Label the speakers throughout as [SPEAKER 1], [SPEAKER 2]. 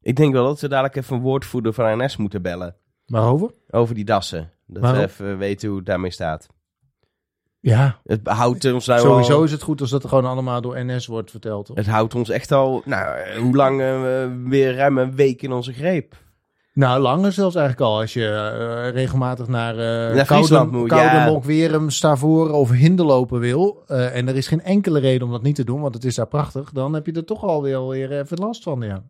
[SPEAKER 1] Ik denk wel dat ze dadelijk even een woordvoerder van NS moeten bellen.
[SPEAKER 2] Waarover?
[SPEAKER 1] Over die dassen. Dat
[SPEAKER 2] Waarom?
[SPEAKER 1] we even weten hoe het daarmee staat.
[SPEAKER 2] Ja,
[SPEAKER 1] Het houdt ons nou
[SPEAKER 2] sowieso
[SPEAKER 1] al-
[SPEAKER 2] is het goed als dat gewoon allemaal door NS wordt verteld. hoor.
[SPEAKER 1] Het houdt ons echt al, nou, eh, hoe lang? eh, weer ruim een week in onze greep.
[SPEAKER 2] Nou, langer zelfs eigenlijk al. Als je eh, regelmatig naar, eh
[SPEAKER 1] Friesland moet, ja.
[SPEAKER 2] Mokwerum, Stavoren of Hinderlopen wil. eh, en er is geen enkele reden om dat niet te doen, want het is daar prachtig. Dan heb je er toch alweer weer even last van, ja.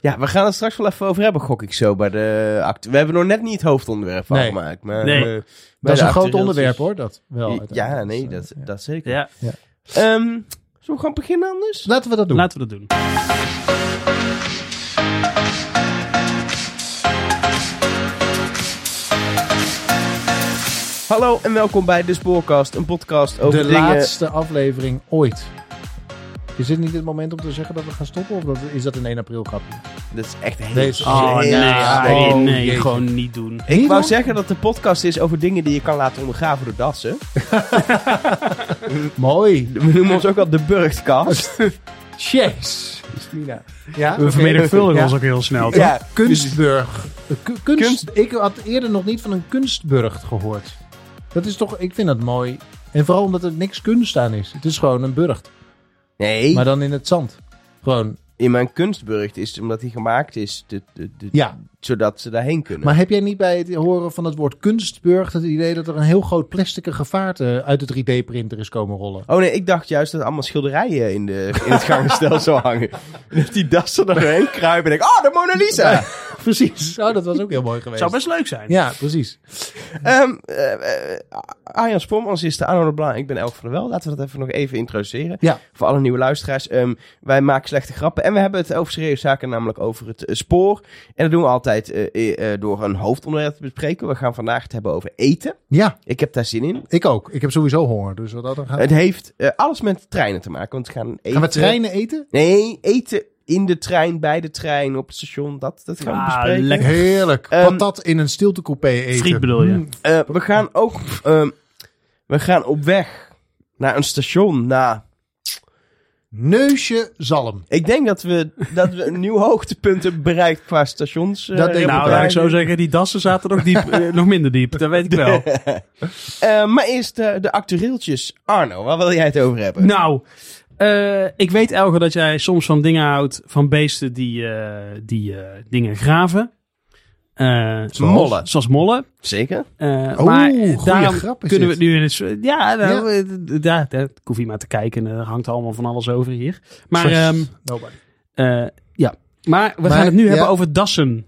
[SPEAKER 1] Ja, we gaan het straks wel even over hebben, gok ik zo, bij de act. We hebben nog net niet het hoofdonderwerp van
[SPEAKER 2] Nee.
[SPEAKER 1] gemaakt. Maar,
[SPEAKER 3] Nee.
[SPEAKER 1] eh, bij de
[SPEAKER 2] Dat is een groot
[SPEAKER 1] actueeltjes-
[SPEAKER 2] onderwerp hoor, dat wel.
[SPEAKER 1] Ja,
[SPEAKER 2] uiteindelijk.
[SPEAKER 1] nee,
[SPEAKER 2] Dus,
[SPEAKER 1] dat,
[SPEAKER 2] eh, ja.
[SPEAKER 1] dat zeker.
[SPEAKER 3] Ja,
[SPEAKER 1] Ehm, zullen we gaan beginnen anders?
[SPEAKER 2] Laten we dat doen.
[SPEAKER 3] laten we dat doen.
[SPEAKER 1] Hallo en welkom bij De Spoorcast, een podcast over
[SPEAKER 2] de
[SPEAKER 1] dingen...
[SPEAKER 2] laatste aflevering ooit. Is dit niet het moment om te zeggen dat we gaan stoppen? Of dat, is dat een 1 april grapje?
[SPEAKER 1] Dat is echt heel...
[SPEAKER 2] Deze-
[SPEAKER 3] Oh nee,
[SPEAKER 2] Ja,
[SPEAKER 3] nee,
[SPEAKER 2] oh,
[SPEAKER 3] nee,
[SPEAKER 2] jeetje.
[SPEAKER 3] gewoon niet doen.
[SPEAKER 1] Ik wou zeggen dat de podcast is over dingen die je kan laten ondergraven door dassen.
[SPEAKER 2] Mooi.
[SPEAKER 1] We noemen ons ook wel de Burgtcast.
[SPEAKER 2] Yes. Ja?
[SPEAKER 3] We vermenigvuldigen
[SPEAKER 2] Ja.
[SPEAKER 3] ons ook heel snel. toch?
[SPEAKER 1] ja,
[SPEAKER 2] Kunstburg. Ku- Kunst,
[SPEAKER 1] Kunst-
[SPEAKER 2] Ik had eerder nog niet van een kunstburg gehoord. Dat is toch, ik vind dat mooi. En vooral omdat er niks kunst aan is. Het is gewoon een burcht.
[SPEAKER 1] Nee,
[SPEAKER 2] Maar dan in het zand. Gewoon.
[SPEAKER 1] in mijn kunstburg is het omdat die gemaakt is, de, de, de-
[SPEAKER 2] Ja.
[SPEAKER 1] zodat ze daarheen kunnen.
[SPEAKER 2] Maar heb jij niet bij het horen van het woord kunstburg het idee dat er een heel groot plastic gevaarte uit de 3D-printer is komen rollen?
[SPEAKER 1] Oh nee, ik dacht juist dat allemaal schilderijen in, de, in het gangenstelsel zou hangen. En dat die dassen er doorheen kruipen en denk, oh, de Mona Lisa!
[SPEAKER 2] precies. Oh, dat was ook heel mooi geweest.
[SPEAKER 3] Zou best leuk zijn.
[SPEAKER 2] Ja, precies.
[SPEAKER 1] Ehm eh, eh, Arjan Spormans is de Arno de Blaan. Ik ben Elke van der Wel. Laten we dat even nog even introduceren.
[SPEAKER 2] Ja.
[SPEAKER 1] Voor alle nieuwe luisteraars. Ehm, wij maken slechte grappen. En we hebben het over serieuze zaken, namelijk over het eh, spoor. En dat doen we altijd eh, eh, eh, door een hoofdonderwerp te bespreken. We gaan vandaag het hebben over eten.
[SPEAKER 2] Ja,
[SPEAKER 1] Ik heb daar zin in.
[SPEAKER 2] ik ook. Ik heb sowieso honger. Dus wat dat dan gaat.
[SPEAKER 1] Het heeft eh, alles met treinen te maken. Want we gaan eten.
[SPEAKER 2] Gaan we treinen eten?
[SPEAKER 1] Nee, eten in de trein, bij de trein, op het station. Dat, dat gaan we
[SPEAKER 3] Ah,
[SPEAKER 1] bespreken.
[SPEAKER 3] lekker.
[SPEAKER 2] Heerlijk.
[SPEAKER 1] Ehm,
[SPEAKER 2] Patat in een stiltecoupé eten.
[SPEAKER 3] Friet bedoel je?
[SPEAKER 1] Eh, we gaan ook. ehm, we gaan op weg naar een station. Naar.
[SPEAKER 2] Neusje zalm.
[SPEAKER 1] Ik denk dat we, dat we een nieuw hoogtepunt hebben bereikt qua stations. eh,
[SPEAKER 2] Dat denk ik
[SPEAKER 3] Nou,
[SPEAKER 2] ook.
[SPEAKER 3] laat ik zo zeggen, die dassen zaten nog, diep, eh, nog minder diep. Dat weet ik wel.
[SPEAKER 1] Eh, maar eerst eh, de actueeltjes. Arno, waar wil jij het over hebben?
[SPEAKER 3] Nou, eh, ik weet Elge dat jij soms van dingen houdt, van beesten die, eh, die eh, dingen graven. Eh, zoals-
[SPEAKER 1] Mollen.
[SPEAKER 3] Zoals mollen.
[SPEAKER 1] Zeker?
[SPEAKER 3] Eh,
[SPEAKER 2] Oh,
[SPEAKER 3] maar
[SPEAKER 2] goeie
[SPEAKER 3] daarom
[SPEAKER 2] grap is
[SPEAKER 3] kunnen we
[SPEAKER 2] dit.
[SPEAKER 3] nu in het... zo- Ja, nou, eh, d- daar, daar ik hoef je maar te kijken. Er hangt allemaal van alles over hier. Maar, ehm,
[SPEAKER 2] Nobody.
[SPEAKER 3] eh, ja. maar we
[SPEAKER 2] Maar,
[SPEAKER 3] gaan het nu
[SPEAKER 2] ja.
[SPEAKER 3] hebben over dassen.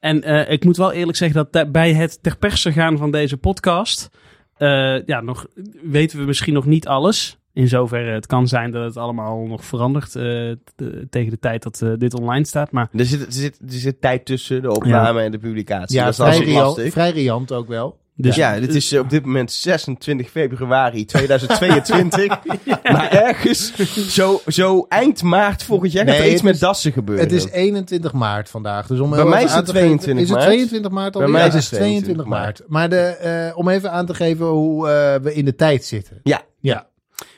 [SPEAKER 3] En eh, ik moet wel eerlijk zeggen dat da- bij het ter persen gaan van deze podcast... eh, ja, nog, weten we misschien nog niet alles. In zoverre het kan zijn dat het allemaal nog verandert eh, t- tegen de tijd dat eh, dit online staat. Maar
[SPEAKER 1] Er zit, er, zit, er zit tijd tussen de opname en de publicatie.
[SPEAKER 2] Ja,
[SPEAKER 1] dat is altijd
[SPEAKER 2] vrij, riant,
[SPEAKER 1] lastig.
[SPEAKER 2] vrij riant ook wel.
[SPEAKER 3] dus,
[SPEAKER 1] ja, dit is eh, op dit moment 26 februari 2022. Maar ergens zo, zo eind maart volgend jaar gaat
[SPEAKER 2] Nee,
[SPEAKER 1] er iets
[SPEAKER 2] het
[SPEAKER 1] met dassen gebeuren.
[SPEAKER 2] Het is 21 maart vandaag. Dus om
[SPEAKER 1] Bij
[SPEAKER 2] even
[SPEAKER 1] mij is
[SPEAKER 2] aan
[SPEAKER 1] het
[SPEAKER 2] te geven-
[SPEAKER 1] 22
[SPEAKER 2] Is het
[SPEAKER 1] maart.
[SPEAKER 2] 22 maart al?
[SPEAKER 1] Bij mij
[SPEAKER 2] Ja, het
[SPEAKER 1] is
[SPEAKER 2] is
[SPEAKER 1] het
[SPEAKER 2] 22 maart. Maar de, eh, om even aan te geven hoe eh, we in de tijd zitten.
[SPEAKER 1] Ja.
[SPEAKER 2] Ja.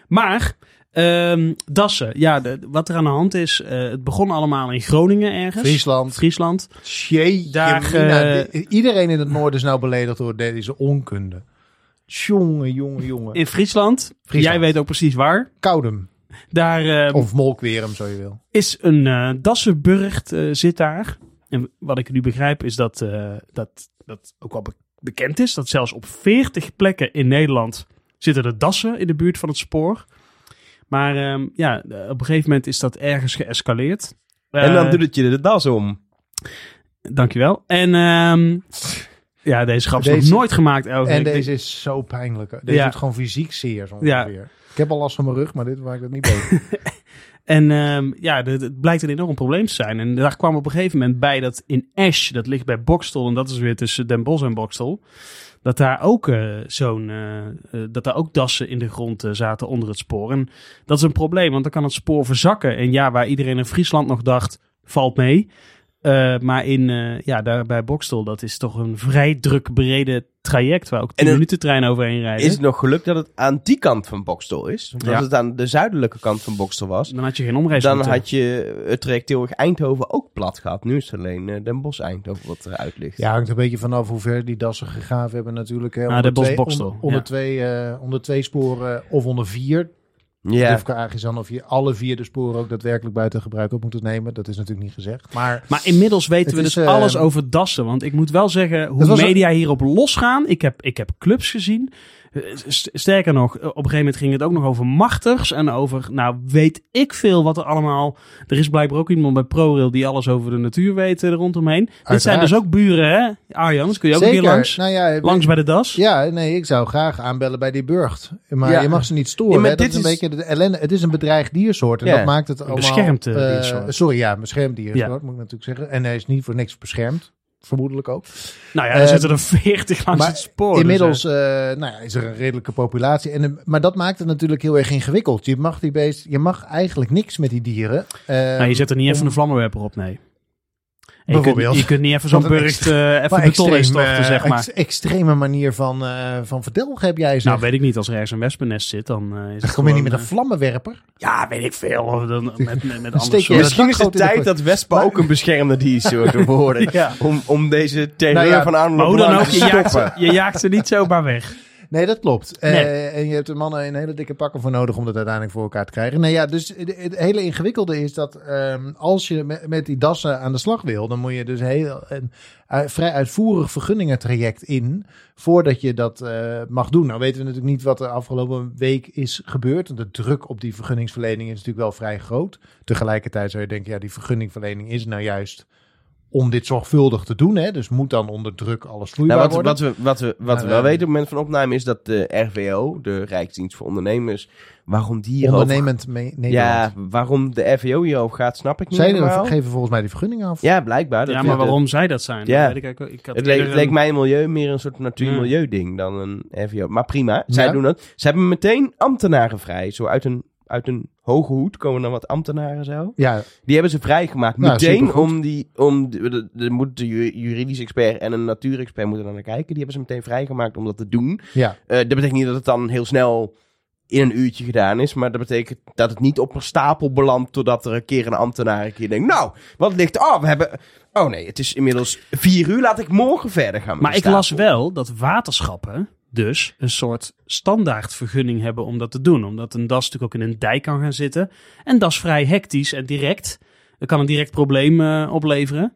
[SPEAKER 3] Maar ehm, dassen, ja, de- wat er aan de hand is, eh, het begon allemaal in Groningen ergens.
[SPEAKER 2] Friesland.
[SPEAKER 3] Friesland.
[SPEAKER 2] Jeetje,
[SPEAKER 3] Daar,
[SPEAKER 2] mina.
[SPEAKER 3] eh,
[SPEAKER 2] I- Iedereen in het noorden is nou beledigd door deze onkunde. Jongen, jongen, jongen.
[SPEAKER 3] In Friesland,
[SPEAKER 2] Friesland.
[SPEAKER 3] jij weet ook precies waar.
[SPEAKER 2] Koudem.
[SPEAKER 3] Daar ehm,
[SPEAKER 2] Of Molkwerum, zo je wil.
[SPEAKER 3] is een eh dassenburgt eh, zit daar. En wat ik nu begrijp is dat, eh, dat dat ook wel be- bekend is. Dat zelfs op 40 plekken in Nederland zitten er dassen in de buurt van het spoor. Maar ehm, ja, eh, op een gegeven moment is dat ergens geëscaleerd.
[SPEAKER 1] En dan
[SPEAKER 3] Eh,
[SPEAKER 1] doet het je de das om.
[SPEAKER 3] Dankjewel. En ehm, ja, deze grap is
[SPEAKER 2] Deze-
[SPEAKER 3] nog nooit gemaakt. Elke.
[SPEAKER 2] En
[SPEAKER 3] Ik-
[SPEAKER 2] deze is zo pijnlijk. Deze
[SPEAKER 3] Ja.
[SPEAKER 2] doet gewoon fysiek zeer, zo
[SPEAKER 3] Ja.
[SPEAKER 2] ongeveer. Ik heb al last van mijn rug, maar dit maakt het niet beter.
[SPEAKER 3] en ehm, ja, het- het blijkt een enorm probleem te zijn. En daar kwam op een gegeven moment bij dat in Ash, dat ligt bij Bokstel, en dat is weer tussen Den Bosch en Bokstel, dat daar ook eh, zo'n, eh, eh, dat daar ook dassen in de grond eh, zaten onder het spoor. En dat is een probleem, want dan kan het spoor verzakken. En ja, waar iedereen in Friesland nog dacht, valt mee. Eh, maar in, eh, ja, daar bij Bokstel, dat is toch een vrij druk brede traject waar ook
[SPEAKER 1] En
[SPEAKER 3] 10
[SPEAKER 1] een-
[SPEAKER 3] minuten trein overheen rijden.
[SPEAKER 1] Is het nog geluk dat het aan die kant van Bokstel is? Want als
[SPEAKER 3] Ja.
[SPEAKER 1] het aan de zuidelijke kant van Bokstel was,
[SPEAKER 3] Dan had je geen omreis
[SPEAKER 1] dan
[SPEAKER 3] moeten.
[SPEAKER 1] had je het traject heel erg Eindhoven ook plat gehad. Nu is het alleen eh, Den Bosch Eindhoven wat eruit ligt.
[SPEAKER 2] Ja, hangt een beetje vanaf hoe ver die dassen gegraven hebben natuurlijk. Hè.
[SPEAKER 3] Ah, de Bos
[SPEAKER 2] twee,
[SPEAKER 3] Bokstel,
[SPEAKER 2] onder, onder
[SPEAKER 3] ja.
[SPEAKER 2] twee, eh, onder twee sporen of onder vier.
[SPEAKER 1] Ja.
[SPEAKER 2] Durf ik eigenlijk aan of je alle vier de sporen ook daadwerkelijk buiten gebruik op moet nemen. Dat is natuurlijk niet gezegd. Maar
[SPEAKER 3] Maar inmiddels weten
[SPEAKER 2] Het
[SPEAKER 3] we
[SPEAKER 2] is,
[SPEAKER 3] dus
[SPEAKER 2] eh,
[SPEAKER 3] alles over Dassen. Want ik moet wel zeggen, hoe
[SPEAKER 2] Het was een-
[SPEAKER 3] media hierop losgaan. Ik heb, ik heb clubs gezien. Eh, st- Sterker nog, eh, op een gegeven moment ging het ook nog over machters. En over, nou weet ik veel wat er allemaal... Er is blijkbaar ook iemand bij ProRail die alles over de natuur weet eh, er rondomheen. Dit zijn
[SPEAKER 2] Uiteraard.
[SPEAKER 3] dus ook buren, hè? Arjan, dus kun je ook een keer langs.
[SPEAKER 2] Nou ja,
[SPEAKER 3] Langs bij de Das.
[SPEAKER 2] Ja, nee, ik zou graag aanbellen bij die burcht. Maar
[SPEAKER 1] Ja.
[SPEAKER 2] je mag ze niet
[SPEAKER 1] Ja,
[SPEAKER 2] storen.
[SPEAKER 1] maar
[SPEAKER 2] hè. Dat
[SPEAKER 1] dit
[SPEAKER 2] is een
[SPEAKER 1] is-
[SPEAKER 2] beetje de ellende. Het is een bedreigd diersoort. En
[SPEAKER 1] Ja.
[SPEAKER 2] dat maakt het allemaal...
[SPEAKER 3] beschermd, eh,
[SPEAKER 2] eh,
[SPEAKER 3] diersoort.
[SPEAKER 2] Sorry, ja, een beschermd diersoort
[SPEAKER 3] Ja.
[SPEAKER 2] moet ik natuurlijk zeggen. En hij is niet voor niks beschermd. Vermoedelijk ook.
[SPEAKER 3] Nou ja, er
[SPEAKER 2] Eh,
[SPEAKER 3] zitten er veertig langs
[SPEAKER 2] maar
[SPEAKER 3] het spoor. dus,
[SPEAKER 2] Inmiddels
[SPEAKER 3] eh,
[SPEAKER 2] eh, nou ja, is er een redelijke populatie. En, een- maar dat maakt het natuurlijk heel erg ingewikkeld. Je mag, die beest, je mag eigenlijk niks met die dieren. Eh,
[SPEAKER 3] nou, je zet er niet even
[SPEAKER 2] om-
[SPEAKER 3] een vlammenwerper op, nee. En je, kunt,
[SPEAKER 2] Bijvoorbeeld.
[SPEAKER 3] je kunt niet even zo'n
[SPEAKER 2] Wat een
[SPEAKER 3] burcht eh
[SPEAKER 2] maar
[SPEAKER 3] even beton
[SPEAKER 2] extreem,
[SPEAKER 3] storten,
[SPEAKER 2] eh,
[SPEAKER 3] zeg maar.
[SPEAKER 2] ex- extreme manier van, eh van verdelgen heb jij zeg.
[SPEAKER 3] Nou, weet ik niet. Als er ergens een wespennest zit, dan eh, is
[SPEAKER 2] dan
[SPEAKER 3] het
[SPEAKER 2] kom je niet
[SPEAKER 3] gewoon,
[SPEAKER 2] met een
[SPEAKER 3] eh,
[SPEAKER 2] vlammenwerper.
[SPEAKER 3] Ja, weet ik veel. Of dan met, met, met
[SPEAKER 2] Dan
[SPEAKER 3] andere
[SPEAKER 2] steek je
[SPEAKER 3] soorten.
[SPEAKER 1] Misschien
[SPEAKER 2] dat
[SPEAKER 1] is het
[SPEAKER 2] gaat in de
[SPEAKER 1] tijd dus- dat Wespa
[SPEAKER 2] Maar-
[SPEAKER 1] ook een beschermde diersoort wil worden.
[SPEAKER 3] Ja.
[SPEAKER 1] om, om deze terreur
[SPEAKER 2] Nou ja,
[SPEAKER 1] van
[SPEAKER 3] Maar hoe
[SPEAKER 1] Arnold
[SPEAKER 3] dan
[SPEAKER 1] Lang
[SPEAKER 3] ook,
[SPEAKER 1] te
[SPEAKER 3] je jaagt, ze,
[SPEAKER 1] stoppen.
[SPEAKER 3] je jaagt ze niet zomaar weg.
[SPEAKER 2] Nee, dat klopt. Eh,
[SPEAKER 3] Nee.
[SPEAKER 2] en je hebt er mannen in hele dikke pakken voor nodig om dat uiteindelijk voor elkaar te krijgen. Nou ja, dus het, het hele ingewikkelde is dat ehm, als je met, met die dassen aan de slag wil, dan moet je dus heel, een eh, vrij uitvoerig vergunningentraject in voordat je dat eh, mag doen. Nou weten we natuurlijk niet wat er afgelopen week is gebeurd. De druk op die vergunningsverlening is natuurlijk wel vrij groot. Tegelijkertijd zou je denken, ja, die vergunningverlening is nou juist om dit zorgvuldig te doen. Hè? Dus moet dan onder druk alles vloeibaar
[SPEAKER 1] Nou, wat,
[SPEAKER 2] worden.
[SPEAKER 1] wat we, wat we, wat we
[SPEAKER 2] Maar,
[SPEAKER 1] wel
[SPEAKER 2] eh,
[SPEAKER 1] weten op het moment van opname is dat de RVO, de Rijksdienst voor Ondernemers, waarom die hierover...
[SPEAKER 2] Ondernemend me- Nederland.
[SPEAKER 1] Ja, waarom de RVO hierover gaat, snap ik niet
[SPEAKER 2] Zij
[SPEAKER 1] helemaal.
[SPEAKER 2] geven volgens mij die vergunning af.
[SPEAKER 1] Ja, blijkbaar. Dat
[SPEAKER 3] Ja,
[SPEAKER 1] is
[SPEAKER 3] maar
[SPEAKER 1] de-
[SPEAKER 3] waarom zij dat zijn,
[SPEAKER 1] Ja.
[SPEAKER 3] dat weet ik eigenlijk wel. Ik had
[SPEAKER 1] Het leek,
[SPEAKER 3] eerder
[SPEAKER 1] het leek
[SPEAKER 3] een- Mm.
[SPEAKER 1] mijn milieu meer een soort natuur-milieu-ding dan een RVO. Maar prima, zij
[SPEAKER 2] Ja.
[SPEAKER 1] doen dat. Ze hebben meteen ambtenaren vrij. Zo uit een, uit een hoge hoed komen dan wat ambtenaren zo.
[SPEAKER 2] Ja,
[SPEAKER 1] Die hebben ze vrijgemaakt.
[SPEAKER 2] Nou,
[SPEAKER 1] meteen
[SPEAKER 2] supergoed.
[SPEAKER 1] om die. Om de, de, de- moet de ju- juridisch expert en een natuurexpert moeten dan naar kijken. Die hebben ze meteen vrijgemaakt om dat te doen.
[SPEAKER 2] ja.
[SPEAKER 1] Eh, dat betekent niet dat het dan heel snel in een uurtje gedaan is. Maar dat betekent dat het niet op een stapel belandt. Totdat er een keer een ambtenaar een keer denkt. Nou, wat ligt. Oh, we hebben. Oh nee, het is inmiddels vier uur. Laat ik morgen verder gaan. dus Met
[SPEAKER 3] Maar
[SPEAKER 1] die
[SPEAKER 3] ik las
[SPEAKER 1] stapel."
[SPEAKER 3] wel dat waterschappen dus een soort standaardvergunning hebben om dat te doen. Omdat een das natuurlijk ook in een dijk kan gaan zitten. En dat is vrij hectisch en direct. Dat kan een direct probleem eh, opleveren.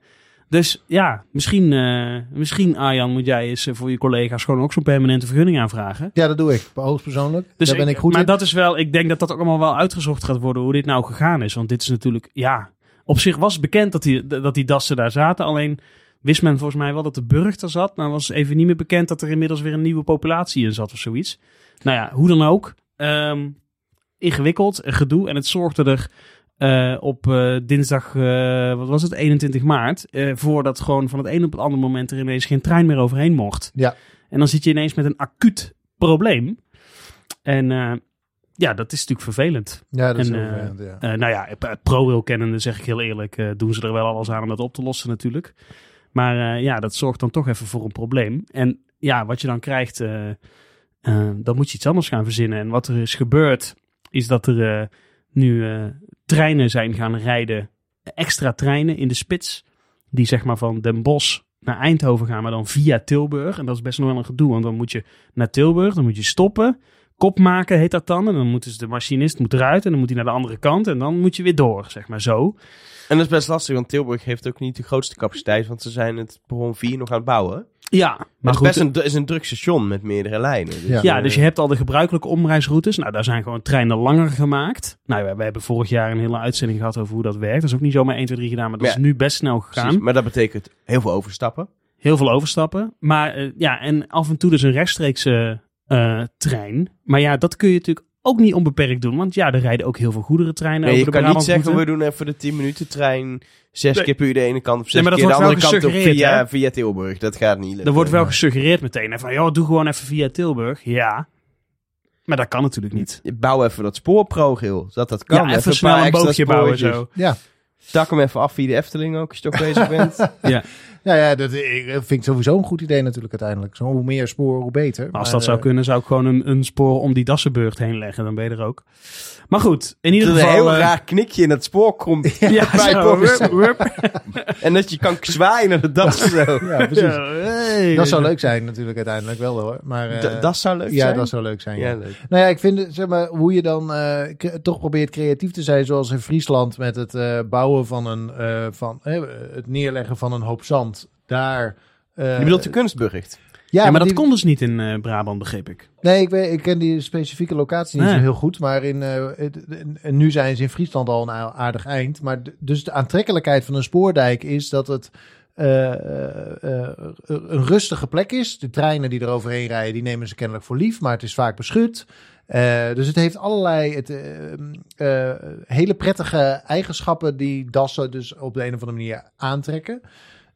[SPEAKER 3] Dus ja, misschien, eh, misschien Arjan, moet jij eens eh, voor je collega's gewoon ook zo'n permanente vergunning aanvragen.
[SPEAKER 2] ja, dat doe ik. Hoogstpersoonlijk.
[SPEAKER 3] Dus
[SPEAKER 2] Daar ben ik, goed
[SPEAKER 3] maar
[SPEAKER 2] in.
[SPEAKER 3] dat is wel, ik denk dat dat ook allemaal wel uitgezocht gaat worden hoe dit nou gegaan is. Want dit is natuurlijk, ja, op zich was bekend dat die, dat die dassen daar zaten. Alleen wist men volgens mij wel dat de burg er zat. Maar was even niet meer bekend dat er inmiddels weer een nieuwe populatie in zat of zoiets. Nou ja, hoe dan ook. ehm, ingewikkeld, een gedoe. En het zorgde er eh, op eh, dinsdag, eh, wat was het, 21 maart. eh, voor dat gewoon van het een op het andere moment er ineens geen trein meer overheen mocht.
[SPEAKER 2] Ja.
[SPEAKER 3] En dan zit je ineens met een acuut probleem. En eh, ja, dat is natuurlijk vervelend.
[SPEAKER 2] Ja, dat is
[SPEAKER 3] en,
[SPEAKER 2] heel
[SPEAKER 3] eh,
[SPEAKER 2] vervelend, ja.
[SPEAKER 3] Eh, nou ja, eh, ProRail kennende zeg ik heel eerlijk, eh, doen ze er wel alles aan om dat op te lossen natuurlijk. Maar eh, ja, dat zorgt dan toch even voor een probleem. En ja, wat je dan krijgt, eh, eh, dan moet je iets anders gaan verzinnen. En wat er is gebeurd, is dat er eh, nu eh, treinen zijn gaan rijden, extra treinen in de spits, die zeg maar van Den Bosch naar Eindhoven gaan, maar dan via Tilburg. En dat is best nog wel een gedoe, want dan moet je naar Tilburg, dan moet je stoppen kop maken heet dat dan. En dan moet dus de machinist moet eruit en dan moet hij naar de andere kant. En dan moet je weer door, zeg maar zo.
[SPEAKER 1] En dat is best lastig, want Tilburg heeft ook niet de grootste capaciteit, want ze zijn het perron 4 nog aan het bouwen.
[SPEAKER 3] Ja,
[SPEAKER 1] Maar
[SPEAKER 3] maar
[SPEAKER 1] het is best
[SPEAKER 3] goed. eh-
[SPEAKER 1] een, het is een druk station met meerdere lijnen. Dus,
[SPEAKER 2] Ja.
[SPEAKER 3] Ja,
[SPEAKER 1] eh,
[SPEAKER 3] dus je hebt al de gebruikelijke omreisroutes. Nou, daar zijn gewoon treinen langer gemaakt. Nou, we, we hebben vorig jaar een hele uitzending gehad over hoe dat werkt. Dat is ook niet zomaar 1, 2, 3 gedaan, maar dat
[SPEAKER 1] Ja.
[SPEAKER 3] is nu best snel
[SPEAKER 1] precies.
[SPEAKER 3] gegaan.
[SPEAKER 1] Maar dat betekent heel veel overstappen.
[SPEAKER 3] Heel veel overstappen. Maar eh, ja, en af en toe dus een rechtstreekse eh, trein. Maar ja, dat kun je natuurlijk ook niet onbeperkt doen. Want ja, er rijden ook heel veel goederentreinen
[SPEAKER 1] Nee,
[SPEAKER 3] over
[SPEAKER 1] je
[SPEAKER 3] de
[SPEAKER 1] kan niet zeggen,
[SPEAKER 3] Brabantroute.
[SPEAKER 1] we doen even de 10 minuten trein, zes
[SPEAKER 3] Nee.
[SPEAKER 1] keer per uur de ene kant op,
[SPEAKER 3] Nee,
[SPEAKER 1] zes
[SPEAKER 3] maar dat
[SPEAKER 1] keer de
[SPEAKER 3] wordt
[SPEAKER 1] andere
[SPEAKER 3] wel
[SPEAKER 1] kant op via,
[SPEAKER 3] gesuggereerd,
[SPEAKER 1] via Tilburg. Dat gaat niet lukken.
[SPEAKER 3] Er wordt wel gesuggereerd meteen hè, van, joh, doe gewoon even via Tilburg. Ja, maar dat kan natuurlijk niet.
[SPEAKER 1] Bouw even dat spoor pro, Gil, dat dat kan.
[SPEAKER 3] ja, even
[SPEAKER 1] een
[SPEAKER 3] snel
[SPEAKER 1] paar
[SPEAKER 3] een
[SPEAKER 1] extra
[SPEAKER 3] bootje bouwen
[SPEAKER 1] spoortjes.
[SPEAKER 3] zo.
[SPEAKER 2] Ja.
[SPEAKER 1] Tak hem even af via de Efteling ook, als je toch bezig bent.
[SPEAKER 2] Nou ja, dat ik, eh, vind ik sowieso een goed idee natuurlijk uiteindelijk. Zo, hoe meer sporen, hoe beter.
[SPEAKER 3] Maar als dat
[SPEAKER 2] eh,
[SPEAKER 3] zou kunnen, zou ik gewoon een, een spoor om die Dassenburg heen leggen. Dan ben je er ook. Maar goed, in
[SPEAKER 1] Dat
[SPEAKER 3] ieder
[SPEAKER 1] er een
[SPEAKER 3] geval...
[SPEAKER 1] heel
[SPEAKER 3] eh,
[SPEAKER 1] raar knikje in het spoor komt.
[SPEAKER 3] ja,
[SPEAKER 1] bij
[SPEAKER 3] zo,
[SPEAKER 1] Boris.
[SPEAKER 3] wup, wup.
[SPEAKER 1] en dat je kan zwaaien naar de das zo.
[SPEAKER 2] Ja, precies.
[SPEAKER 3] Ja, hey.
[SPEAKER 2] Dat zou leuk zijn natuurlijk uiteindelijk wel hoor. Maar, eh,
[SPEAKER 1] D- dat zou leuk
[SPEAKER 2] ja,
[SPEAKER 1] zijn.
[SPEAKER 2] dat zou leuk zijn. ja.
[SPEAKER 1] Ja, leuk.
[SPEAKER 2] Nou ja, ik vind zeg maar, hoe je dan eh, cre- toch probeert creatief te zijn, zoals in Friesland met het eh, bouwen van een, eh, van, eh, het neerleggen van een hoop zand. Daar. eh,
[SPEAKER 1] Je bedoelt de kunstburcht.
[SPEAKER 3] Ja, maar,
[SPEAKER 2] die-
[SPEAKER 3] dat kon dus niet in eh, Brabant, begreep ik.
[SPEAKER 2] Nee, ik, weet, ik ken die specifieke locatie niet
[SPEAKER 3] Nee.
[SPEAKER 2] zo heel goed. Maar in, eh, het- en- en nu zijn ze in Friesland al een a- aardig eind. Maar d- dus de aantrekkelijkheid van een spoordijk is dat het eh, eh, eh, een rustige plek is. De treinen die er overheen rijden, die nemen ze kennelijk voor lief. Maar het is vaak beschut. Eh, dus het heeft allerlei het, eh, eh, hele prettige eigenschappen die dassen dus op de een of andere manier aantrekken.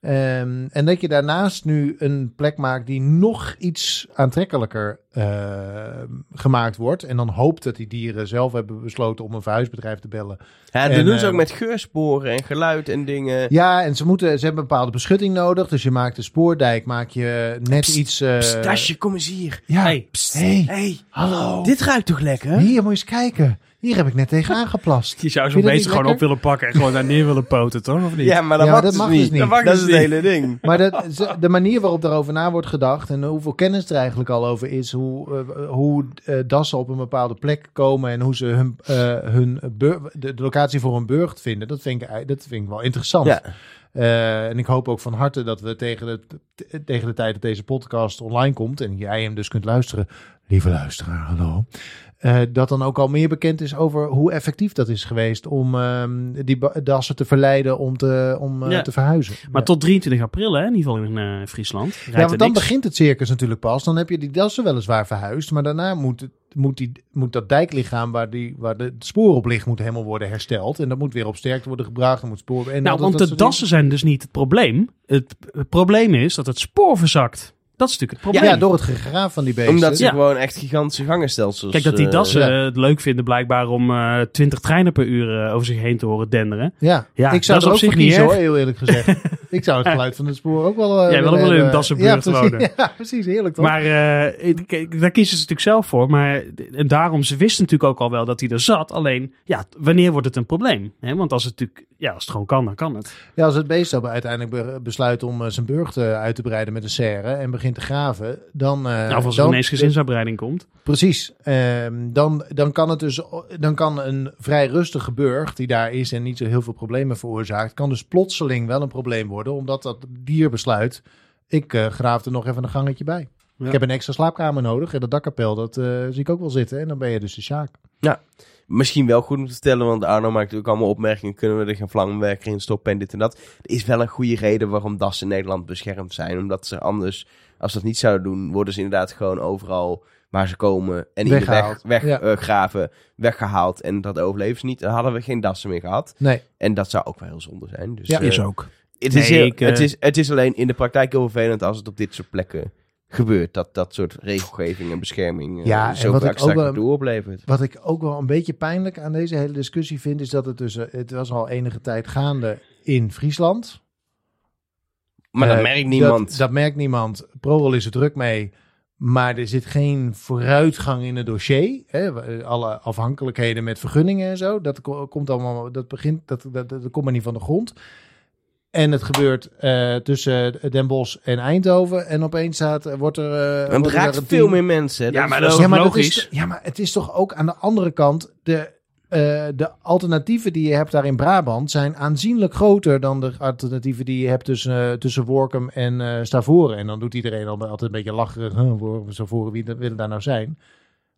[SPEAKER 2] Ehm, en dat je daarnaast nu een plek maakt die nog iets aantrekkelijker ehm, gemaakt wordt. En dan hoopt dat die dieren zelf hebben besloten om een verhuisbedrijf te bellen.
[SPEAKER 1] Ja, dat
[SPEAKER 2] En,
[SPEAKER 1] doen ze
[SPEAKER 2] eh,
[SPEAKER 1] ook met geursporen en geluid en dingen.
[SPEAKER 2] Ja, en ze, moeten, ze hebben een bepaalde beschutting nodig. Dus je maakt de spoordijk, maak je net
[SPEAKER 1] Pst,
[SPEAKER 2] iets... eh,
[SPEAKER 1] Pst, Dasje, kom eens hier.
[SPEAKER 2] Ja.
[SPEAKER 3] Hey.
[SPEAKER 1] Pst.
[SPEAKER 2] Hey,
[SPEAKER 1] Hey,
[SPEAKER 2] hallo.
[SPEAKER 1] dit ruikt toch lekker?
[SPEAKER 2] Hier, moet je eens kijken. Hier heb ik net tegen aangeplast.
[SPEAKER 3] Je zou
[SPEAKER 2] Vind je dat
[SPEAKER 3] zo'n
[SPEAKER 2] niet
[SPEAKER 3] beest gewoon
[SPEAKER 2] lekker?
[SPEAKER 3] op willen pakken en gewoon daar neer willen poten, toch? Of niet?
[SPEAKER 1] Ja, maar dat
[SPEAKER 2] Ja,
[SPEAKER 1] mag,
[SPEAKER 2] dat
[SPEAKER 1] dus,
[SPEAKER 2] mag
[SPEAKER 1] niet.
[SPEAKER 2] dus niet.
[SPEAKER 1] Dat,
[SPEAKER 3] Dat
[SPEAKER 1] is
[SPEAKER 3] is
[SPEAKER 1] het hele ding.
[SPEAKER 2] Maar dat, ze- de manier waarop daarover na wordt gedacht en hoeveel kennis er eigenlijk al over is, hoe, eh, hoe eh, dassen op een bepaalde plek komen en hoe ze hun, eh, hun bur- de, de locatie voor hun burcht vinden, dat vind ik, ei- dat vind ik wel interessant.
[SPEAKER 1] Ja.
[SPEAKER 2] Eh, en ik hoop ook van harte dat we tegen de, t- tegen de tijd dat deze podcast online komt en jij hem dus kunt luisteren, lieve luisteraar, hallo. eh, dat dan ook al meer bekend is over hoe effectief dat is geweest om ehm, die ba- dassen te verleiden om te, om, eh,
[SPEAKER 3] Ja.
[SPEAKER 2] te verhuizen.
[SPEAKER 3] Maar
[SPEAKER 2] Ja.
[SPEAKER 3] tot 23 april, hè, in ieder geval in eh, Friesland. Rijdt
[SPEAKER 2] Ja,
[SPEAKER 3] er
[SPEAKER 2] want dan
[SPEAKER 3] niks.
[SPEAKER 2] begint het circus natuurlijk pas. Dan heb je die dassen weliswaar verhuisd. Maar daarna moet, het, moet, die, moet dat dijklichaam waar, die, waar de spoor op ligt, moet helemaal worden hersteld. En dat moet weer op sterkte worden gebracht. Dan moet spoor... En al
[SPEAKER 3] Nou,
[SPEAKER 2] dat-
[SPEAKER 3] want
[SPEAKER 2] dat
[SPEAKER 3] de
[SPEAKER 2] soort dingen.
[SPEAKER 3] dassen zijn dus niet het probleem. Het, het probleem is dat het spoor verzakt. Dat is natuurlijk het probleem.
[SPEAKER 2] Ja, door het gegraaf van die beesten.
[SPEAKER 1] Omdat ze
[SPEAKER 3] Ja.
[SPEAKER 1] gewoon echt gigantische gangenstelsels...
[SPEAKER 3] Kijk, dat die
[SPEAKER 1] eh,
[SPEAKER 3] dassen
[SPEAKER 2] ja.
[SPEAKER 3] eh, het leuk vinden blijkbaar om eh 20 treinen per uur eh, over zich heen te horen denderen.
[SPEAKER 2] Ja.
[SPEAKER 3] Ja,
[SPEAKER 2] ik
[SPEAKER 3] dat
[SPEAKER 2] zou
[SPEAKER 3] is
[SPEAKER 2] er
[SPEAKER 3] op
[SPEAKER 2] ook
[SPEAKER 3] zich
[SPEAKER 2] voor kiezen
[SPEAKER 3] niet
[SPEAKER 2] hoor,
[SPEAKER 3] erg.
[SPEAKER 2] heel eerlijk gezegd. ik zou het geluid van het spoor ook wel... eh,
[SPEAKER 3] Jij wil ook wel in
[SPEAKER 2] hebben.
[SPEAKER 3] een dassenburg
[SPEAKER 2] ja,
[SPEAKER 3] wonen.
[SPEAKER 2] precies, ja, precies. Heerlijk toch?
[SPEAKER 3] Maar eh, ik- ik- daar kiezen ze natuurlijk zelf voor. Maar en daarom, ze wisten natuurlijk ook al wel dat hij er zat. Alleen, ja, wanneer wordt het een probleem? Hè, want als het natuurlijk, ja, als het gewoon kan, dan kan het.
[SPEAKER 2] Ja, als het beest dan uiteindelijk be- besluit om eh, zijn burcht eh, uit te breiden met een serre en begint te graven, dan... eh,
[SPEAKER 3] Nou, of als er
[SPEAKER 2] dan,
[SPEAKER 3] ineens gezinsuitbreiding komt.
[SPEAKER 2] Precies. Ehm, dan, dan kan het dus, dan kan een vrij rustige burg die daar is en niet zo heel veel problemen veroorzaakt, kan dus plotseling wel een probleem worden, omdat dat dier besluit. Ik eh, graaf er nog even een gangetje bij.
[SPEAKER 3] Ja.
[SPEAKER 2] Ik heb een extra slaapkamer nodig en dat dakkapel, dat eh, zie ik ook wel zitten. En dan ben je dus de Sjaak.
[SPEAKER 1] Misschien wel goed om te vertellen, want Arno maakt ook allemaal opmerkingen. Kunnen we er geen vlammenwerker in stoppen en dit en dat. Er is wel een goede reden waarom das in Nederland beschermd zijn. Omdat ze anders, als ze dat niet zouden doen, worden ze inderdaad gewoon overal waar ze komen en in de weg,
[SPEAKER 2] Weggehaald.
[SPEAKER 1] weg,
[SPEAKER 2] Ja.
[SPEAKER 1] eh, graven, weggehaald. En dat overleven ze niet. Dan hadden we geen dassen meer gehad.
[SPEAKER 2] Nee,
[SPEAKER 1] En dat zou ook wel heel zonde zijn. Dus,
[SPEAKER 2] Ja.
[SPEAKER 1] eh,
[SPEAKER 3] Is ook.
[SPEAKER 1] Het is,
[SPEAKER 3] Nee,
[SPEAKER 1] heel-
[SPEAKER 3] ik, eh,
[SPEAKER 1] het, is, het is alleen in de praktijk heel vervelend als het op dit soort plekken gebeurt. Dat dat soort regelgeving en bescherming eh,
[SPEAKER 2] Ja, en
[SPEAKER 1] zo
[SPEAKER 2] wat
[SPEAKER 1] vaak
[SPEAKER 2] ik ook
[SPEAKER 1] straks
[SPEAKER 2] wel-
[SPEAKER 1] naartoe oplevert.
[SPEAKER 2] Wat ik ook wel een beetje pijnlijk aan deze hele discussie vind, is dat het dus, eh, het was al enige tijd gaande in Friesland.
[SPEAKER 1] Maar dat
[SPEAKER 2] Eh,
[SPEAKER 1] merkt niemand.
[SPEAKER 2] Dat, dat merkt niemand. ProRoll is er druk mee. Maar er zit geen vooruitgang in het dossier. Hè? eh, Alle afhankelijkheden met vergunningen en zo. Dat ko- komt allemaal. Dat begint. Dat, dat, dat komt maar niet van de grond. En het gebeurt eh, tussen Den Bosch en Eindhoven. En opeens staat, wordt er. eh,
[SPEAKER 1] En
[SPEAKER 2] wordt
[SPEAKER 1] het
[SPEAKER 2] er daar
[SPEAKER 1] raakt
[SPEAKER 2] een
[SPEAKER 1] veel
[SPEAKER 2] team-
[SPEAKER 1] meer mensen. hè.
[SPEAKER 3] Ja, maar dat
[SPEAKER 1] wel-
[SPEAKER 3] is-
[SPEAKER 2] ja, maar
[SPEAKER 3] logisch.
[SPEAKER 2] Dat is, ja, maar het is toch ook aan de andere kant. De, eh, de alternatieven die je hebt daar in Brabant zijn aanzienlijk groter dan de alternatieven die je hebt tussen, eh, tussen Workum en eh, Stavoren. En dan doet iedereen al- altijd een beetje lacherig. Huh, Workum, Stavoren, wie dat- willen daar nou zijn?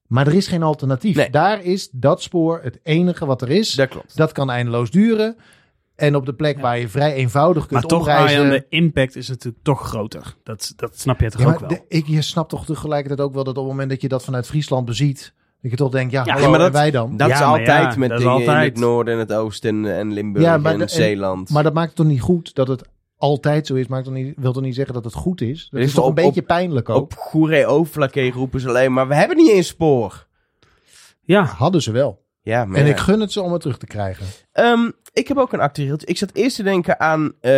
[SPEAKER 2] Maar er is geen alternatief.
[SPEAKER 1] Nee.
[SPEAKER 2] Daar is dat spoor het enige wat er is.
[SPEAKER 1] dat klopt.
[SPEAKER 2] Dat kan eindeloos duren. En op de plek waar je vrij eenvoudig
[SPEAKER 3] Maar
[SPEAKER 2] kunt
[SPEAKER 3] toch,
[SPEAKER 2] omreizen.
[SPEAKER 3] Arjan, de impact is natuurlijk toch groter. Dat, dat snap je toch
[SPEAKER 2] Ja, maar
[SPEAKER 3] ook wel.
[SPEAKER 2] de- ik, je snapt toch tegelijkertijd ook wel dat op het moment dat je dat vanuit Friesland beziet, dat je toch denkt, ja,
[SPEAKER 3] Ja,
[SPEAKER 2] hallo,
[SPEAKER 1] ja, maar
[SPEAKER 2] en
[SPEAKER 1] dat-
[SPEAKER 2] wij dan?
[SPEAKER 1] Dat
[SPEAKER 3] Ja,
[SPEAKER 1] is
[SPEAKER 3] maar
[SPEAKER 1] altijd
[SPEAKER 3] ja,
[SPEAKER 1] met
[SPEAKER 3] dat is
[SPEAKER 1] dingen in
[SPEAKER 3] altijd.
[SPEAKER 1] het noorden en het oosten en- en Limburg
[SPEAKER 2] Ja, maar
[SPEAKER 1] en
[SPEAKER 2] de- en-
[SPEAKER 1] Zeeland.
[SPEAKER 2] Maar dat maakt toch niet goed dat het altijd zo is. Maakt toch niet, wil toch niet zeggen dat het goed is? Dat
[SPEAKER 1] Er
[SPEAKER 2] is,
[SPEAKER 1] is
[SPEAKER 2] toch
[SPEAKER 1] op-
[SPEAKER 2] een beetje pijnlijk ook?
[SPEAKER 1] Op Goeree Overflakke roepen ze alleen maar, we hebben niet eens spoor.
[SPEAKER 3] Ja,
[SPEAKER 2] Hadden ze wel.
[SPEAKER 1] Ja, maar
[SPEAKER 2] En
[SPEAKER 1] ja.
[SPEAKER 2] ik gun het ze om het terug te krijgen.
[SPEAKER 1] Ehm, Ik heb ook een actueeltje. Ik zat eerst te denken aan eh,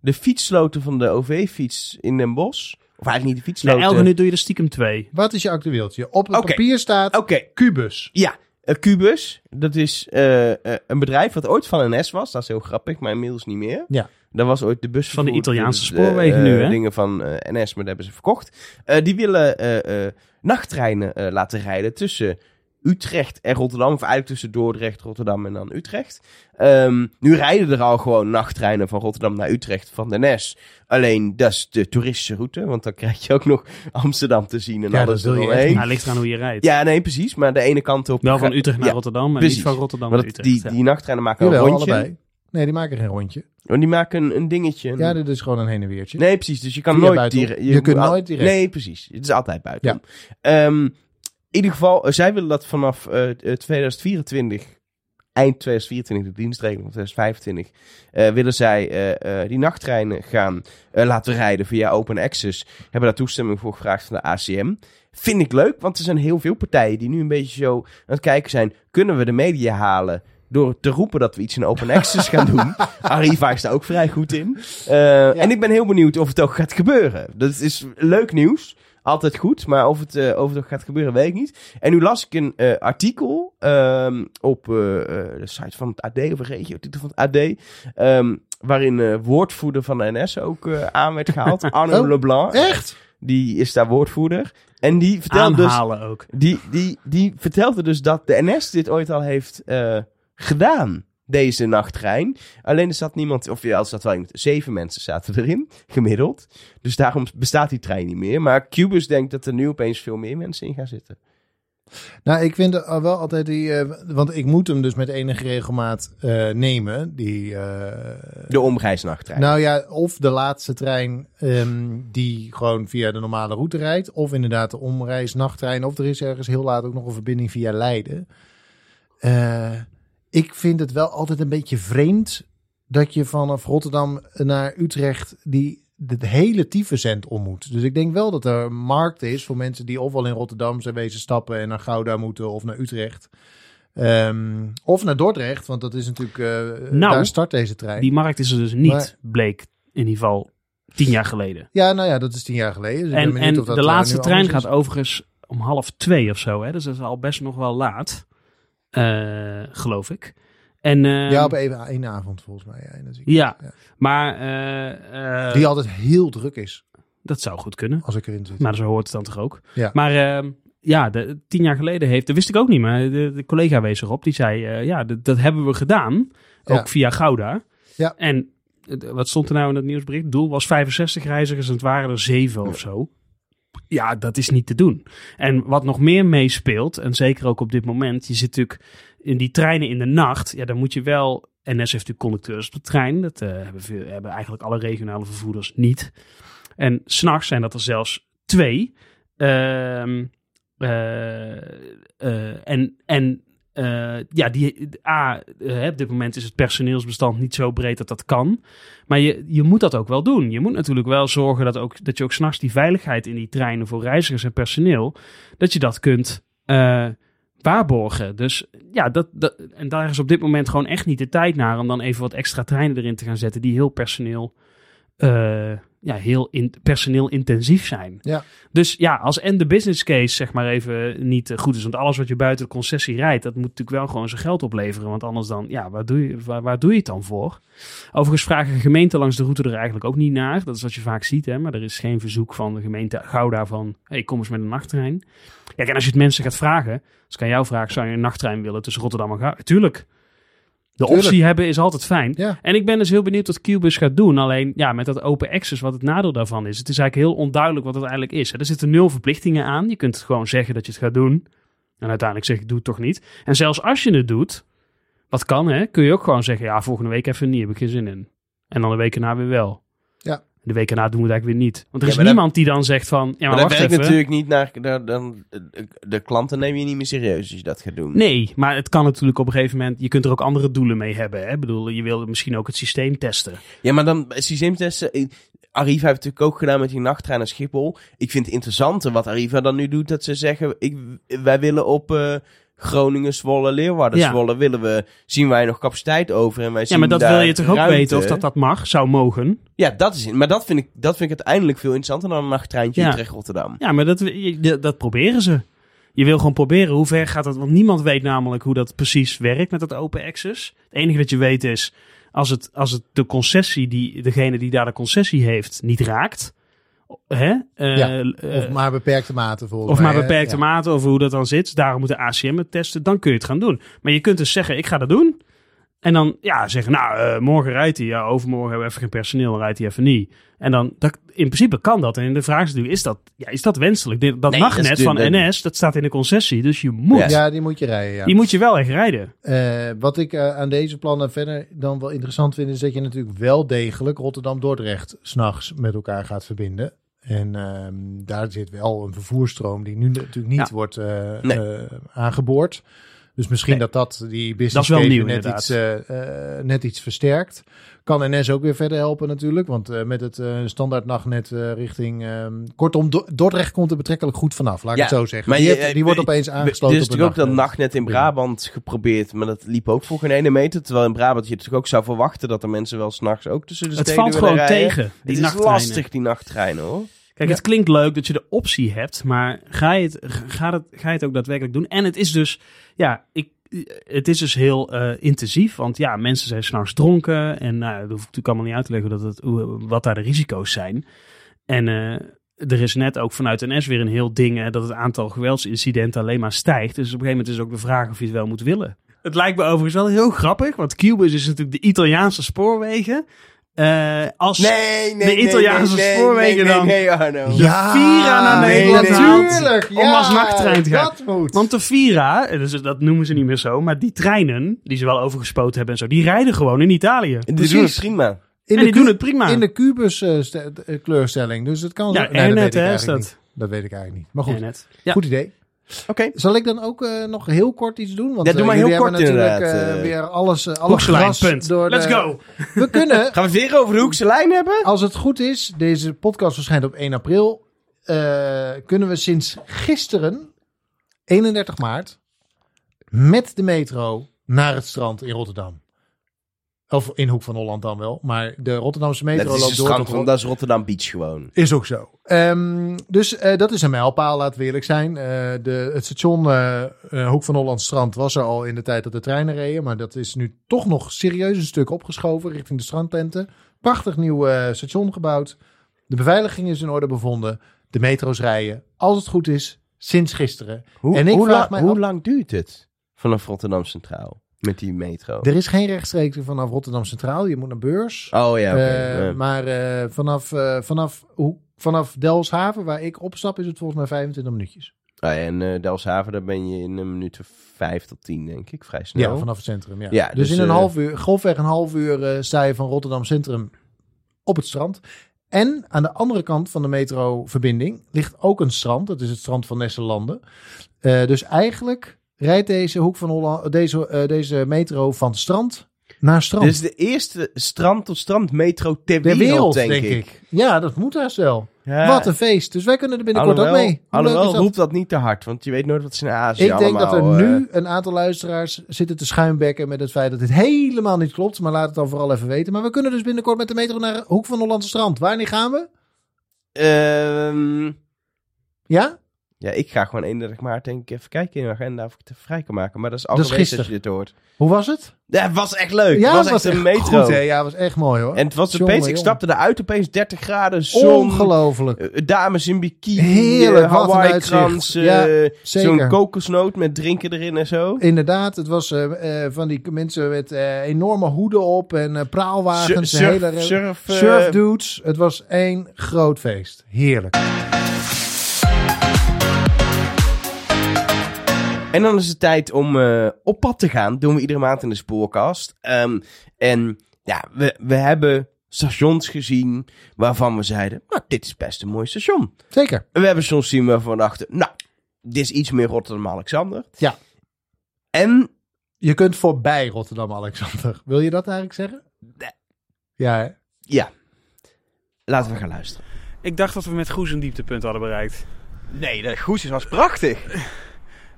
[SPEAKER 1] de fietsloten van de OV-fiets in Den Bosch. Of eigenlijk niet de
[SPEAKER 3] Na
[SPEAKER 1] fietsloten.
[SPEAKER 3] elke minuut doe je er stiekem twee.
[SPEAKER 2] Wat is je actueeltje? Op het
[SPEAKER 1] Oké.
[SPEAKER 2] papier staat
[SPEAKER 1] Oké,
[SPEAKER 2] kubus.
[SPEAKER 1] ja. eh, Cubus, dat is eh, eh, een bedrijf wat ooit van NS was. Dat is heel grappig, maar inmiddels niet meer.
[SPEAKER 2] Ja.
[SPEAKER 1] Dat was ooit de bus
[SPEAKER 3] Van de Italiaanse spoorwegen nu, hè?
[SPEAKER 1] dingen van eh, NS, maar dat hebben ze verkocht. Eh, die willen eh, eh, nachttreinen eh, laten rijden tussen Utrecht en Rotterdam. Of eigenlijk tussen Dordrecht, Rotterdam en dan Utrecht. Ehm, nu rijden er al gewoon nachttreinen van Rotterdam naar Utrecht van de NS. Alleen, dat is de toeristische route. Want dan krijg je ook nog Amsterdam te zien en
[SPEAKER 2] Ja,
[SPEAKER 1] alles
[SPEAKER 2] dat wil je echt
[SPEAKER 1] eromheen.
[SPEAKER 3] Ja, ligt eraan hoe je rijdt.
[SPEAKER 1] Ja, nee, precies. Maar de ene kant op...
[SPEAKER 3] Wel van Utrecht naar
[SPEAKER 1] Ja,
[SPEAKER 3] Rotterdam, maar
[SPEAKER 1] precies.
[SPEAKER 3] niet van Rotterdam
[SPEAKER 1] maar
[SPEAKER 3] naar
[SPEAKER 1] dat-
[SPEAKER 3] Utrecht.
[SPEAKER 1] die,
[SPEAKER 3] ja.
[SPEAKER 1] die nachttreinen maken
[SPEAKER 2] Jawel,
[SPEAKER 1] een rondje.
[SPEAKER 2] allebei. Nee, die maken geen rondje.
[SPEAKER 1] Want die maken een, een dingetje. een-
[SPEAKER 2] Ja, dit is gewoon een heen en weertje.
[SPEAKER 1] Nee, precies. Dus je kan
[SPEAKER 2] Via
[SPEAKER 1] nooit
[SPEAKER 2] buiten.
[SPEAKER 1] dieren.
[SPEAKER 2] Je kunt
[SPEAKER 1] moet al-
[SPEAKER 2] nooit direct.
[SPEAKER 1] Nee, precies. Het is altijd buiten. Ehm, in ieder geval, eh, zij willen dat vanaf eh, eh, 2024, eind 2024, de dienstregeling van 2025, eh, willen zij eh, eh, die nachttreinen gaan eh, laten rijden via Open Access. Hebben daar toestemming voor gevraagd van de ACM. Vind ik leuk, want er zijn heel veel partijen die nu een beetje zo aan het kijken zijn. Kunnen we de media halen door te roepen dat we iets in Open Access gaan doen? Arriva is daar ook vrij goed in. Eh, En ik ben heel benieuwd of het ook gaat gebeuren. Dat is leuk nieuws. Altijd goed, maar of het, eh, of het ook gaat gebeuren, weet ik niet. En nu las ik een eh, artikel ehm, op eh, eh, de site van het AD, of een regio, titel van het AD. ehm, waarin eh, woordvoerder van de NS ook eh, aan werd gehaald. Arno
[SPEAKER 2] Oh,
[SPEAKER 1] Leblanc.
[SPEAKER 2] Echt?
[SPEAKER 1] Die is daar woordvoerder. En die vertelde, dus,
[SPEAKER 3] Aanhalen ook.
[SPEAKER 1] die, die, die vertelde dus dat de NS dit ooit al heeft eh, gedaan. Deze nachttrein. Alleen er zat niemand, of ja, er zat wel iemand. Zeven mensen zaten erin, gemiddeld. Dus daarom bestaat die trein niet meer. Maar Cubus denkt dat er nu opeens veel meer mensen in gaan zitten.
[SPEAKER 2] Nou, ik vind eh, wel altijd die... eh, want ik moet hem dus met enige regelmaat eh, nemen. Die, eh,
[SPEAKER 1] De omreisnachttrein.
[SPEAKER 2] Nou ja, of de laatste trein ehm, die gewoon via de normale route rijdt. Of inderdaad de omreis, nachttrein. Of er is ergens heel laat ook nog een verbinding via Leiden. Eh, ik vind het wel altijd een beetje vreemd dat je vanaf Rotterdam naar Utrecht die het hele tyfuscent om moet. Dus ik denk wel dat er een markt is voor mensen die ofwel in Rotterdam zijn wezen stappen en naar Gouda moeten of naar Utrecht. Ehm, of naar Dordrecht, want dat is natuurlijk, eh,
[SPEAKER 3] Nou,
[SPEAKER 2] daar start deze trein.
[SPEAKER 3] Die markt is er dus niet,
[SPEAKER 2] Maar-
[SPEAKER 3] bleek in ieder geval tien jaar geleden.
[SPEAKER 2] Ja, nou ja, dat is tien jaar geleden. Dus ik ben
[SPEAKER 3] En,
[SPEAKER 2] benieuwd
[SPEAKER 3] en
[SPEAKER 2] of dat
[SPEAKER 3] de
[SPEAKER 2] eh,
[SPEAKER 3] laatste
[SPEAKER 2] nu
[SPEAKER 3] trein
[SPEAKER 2] anders
[SPEAKER 3] gaat
[SPEAKER 2] is.
[SPEAKER 3] overigens om half twee of zo. Hè? Dus dat is al best nog wel laat, eh, geloof ik. En, eh,
[SPEAKER 2] ja, op even één avond volgens mij. Ja, in het weekend.
[SPEAKER 3] ja,
[SPEAKER 2] Ja.
[SPEAKER 3] maar eh, eh,
[SPEAKER 2] Die altijd heel druk is
[SPEAKER 3] dat zou goed kunnen.
[SPEAKER 2] als ik erin zit.
[SPEAKER 3] Maar zo hoort het dan toch ook.
[SPEAKER 2] Ja.
[SPEAKER 3] Maar eh, ja, de, tien jaar geleden heeft, dat wist ik ook niet, maar de, de collega wees erop. Die zei, eh, ja, dat, dat hebben we gedaan. Ook
[SPEAKER 2] Ja.
[SPEAKER 3] via Gouda.
[SPEAKER 2] Ja.
[SPEAKER 3] En eh, wat stond er nou in dat nieuwsbericht? Doel was 65 reizigers en het waren er 7 of zo. Ja, dat is niet te doen. En wat nog meer meespeelt, en zeker ook op dit moment, je zit natuurlijk in die treinen in de nacht. Ja, dan moet je wel. NS heeft natuurlijk conducteurs op de trein. Dat eh, hebben, veel, hebben eigenlijk alle regionale vervoerders niet. En s'nachts zijn dat er zelfs twee. Ehm, eh, eh, en en eh, ja, die, A, eh, op dit moment is het personeelsbestand niet zo breed dat dat kan. Maar je, je moet dat ook wel doen. Je moet natuurlijk wel zorgen dat, ook, dat je ook s'nachts die veiligheid in die treinen voor reizigers en personeel, dat je dat kunt eh, waarborgen. Dus ja, dat, dat, en daar is op dit moment gewoon echt niet de tijd naar om dan even wat extra treinen erin te gaan zetten die heel personeel. eh, ja, heel in, personeel intensief zijn.
[SPEAKER 2] Ja.
[SPEAKER 3] Dus ja, als en de business case zeg maar even niet eh, goed is. Want alles wat je buiten de concessie rijdt, dat moet natuurlijk wel gewoon zijn geld opleveren. Want anders dan, ja, waar doe je, waar, waar doe je het dan voor? Overigens vragen gemeenten langs de route er eigenlijk ook niet naar. Dat is wat je vaak ziet, hè. Maar er is geen verzoek van de gemeente Gouda van, hey, kom eens met een nachttrein. Ja, en als je het mensen gaat vragen, dus kan jou vragen, zou je een nachttrein willen tussen Rotterdam en Gouda? Tuurlijk. De
[SPEAKER 2] Tuurlijk.
[SPEAKER 3] optie hebben is altijd fijn.
[SPEAKER 2] Ja.
[SPEAKER 3] En ik ben dus heel benieuwd wat Cubus gaat doen. Alleen ja, met dat open access, wat het nadeel daarvan is. Het is eigenlijk heel onduidelijk wat het eigenlijk is. hè. Er zitten nul verplichtingen aan. Je kunt gewoon zeggen dat je het gaat doen. En uiteindelijk zeg ik, doe het toch niet. En zelfs als je het doet, wat kan hè, kun je ook gewoon zeggen, ja, volgende week even niet, heb ik geen zin in. En dan de week erna weer wel.
[SPEAKER 2] Ja.
[SPEAKER 3] De week erna doen we het eigenlijk weer niet. Want
[SPEAKER 1] Ja,
[SPEAKER 3] er is
[SPEAKER 1] maar dat-
[SPEAKER 3] niemand die dan zegt van, ja, maar,
[SPEAKER 1] maar dat
[SPEAKER 3] wacht
[SPEAKER 1] werkt
[SPEAKER 3] even.
[SPEAKER 1] natuurlijk niet naar. daar- Dan, de, de klanten neem je niet meer serieus als je dat gaat doen.
[SPEAKER 3] Nee, maar het kan natuurlijk op een gegeven moment. Je kunt er ook andere doelen mee hebben. Hè? Ik bedoel, je wil misschien ook het systeem testen.
[SPEAKER 1] Ja, maar dan systeemtesten. eh, Arriva heeft natuurlijk ook gedaan met die nachttrein naar Schiphol. Ik vind het interessante wat Arriva dan nu doet. Dat ze zeggen, ik, wij willen op eh, Groningen, Zwolle, Leeuwarden,
[SPEAKER 3] Ja.
[SPEAKER 1] Zwolle willen we, zien wij nog capaciteit over en wij zien
[SPEAKER 3] Ja, maar dat wil
[SPEAKER 1] daar
[SPEAKER 3] je toch ook
[SPEAKER 1] ruimte.
[SPEAKER 3] weten of dat dat mag, zou mogen.
[SPEAKER 1] Ja, dat is het. Maar dat vind ik, dat vind ik uiteindelijk veel interessanter dan een nachttreintje
[SPEAKER 3] Ja.
[SPEAKER 1] Utrecht-Rotterdam.
[SPEAKER 3] Ja, maar dat, je- dat- dat proberen ze. Je wil gewoon proberen hoe ver gaat dat. Want niemand weet namelijk hoe dat precies werkt met dat open access. Het enige dat je weet is, als het, als het de concessie, die, degene die daar de concessie heeft, niet raakt. Hè? eh,
[SPEAKER 2] Ja,
[SPEAKER 3] eh,
[SPEAKER 2] Of maar beperkte mate volgens
[SPEAKER 3] of maar
[SPEAKER 2] mij, hè?
[SPEAKER 3] beperkte
[SPEAKER 2] Ja.
[SPEAKER 3] mate over hoe dat dan zit. Dus Daarom moet de ACM het testen. Dan kun je het gaan doen. Maar je kunt dus zeggen, ik ga dat doen. En dan ja, zeggen, nou, eh, morgen rijdt hij. Ja, overmorgen hebben we even geen personeel. Dan rijdt hij even niet. En dan, dat, in principe kan dat. En de vraag is natuurlijk, is dat, ja, is dat wenselijk? Dit- Dat
[SPEAKER 1] Nee,
[SPEAKER 3] mag
[SPEAKER 1] dat is
[SPEAKER 3] net
[SPEAKER 1] de-
[SPEAKER 3] van
[SPEAKER 1] de-
[SPEAKER 3] NS. Dat staat in de concessie. Dus je moet.
[SPEAKER 1] Ja.
[SPEAKER 2] Ja, die moet je rijden, ja.
[SPEAKER 3] Die moet je wel echt rijden.
[SPEAKER 2] Eh, wat ik eh, aan deze plannen verder dan wel interessant vind, is dat je natuurlijk wel degelijk Rotterdam-Dordrecht s'nachts met elkaar gaat verbinden. En ehm, daar zit wel een vervoerstroom die nu natuurlijk niet
[SPEAKER 3] Ja.
[SPEAKER 2] wordt eh,
[SPEAKER 1] Nee.
[SPEAKER 2] eh, aangeboord. Dus misschien
[SPEAKER 3] Nee.
[SPEAKER 2] dat dat die
[SPEAKER 3] Dat is
[SPEAKER 2] business
[SPEAKER 3] wel
[SPEAKER 2] case
[SPEAKER 3] nieuw,
[SPEAKER 2] net,
[SPEAKER 3] inderdaad.
[SPEAKER 2] iets, eh, eh, net iets versterkt. Kan NS ook weer verder helpen natuurlijk, want eh, met het eh, standaard nachtnet eh, richting... ehm, kortom, Do- Dordrecht komt er betrekkelijk goed vanaf, laat ik
[SPEAKER 1] Ja,
[SPEAKER 2] het zo zeggen.
[SPEAKER 1] maar
[SPEAKER 2] die,
[SPEAKER 1] je-
[SPEAKER 2] heeft- die
[SPEAKER 1] eh,
[SPEAKER 2] wordt opeens aangesloten
[SPEAKER 1] dus
[SPEAKER 2] op een
[SPEAKER 1] natuurlijk ook dat
[SPEAKER 2] nachtnet.
[SPEAKER 1] nachtnet in Brabant geprobeerd, maar dat liep ook voor geen ene meter. Terwijl in Brabant je natuurlijk ook zou verwachten dat er mensen wel s'nachts ook tussen Dus de
[SPEAKER 3] het
[SPEAKER 1] steden
[SPEAKER 3] valt
[SPEAKER 1] willen
[SPEAKER 3] gewoon
[SPEAKER 1] rijden.
[SPEAKER 3] tegen. Die
[SPEAKER 1] het is
[SPEAKER 3] nachttreinen.
[SPEAKER 1] lastig, die nachttreinen hoor.
[SPEAKER 3] Kijk, het klinkt leuk dat je de optie hebt, maar ga je het, ga het, ga je het ook daadwerkelijk doen? En het is dus, ja, ik, het is dus heel eh, intensief, want ja, mensen zijn s'nachts dronken en nou, dat hoef ik natuurlijk allemaal niet uit te leggen dat het, hoe- wat daar de risico's zijn. En eh, er is net ook vanuit NS weer een heel ding eh, dat het aantal geweldsincidenten alleen maar stijgt. Dus op een gegeven moment is ook de vraag of je het wel moet willen. Het lijkt me overigens wel heel grappig, want Cubus is natuurlijk de Italiaanse spoorwegen. Eh, als,
[SPEAKER 1] Nee, nee,
[SPEAKER 3] De Italiaanse
[SPEAKER 1] nee, nee,
[SPEAKER 3] spoorwegen
[SPEAKER 1] nee, nee,
[SPEAKER 3] dan.
[SPEAKER 1] Nee, Arno.
[SPEAKER 3] Vira naar
[SPEAKER 2] nee,
[SPEAKER 1] Nederland haalt
[SPEAKER 2] natuurlijk,
[SPEAKER 3] om
[SPEAKER 2] ja,
[SPEAKER 3] als nachttrein te gaan.
[SPEAKER 2] Dat moet.
[SPEAKER 3] Want de Vira, eh, dus dat noemen ze niet meer zo, maar die treinen, die ze wel overgespoten hebben en zo, die rijden gewoon in Italië.
[SPEAKER 1] Die doen het prima.
[SPEAKER 2] in
[SPEAKER 3] en die
[SPEAKER 2] de
[SPEAKER 3] doen
[SPEAKER 2] cu-
[SPEAKER 3] het prima.
[SPEAKER 2] in de kubus eh, ste- eh, kleurstelling. Dus het kan
[SPEAKER 3] Ja,
[SPEAKER 2] zo- nee, dat
[SPEAKER 3] Airnet,
[SPEAKER 2] weet ik
[SPEAKER 3] hè, is
[SPEAKER 2] eigenlijk
[SPEAKER 3] dat.
[SPEAKER 2] niet. Dat weet ik eigenlijk niet. Maar goed,
[SPEAKER 3] Ja, net. Ja.
[SPEAKER 2] goed idee.
[SPEAKER 1] Oké.
[SPEAKER 2] Zal ik dan ook eh, nog heel kort iets doen? Want
[SPEAKER 1] Ja, doe
[SPEAKER 2] eh,
[SPEAKER 1] maar heel
[SPEAKER 2] jullie hebben
[SPEAKER 1] kort
[SPEAKER 2] natuurlijk
[SPEAKER 1] inderdaad,
[SPEAKER 2] eh,
[SPEAKER 1] eh.
[SPEAKER 2] weer alles, eh, alle
[SPEAKER 3] Hoekselijn,
[SPEAKER 2] gras
[SPEAKER 3] punt.
[SPEAKER 2] door de-
[SPEAKER 3] Let's go.
[SPEAKER 2] We kunnen,
[SPEAKER 1] Gaan we het weer over de hoekse lijn hebben?
[SPEAKER 2] als het goed is, deze podcast verschijnt op 1 april. eh, kunnen we sinds gisteren, 31 maart, met de metro naar het strand in Rotterdam. Of in Hoek van Holland dan wel. Maar de Rotterdamse metro
[SPEAKER 1] Dat is,
[SPEAKER 2] loopt
[SPEAKER 1] de
[SPEAKER 2] door
[SPEAKER 1] strand,
[SPEAKER 2] tot Rotterdam.
[SPEAKER 1] want dat is Rotterdam Beach gewoon.
[SPEAKER 2] Is ook zo. Ehm, dus eh, dat is een mijlpaal, laten we eerlijk zijn. Eh, de, het station eh, eh, Hoek van Holland Strand was er al in de tijd dat de treinen reden. Maar dat is nu toch nog serieus een stuk opgeschoven richting de strandtenten. Prachtig nieuw eh, station gebouwd. De beveiliging is in orde bevonden. De metro's rijden, als het goed is, sinds gisteren.
[SPEAKER 1] Hoe,
[SPEAKER 2] En ik
[SPEAKER 1] hoe,
[SPEAKER 2] vraag
[SPEAKER 1] lang-
[SPEAKER 2] mij
[SPEAKER 1] hoe
[SPEAKER 2] af-
[SPEAKER 1] lang duurt het vanaf Rotterdam Centraal met die metro?
[SPEAKER 2] Er is geen rechtstreeks vanaf Rotterdam Centraal. Je moet naar Beurs.
[SPEAKER 1] Oh ja, oké.
[SPEAKER 2] Eh,
[SPEAKER 1] Ja.
[SPEAKER 2] Maar eh, vanaf, eh, vanaf, hoe, vanaf Delshaven, waar ik opstap, is het volgens mij 25 minuutjes.
[SPEAKER 1] Ah, en eh, Delshaven, daar ben je in een minuut of vijf tot tien, denk ik. Vrij snel.
[SPEAKER 2] Ja, vanaf het centrum. Ja.
[SPEAKER 1] Ja,
[SPEAKER 2] dus,
[SPEAKER 1] dus,
[SPEAKER 2] in een
[SPEAKER 1] eh,
[SPEAKER 2] half uur, grofweg een half uur, eh, sta je van Rotterdam Centrum op het strand. En aan de andere kant van de metroverbinding ligt ook een strand. Dat is het strand van Nesselanden. Eh, dus eigenlijk rijdt deze hoek van Holland, deze, eh, deze metro van strand naar strand.
[SPEAKER 1] Dit is de eerste strand tot strand metro ter
[SPEAKER 2] de
[SPEAKER 1] wereld,
[SPEAKER 2] wereld,
[SPEAKER 1] denk, ik.
[SPEAKER 2] Ja, dat moet haast wel.
[SPEAKER 1] Ja.
[SPEAKER 2] Wat een feest. Dus wij kunnen er binnenkort
[SPEAKER 1] Alhoewel,
[SPEAKER 2] ook mee. Hoe leuk
[SPEAKER 1] alhoewel
[SPEAKER 2] is dat?
[SPEAKER 1] roept dat niet te hard, want je weet nooit wat ze in Azië
[SPEAKER 2] Ik denk dat er
[SPEAKER 1] allemaal, eh,
[SPEAKER 2] nu een aantal luisteraars zitten te schuimbekken met het feit dat dit helemaal niet klopt. Maar laat het dan vooral even weten. Maar we kunnen dus binnenkort met de metro naar Hoek van Hollandse Strand. Wanneer gaan we?
[SPEAKER 1] ehm,
[SPEAKER 2] Ja?
[SPEAKER 1] ja, ik ga gewoon 31 maart denk ik even kijken in de agenda of ik het vrij kan maken. Maar dat is
[SPEAKER 2] is
[SPEAKER 1] algemeen dat, je
[SPEAKER 2] gisteren.
[SPEAKER 1] dit hoort.
[SPEAKER 2] Hoe was het?
[SPEAKER 1] Ja, het was echt leuk.
[SPEAKER 2] ja,
[SPEAKER 1] het was, echt een metro.
[SPEAKER 2] Goed, hè? Ja, was echt mooi hoor.
[SPEAKER 1] En het was
[SPEAKER 2] Jongen,
[SPEAKER 1] opeens, ik
[SPEAKER 2] jongen.
[SPEAKER 1] stapte eruit, opeens 30 graden, zon,
[SPEAKER 2] Ongelooflijk.
[SPEAKER 1] eh, dames in bikini,
[SPEAKER 2] Heerlijk,
[SPEAKER 1] eh,
[SPEAKER 2] wat een
[SPEAKER 1] Hawaii-krans,
[SPEAKER 2] uitzicht. Ja,
[SPEAKER 1] eh, zo'n
[SPEAKER 2] zeker.
[SPEAKER 1] kokosnoot met drinken erin en zo.
[SPEAKER 2] Inderdaad, het was eh, eh, van die mensen met eh, enorme hoeden op en eh, praalwagens.
[SPEAKER 1] Sur-
[SPEAKER 2] de
[SPEAKER 1] surf-
[SPEAKER 2] hele
[SPEAKER 1] surf, eh,
[SPEAKER 2] surfdudes. Het was één groot feest. Heerlijk.
[SPEAKER 1] En dan is het tijd om eh, op pad te gaan. doen we iedere maand in de spoorkast. Ehm, en ja, we, we hebben stations gezien waarvan we zeiden, nou, dit is best een mooi station.
[SPEAKER 2] Zeker.
[SPEAKER 1] En we hebben soms zien waarvan we dachten, nou, dit is iets meer Rotterdam-Alexander.
[SPEAKER 2] Ja.
[SPEAKER 1] En
[SPEAKER 2] Je kunt voorbij Rotterdam, Alexander. Wil je dat eigenlijk zeggen?
[SPEAKER 1] Nee.
[SPEAKER 2] Ja, hè?
[SPEAKER 1] ja, laten we gaan luisteren.
[SPEAKER 3] Ik dacht dat we met Goes een dieptepunt hadden bereikt.
[SPEAKER 4] Nee, dat Goes was prachtig.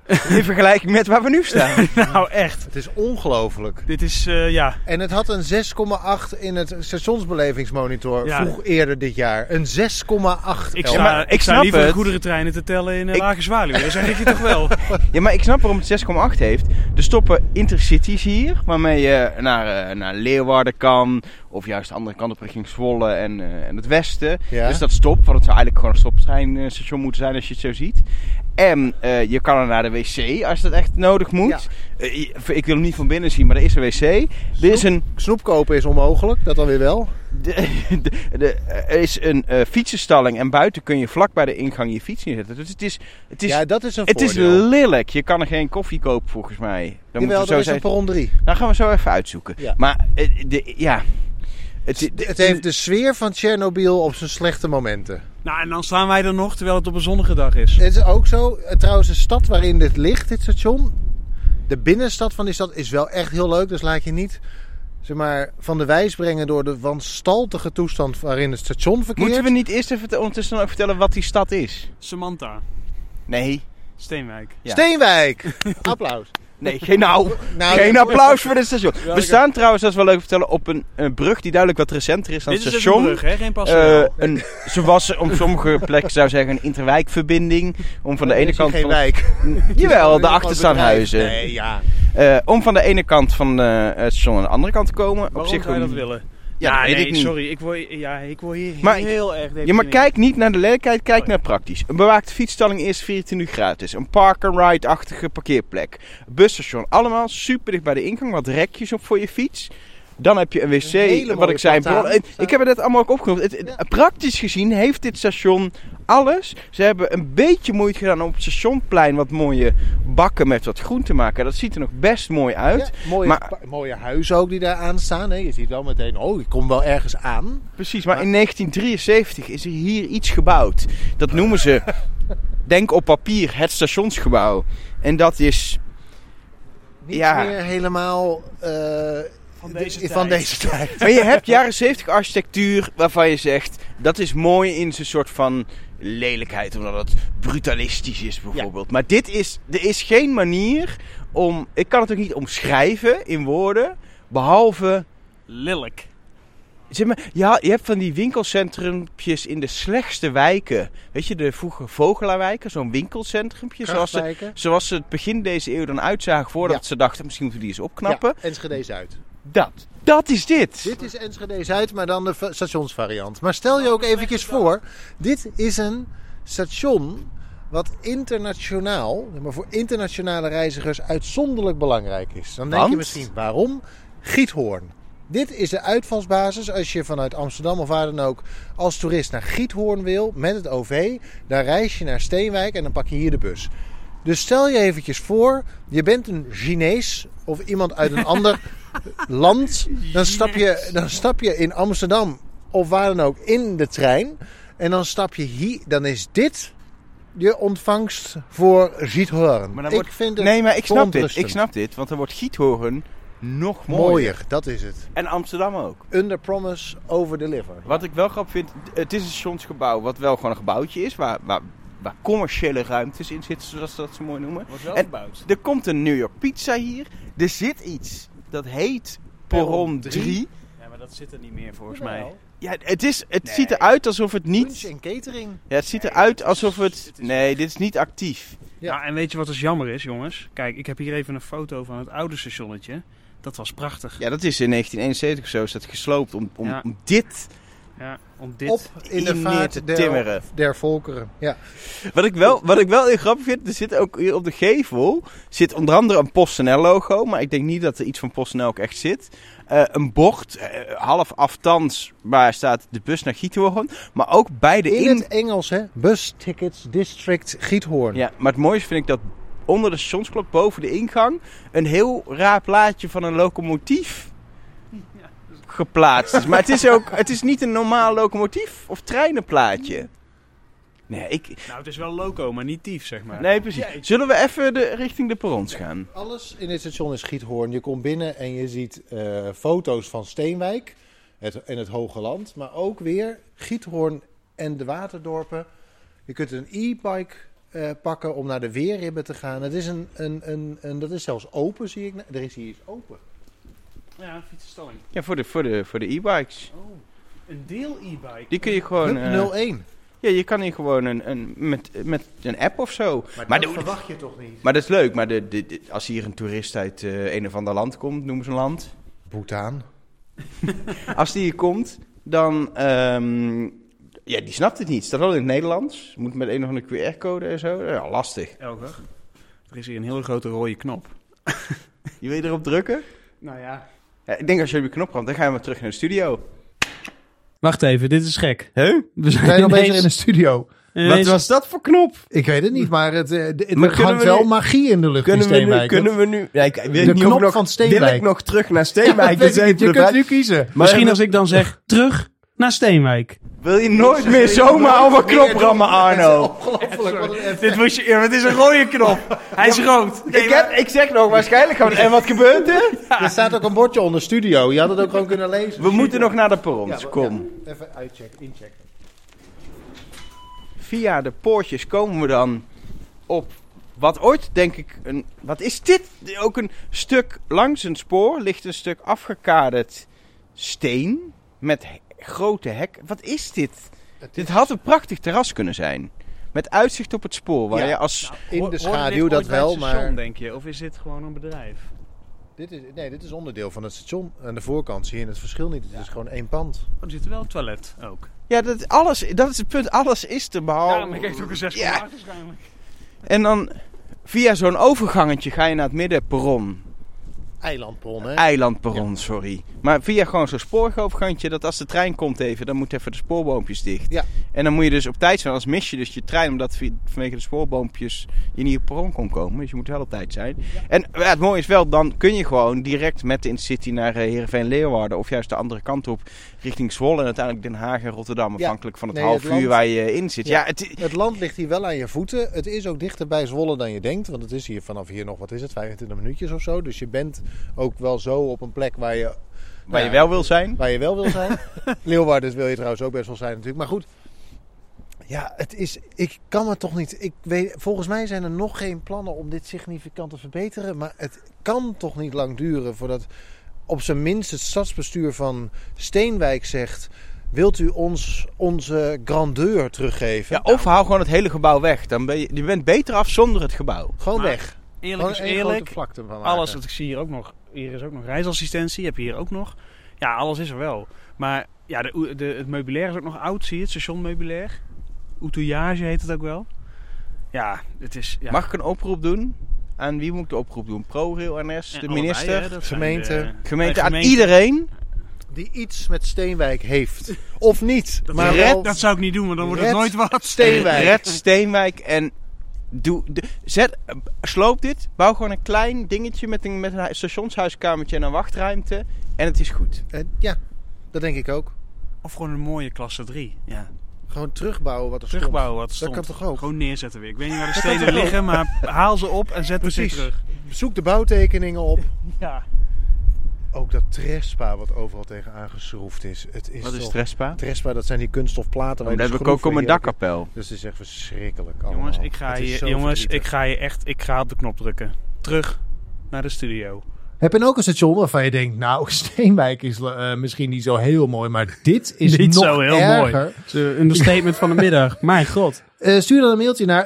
[SPEAKER 1] In vergelijking met waar we nu staan.
[SPEAKER 3] nou, echt.
[SPEAKER 2] Het is ongelooflijk.
[SPEAKER 3] Dit is, eh, ja,
[SPEAKER 2] En het had een 6,8 in het stationsbelevingsmonitor
[SPEAKER 3] Ja.
[SPEAKER 2] vroeg eerder dit jaar. Een 6,8.
[SPEAKER 3] ik
[SPEAKER 2] El.
[SPEAKER 3] sta,
[SPEAKER 1] maar
[SPEAKER 3] ik
[SPEAKER 1] ik
[SPEAKER 3] sta
[SPEAKER 1] snap
[SPEAKER 3] liever
[SPEAKER 1] het.
[SPEAKER 3] goederentreinen te tellen in uh,
[SPEAKER 1] Ik-
[SPEAKER 3] Lage Dat zeg ik je toch wel.
[SPEAKER 1] Ja, maar ik snap waarom het 6,8 heeft. Er stoppen intercities hier, waarmee je naar, eh, naar Leeuwarden kan. Of juist de andere kant op richting Zwolle en, eh, en het westen.
[SPEAKER 2] Ja.
[SPEAKER 1] Dus dat stopt, want het zou eigenlijk gewoon een stoptreinstation moeten zijn als je het zo ziet. En eh, je kan er naar de wc als dat echt nodig moet. Eh, je- ik wil hem niet van binnen zien, maar er is een wc. Er is een
[SPEAKER 2] Snoep kopen is onmogelijk, dat dan weer wel.
[SPEAKER 1] de- de- de- er is een eh, fietsenstalling en buiten kun je vlak bij de ingang je fiets neerzetten. Dus het is, het is,
[SPEAKER 2] ja, dat is een
[SPEAKER 1] het is
[SPEAKER 2] voordeel.
[SPEAKER 1] lelijk. Je kan er geen koffie kopen volgens mij. Dan moeten
[SPEAKER 2] Jawel,
[SPEAKER 1] we
[SPEAKER 2] dat
[SPEAKER 1] zo
[SPEAKER 2] is een
[SPEAKER 1] zijn.
[SPEAKER 2] perron 3.
[SPEAKER 1] Nou gaan we zo even uitzoeken.
[SPEAKER 2] Ja.
[SPEAKER 1] Maar eh, de, ja, het,
[SPEAKER 2] Het heeft de sfeer van Tsjernobyl op zijn slechte momenten.
[SPEAKER 3] nou, en dan staan wij er nog, terwijl het op een zonnige dag is.
[SPEAKER 2] Het is ook zo, eh, trouwens, de stad waarin dit ligt, dit station. De binnenstad van die stad is wel echt heel leuk. Dus laat je niet zeg maar, van de wijs brengen door de wanstaltige toestand waarin het station verkeert.
[SPEAKER 1] moeten we niet eerst even te- ondertussen ook vertellen wat die stad is?
[SPEAKER 3] Samantha,
[SPEAKER 1] Nee,
[SPEAKER 3] Steenwijk.
[SPEAKER 1] Ja.
[SPEAKER 2] Steenwijk! Applaus.
[SPEAKER 1] nee, geen nou.
[SPEAKER 2] Nou,
[SPEAKER 1] Geen
[SPEAKER 2] dat-
[SPEAKER 1] applaus voor dit station.
[SPEAKER 3] Welke-
[SPEAKER 1] We staan trouwens, dat is wel leuk te vertellen, op een, een brug die duidelijk wat recenter is dan
[SPEAKER 3] Dit
[SPEAKER 1] het
[SPEAKER 3] is even een
[SPEAKER 1] station.
[SPEAKER 3] brug, hè? Geen passen.
[SPEAKER 1] Eh, een, ze was op sommige plekken, zou zeggen, een interwijkverbinding. Om van de
[SPEAKER 2] Er
[SPEAKER 1] ene
[SPEAKER 2] Oh, is hier
[SPEAKER 1] kant.
[SPEAKER 2] geen
[SPEAKER 1] Van,
[SPEAKER 2] wijk.
[SPEAKER 1] jawel, de
[SPEAKER 2] Een
[SPEAKER 1] achterstaanhuizen.
[SPEAKER 2] bedrijf. Nee, ja.
[SPEAKER 1] Eh, om van de ene kant van eh, het station aan de andere kant te komen. op
[SPEAKER 3] Waarom
[SPEAKER 1] zich
[SPEAKER 3] zou je
[SPEAKER 1] goed.
[SPEAKER 3] dat willen?
[SPEAKER 1] Ja, dat weet
[SPEAKER 3] nee,
[SPEAKER 1] ik niet.
[SPEAKER 3] sorry. Ik word, ja, ik word hier
[SPEAKER 1] Maar-
[SPEAKER 3] heel erg...
[SPEAKER 1] Ja, maar
[SPEAKER 3] deprimerend.
[SPEAKER 1] kijk niet naar de lelijkheid,
[SPEAKER 3] Oh,
[SPEAKER 1] kijk naar praktisch. Een bewaakte fietsstalling is 14 uur gratis. Een park-and-ride-achtige parkeerplek. Busstation, allemaal super dicht bij de ingang. Wat rekjes op voor je fiets. Dan heb je een wc,
[SPEAKER 2] hele
[SPEAKER 1] wat
[SPEAKER 2] mooie
[SPEAKER 1] ik zei.
[SPEAKER 2] plataan.
[SPEAKER 1] bron- en Ik heb het net allemaal ook opgenomen. Het- het- Praktisch gezien heeft dit station alles. Ze hebben een beetje moeite gedaan om op het stationplein wat mooie bakken met wat groen te maken. Dat ziet er nog best mooi uit.
[SPEAKER 2] Ja, mooie,
[SPEAKER 1] Maar-
[SPEAKER 2] pa- mooie huizen ook die daar aan staan. Hè. Je ziet wel meteen, oh, ik kom wel ergens aan.
[SPEAKER 1] Precies, maar in 1973 is er hier iets gebouwd. Dat noemen ze, denk op papier, het stationsgebouw. En dat is,
[SPEAKER 2] Niet
[SPEAKER 1] Ja.
[SPEAKER 2] meer helemaal eh,
[SPEAKER 3] Van deze
[SPEAKER 2] de-
[SPEAKER 3] tijd.
[SPEAKER 2] van deze tijd.
[SPEAKER 1] maar je hebt jaren 70 architectuur waarvan je zegt, dat is mooi in zijn soort van lelijkheid, omdat het brutalistisch is bijvoorbeeld. Maar dit is, er is geen manier om, ik kan het ook niet omschrijven in woorden, behalve
[SPEAKER 3] Lillik.
[SPEAKER 1] Zeg maar, ja, je hebt van die winkelcentrumpjes in de slechtste wijken. Weet je, de vroege Vogelaarwijken, zo'n winkelcentrumpje. Zoals ze,
[SPEAKER 2] Krachtwijken.
[SPEAKER 1] zoals ze het begin deze eeuw dan uitzagen voordat
[SPEAKER 2] Ja.
[SPEAKER 1] ze dachten, misschien moeten we die eens opknappen.
[SPEAKER 2] Ja, Enschede Zuid.
[SPEAKER 1] Dat, dat is dit.
[SPEAKER 2] Dit is Enschede Zuid, maar dan de va- stationsvariant. Maar stel je ook eventjes voor, dit is een station wat internationaal, maar voor internationale reizigers uitzonderlijk belangrijk is. Dan denk
[SPEAKER 1] Want?
[SPEAKER 2] je misschien, waarom? Giethoorn. Dit is de uitvalsbasis als je vanuit Amsterdam of waar dan ook als toerist naar Giethoorn wil met het OV. Dan reis je naar Steenwijk en dan pak je hier de bus. Dus stel je eventjes voor, je bent een Chinees of iemand uit een ander land. Dan stap, je, dan stap je in Amsterdam of waar dan ook in de trein. En dan stap je hier, dan is dit je ontvangst voor Giethoorn.
[SPEAKER 1] Maar dan
[SPEAKER 2] ik
[SPEAKER 1] wordt-
[SPEAKER 2] vind het
[SPEAKER 1] nee, maar ik snap dit. Ik
[SPEAKER 2] verontrustend.
[SPEAKER 1] snap dit, want dan wordt Giethoorn nog mooier.
[SPEAKER 2] mooier. Dat is het.
[SPEAKER 1] En Amsterdam ook.
[SPEAKER 2] Under promise, over deliver.
[SPEAKER 1] Wat ik wel grappig vind, het is een stationsgebouw wat wel gewoon een gebouwtje is, waar, waar, waar commerciële ruimtes in zitten, zoals ze dat zo mooi noemen.
[SPEAKER 3] Wordt wel
[SPEAKER 1] En-
[SPEAKER 3] gebouwd.
[SPEAKER 1] Er komt een New York Pizza hier. Er zit iets. Dat heet Perron
[SPEAKER 2] Perron
[SPEAKER 1] 3.
[SPEAKER 3] Ja, maar dat zit er niet meer volgens mij.
[SPEAKER 1] Ja, het, is, het
[SPEAKER 3] Nee.
[SPEAKER 1] ziet eruit alsof het niet...
[SPEAKER 2] Lunch en catering.
[SPEAKER 1] Ja, het ziet
[SPEAKER 3] Nee, het
[SPEAKER 1] eruit
[SPEAKER 3] is-
[SPEAKER 1] alsof het...
[SPEAKER 3] het is-
[SPEAKER 1] Nee, dit is niet actief.
[SPEAKER 2] Ja.
[SPEAKER 3] Ja, en weet je wat dus jammer is, jongens? Kijk, ik heb hier even een foto van het oude stationnetje. Dat was prachtig.
[SPEAKER 1] Ja, dat is in 1971 of zo. Is dat gesloopt om, om,
[SPEAKER 3] Ja.
[SPEAKER 1] om dit...
[SPEAKER 3] Ja, om dit...
[SPEAKER 2] Op in de
[SPEAKER 1] in te
[SPEAKER 2] vaart der,
[SPEAKER 1] timmeren.
[SPEAKER 2] der volkeren. Ja.
[SPEAKER 1] Wat ik, wel, wat ik wel heel grappig vind, er zit ook hier op de gevel... zit onder andere een PostNL logo. Maar ik denk niet dat er iets van PostNL ook echt zit. Eh, een bord, eh, half aftans, waar staat de bus naar Giethoorn. Maar ook bij de
[SPEAKER 2] In,
[SPEAKER 1] in...
[SPEAKER 2] het Engels, hè? Bus Tickets District Giethoorn.
[SPEAKER 1] Ja, maar het mooiste vind ik dat onder de stationsklok, boven de ingang, een heel raar plaatje van een locomotief geplaatst is. Maar het is ook, het is niet een normaal locomotief of treinenplaatje. Nee, ik,
[SPEAKER 3] Nou, het is wel loco, maar niet tief, zeg maar.
[SPEAKER 1] nee, precies. Zullen we even de, richting de perrons gaan?
[SPEAKER 2] Alles in dit station is Giethoorn. Je komt binnen en je ziet eh, foto's van Steenwijk het, en het Hoge Land. Maar ook weer Giethoorn en de waterdorpen. Je kunt een e-bike eh, pakken om naar de weerribben te gaan. Het is een, een, een, een, dat is zelfs open, zie ik. na- Er is hier iets open.
[SPEAKER 3] Ja, fietsenstalling. Oh,
[SPEAKER 1] Ja, voor de, voor de, voor de e-bikes.
[SPEAKER 3] Een deel e-bike.
[SPEAKER 1] Die kun je gewoon... eh,
[SPEAKER 2] Hup 01.
[SPEAKER 1] ja, je kan hier gewoon een, een, met, met een app of zo. Maar, de-
[SPEAKER 2] verwacht je toch niet?
[SPEAKER 1] maar dat is leuk. Maar de, de, de- als hier een toerist uit eh, een of ander land komt, noem ze een land.
[SPEAKER 2] Bhutan.
[SPEAKER 1] Als die hier komt, dan... ehm, ja, die snapt het niet. Staat wel in het Nederlands. Moet met een of andere QR-code en zo. Ja, lastig.
[SPEAKER 3] Elger. Er is hier een hele grote rode knop.
[SPEAKER 1] Je wil je erop drukken?
[SPEAKER 3] Nou ja.
[SPEAKER 1] Ja, ik denk als je op die knop komt, dan gaan we terug naar de studio.
[SPEAKER 3] Wacht even, dit is gek.
[SPEAKER 5] Huh?
[SPEAKER 3] We zijn
[SPEAKER 6] Zijn nog bezig
[SPEAKER 3] ineens-
[SPEAKER 6] in de studio?
[SPEAKER 5] Wat
[SPEAKER 3] ineens-
[SPEAKER 5] was dat voor knop?
[SPEAKER 6] Ik weet het niet, maar het, eh, d-
[SPEAKER 5] Maar
[SPEAKER 6] er
[SPEAKER 5] kunnen
[SPEAKER 6] hangt
[SPEAKER 5] we
[SPEAKER 6] wel
[SPEAKER 5] nu-
[SPEAKER 6] magie in de lucht in
[SPEAKER 5] Kunnen we nu...
[SPEAKER 6] Steenwijk.
[SPEAKER 5] Kunnen we nu ja, ik weet
[SPEAKER 6] De
[SPEAKER 5] niet of ik
[SPEAKER 6] knop
[SPEAKER 5] nog,
[SPEAKER 6] van Steenwijk.
[SPEAKER 5] Wil ik nog terug naar
[SPEAKER 6] Ja,
[SPEAKER 5] Steenwijk?
[SPEAKER 6] weet ik niet. je kunt
[SPEAKER 5] erbij.
[SPEAKER 6] nu kiezen.
[SPEAKER 5] Maar
[SPEAKER 3] Misschien als ik dan zeg, terug naar Steenwijk.
[SPEAKER 1] Wil je nooit meer zomaar over knop rammen, Arno?
[SPEAKER 2] Ongelooflijk, wat een effect.
[SPEAKER 3] Dit moest je, ja, het is een rode knop. Hij is rood.
[SPEAKER 1] Ik, heb, ik zeg nog, waarschijnlijk gaan we... En wat gebeurt er?
[SPEAKER 2] Er staat ook een bordje onder studio. Je had het ook gewoon kunnen lezen.
[SPEAKER 1] We moeten nog naar de perrons,
[SPEAKER 2] Ja,
[SPEAKER 1] kom.
[SPEAKER 2] ja. Even uitchecken, inchecken.
[SPEAKER 1] Via de poortjes komen we dan op wat ooit, denk ik, een... Wat is dit? Ook een stuk langs een spoor ligt een stuk afgekaderd steen met he- grote hek. Wat is dit? Dit had een prachtig terras kunnen zijn. Met uitzicht op het spoor, waar
[SPEAKER 2] Ja.
[SPEAKER 1] je als...
[SPEAKER 2] In de schaduw dat wel, maar...
[SPEAKER 3] denk je? Of is dit gewoon een bedrijf?
[SPEAKER 2] Dit is, nee, dit is onderdeel van het station. Aan de voorkant zie je het verschil niet. Het is gewoon één pand.
[SPEAKER 3] Oh, er zit wel een toilet ook.
[SPEAKER 1] Ja, dat, alles, dat is het punt. Alles is te
[SPEAKER 2] Oh,
[SPEAKER 1] behalve.
[SPEAKER 3] een
[SPEAKER 1] Ja.
[SPEAKER 3] ja. waarschijnlijk.
[SPEAKER 1] En dan via zo'n overgangetje ga je naar het middenperron.
[SPEAKER 2] Eilandbron, hè?
[SPEAKER 1] Eilandperron, sorry. Maar via gewoon zo'n spoorgoopgangetje, dat als de trein komt even, dan moet even de spoorboompjes dicht.
[SPEAKER 2] Ja.
[SPEAKER 1] En dan moet je dus op tijd zijn, anders mis je dus je trein, omdat vi- vanwege de spoorboompjes je niet op het perron kon komen. Dus je moet wel op tijd zijn. En ja, het mooie is wel, dan kun je gewoon direct met de Intercity naar eh, Heerenveen-Leeuwarden, of juist de andere kant op, richting Zwolle en uiteindelijk Den Haag en Rotterdam, afhankelijk van het
[SPEAKER 2] Nee,
[SPEAKER 1] half
[SPEAKER 2] het land-
[SPEAKER 1] uur waar je eh, in zit. Ja,
[SPEAKER 2] Ja.
[SPEAKER 1] het,
[SPEAKER 2] Het land ligt hier wel aan je voeten. Het is ook dichter bij Zwolle dan je denkt. Want het is hier vanaf hier nog, wat is het, 25 minuutjes of zo. Dus je bent ook wel zo op een plek waar je,
[SPEAKER 1] waar je
[SPEAKER 2] Ja.
[SPEAKER 1] wel wil zijn.
[SPEAKER 2] waar je wel wil zijn. Leeuwarden wil je trouwens ook best wel zijn natuurlijk. Maar goed. Ja, het is, ik kan het toch niet. Ik weet, volgens mij zijn er nog geen plannen om dit significant te verbeteren. Maar het kan toch niet lang duren voordat op zijn minst het stadsbestuur van Steenwijk zegt... Wilt u ons onze grandeur teruggeven?
[SPEAKER 1] Ja, of hou gewoon het hele gebouw weg. Dan ben je, je bent beter af zonder het gebouw.
[SPEAKER 2] Gewoon
[SPEAKER 3] Maar-
[SPEAKER 2] weg.
[SPEAKER 3] Eerlijk is
[SPEAKER 2] Gewoon één grote
[SPEAKER 3] eerlijk.
[SPEAKER 2] vlakte van maken.
[SPEAKER 3] Alles, want ik zie hier ook nog, hier is ook nog reisassistentie, heb je hier ook nog. Ja, alles is er wel. Maar ja, de, oe- de, het meubilair is ook nog oud, zie je het, stationmeubilair. Outillage heet het ook wel. Ja, het is... Ja,
[SPEAKER 1] Mag ik een oproep doen? Aan wie moet ik de oproep doen? ProRail, NS, de
[SPEAKER 3] En allebei,
[SPEAKER 1] minister,
[SPEAKER 3] hè, dat zijn
[SPEAKER 2] gemeente,
[SPEAKER 3] de-
[SPEAKER 1] gemeente,
[SPEAKER 3] de
[SPEAKER 1] aan iedereen.
[SPEAKER 2] Die iets met Steenwijk heeft. Of niet. maar
[SPEAKER 1] red-
[SPEAKER 2] wel
[SPEAKER 3] Dat zou ik niet doen, want dan wordt
[SPEAKER 2] Red-
[SPEAKER 3] het nooit wat.
[SPEAKER 2] Steenwijk.
[SPEAKER 1] Red Steenwijk en doe, de- zet, eh, sloop dit. Bouw gewoon een klein dingetje met een, met een hu- stationshuiskamertje en een wachtruimte. En het is goed.
[SPEAKER 2] Eh, ja, dat denk ik ook.
[SPEAKER 3] Of gewoon een mooie klasse 3. Ja.
[SPEAKER 2] Gewoon terugbouwen wat er stond.
[SPEAKER 3] Terugbouwen wat stond.
[SPEAKER 2] kan toch ook?
[SPEAKER 3] Gewoon neerzetten weer. Ik weet niet waar de stenen liggen, maar haal ze op en zet ze weer
[SPEAKER 2] Precies.
[SPEAKER 3] terug.
[SPEAKER 2] Zoek de bouwtekeningen op.
[SPEAKER 3] Ja.
[SPEAKER 2] Ook dat trespa wat overal tegen aangeschroefd is. Het is
[SPEAKER 1] Wat is
[SPEAKER 2] toch-
[SPEAKER 1] Trespa?
[SPEAKER 2] Trespa, dat zijn die kunststofplaten. waar je
[SPEAKER 1] Dat heb
[SPEAKER 2] dus
[SPEAKER 1] ik ook op
[SPEAKER 2] groeven
[SPEAKER 1] mijn
[SPEAKER 2] hier-
[SPEAKER 1] dakkapel.
[SPEAKER 2] Dus het is echt verschrikkelijk allemaal.
[SPEAKER 3] Jongens, ik ga,
[SPEAKER 2] Het is
[SPEAKER 3] je,
[SPEAKER 2] zo
[SPEAKER 3] jongens ik
[SPEAKER 2] verdrietig.
[SPEAKER 3] ga je echt ik ga op de knop drukken. Terug naar de studio.
[SPEAKER 6] Heb je ook een station waarvan je denkt, nou, Steenwijk is eh, misschien niet zo heel mooi, maar dit is
[SPEAKER 3] Niet
[SPEAKER 6] nog
[SPEAKER 3] zo heel mooi.
[SPEAKER 6] erger.
[SPEAKER 3] eh, Een understatement van de middag. Mijn god.
[SPEAKER 6] Eh, stuur dan een mailtje naar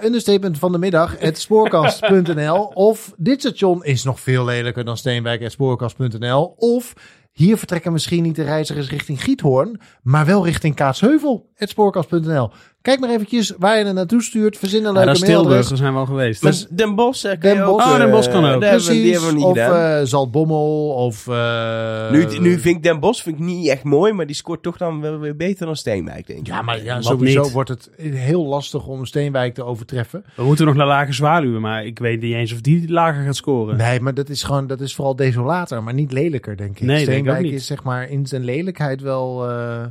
[SPEAKER 6] understatementvandemiddag.spoorkast.nl of dit station is nog veel lelijker dan steenwijk.spoorkast.nl of hier vertrekken misschien niet de reizigers richting Giethoorn, maar wel richting Kaatsheuvel.spoorkast.nl. Kijk maar eventjes waar je er naartoe stuurt. Verzin een leuke dus. mailadres.
[SPEAKER 3] zijn dus. we al geweest.
[SPEAKER 5] Maar Dus Den Bosch, eh, kan
[SPEAKER 6] Den
[SPEAKER 5] je ook,
[SPEAKER 6] Bosch.
[SPEAKER 5] eh,
[SPEAKER 6] Oh, Den
[SPEAKER 3] Bosch kan ook.
[SPEAKER 5] daar hebben we- die
[SPEAKER 6] Precies,
[SPEAKER 5] hebben we niet
[SPEAKER 6] of
[SPEAKER 5] gedaan.
[SPEAKER 6] eh Zaltbommel, of... eh,
[SPEAKER 5] nu, nu vind ik Den Bosch vind ik niet echt mooi, maar die scoort toch dan wel weer beter dan Steenwijk, denk ik.
[SPEAKER 6] Ja, maar ja,
[SPEAKER 3] Wat
[SPEAKER 6] sowieso
[SPEAKER 3] niet?
[SPEAKER 6] wordt het heel lastig om Steenwijk te overtreffen.
[SPEAKER 3] We moeten nog naar lage zwaluwen, maar ik weet niet eens of die lager gaat scoren.
[SPEAKER 6] Nee, maar dat is gewoon, dat is vooral desolater, maar niet lelijker, denk ik.
[SPEAKER 3] Nee, denk ik ook
[SPEAKER 6] Steenwijk
[SPEAKER 3] niet.
[SPEAKER 6] is zeg maar in zijn lelijkheid wel eh,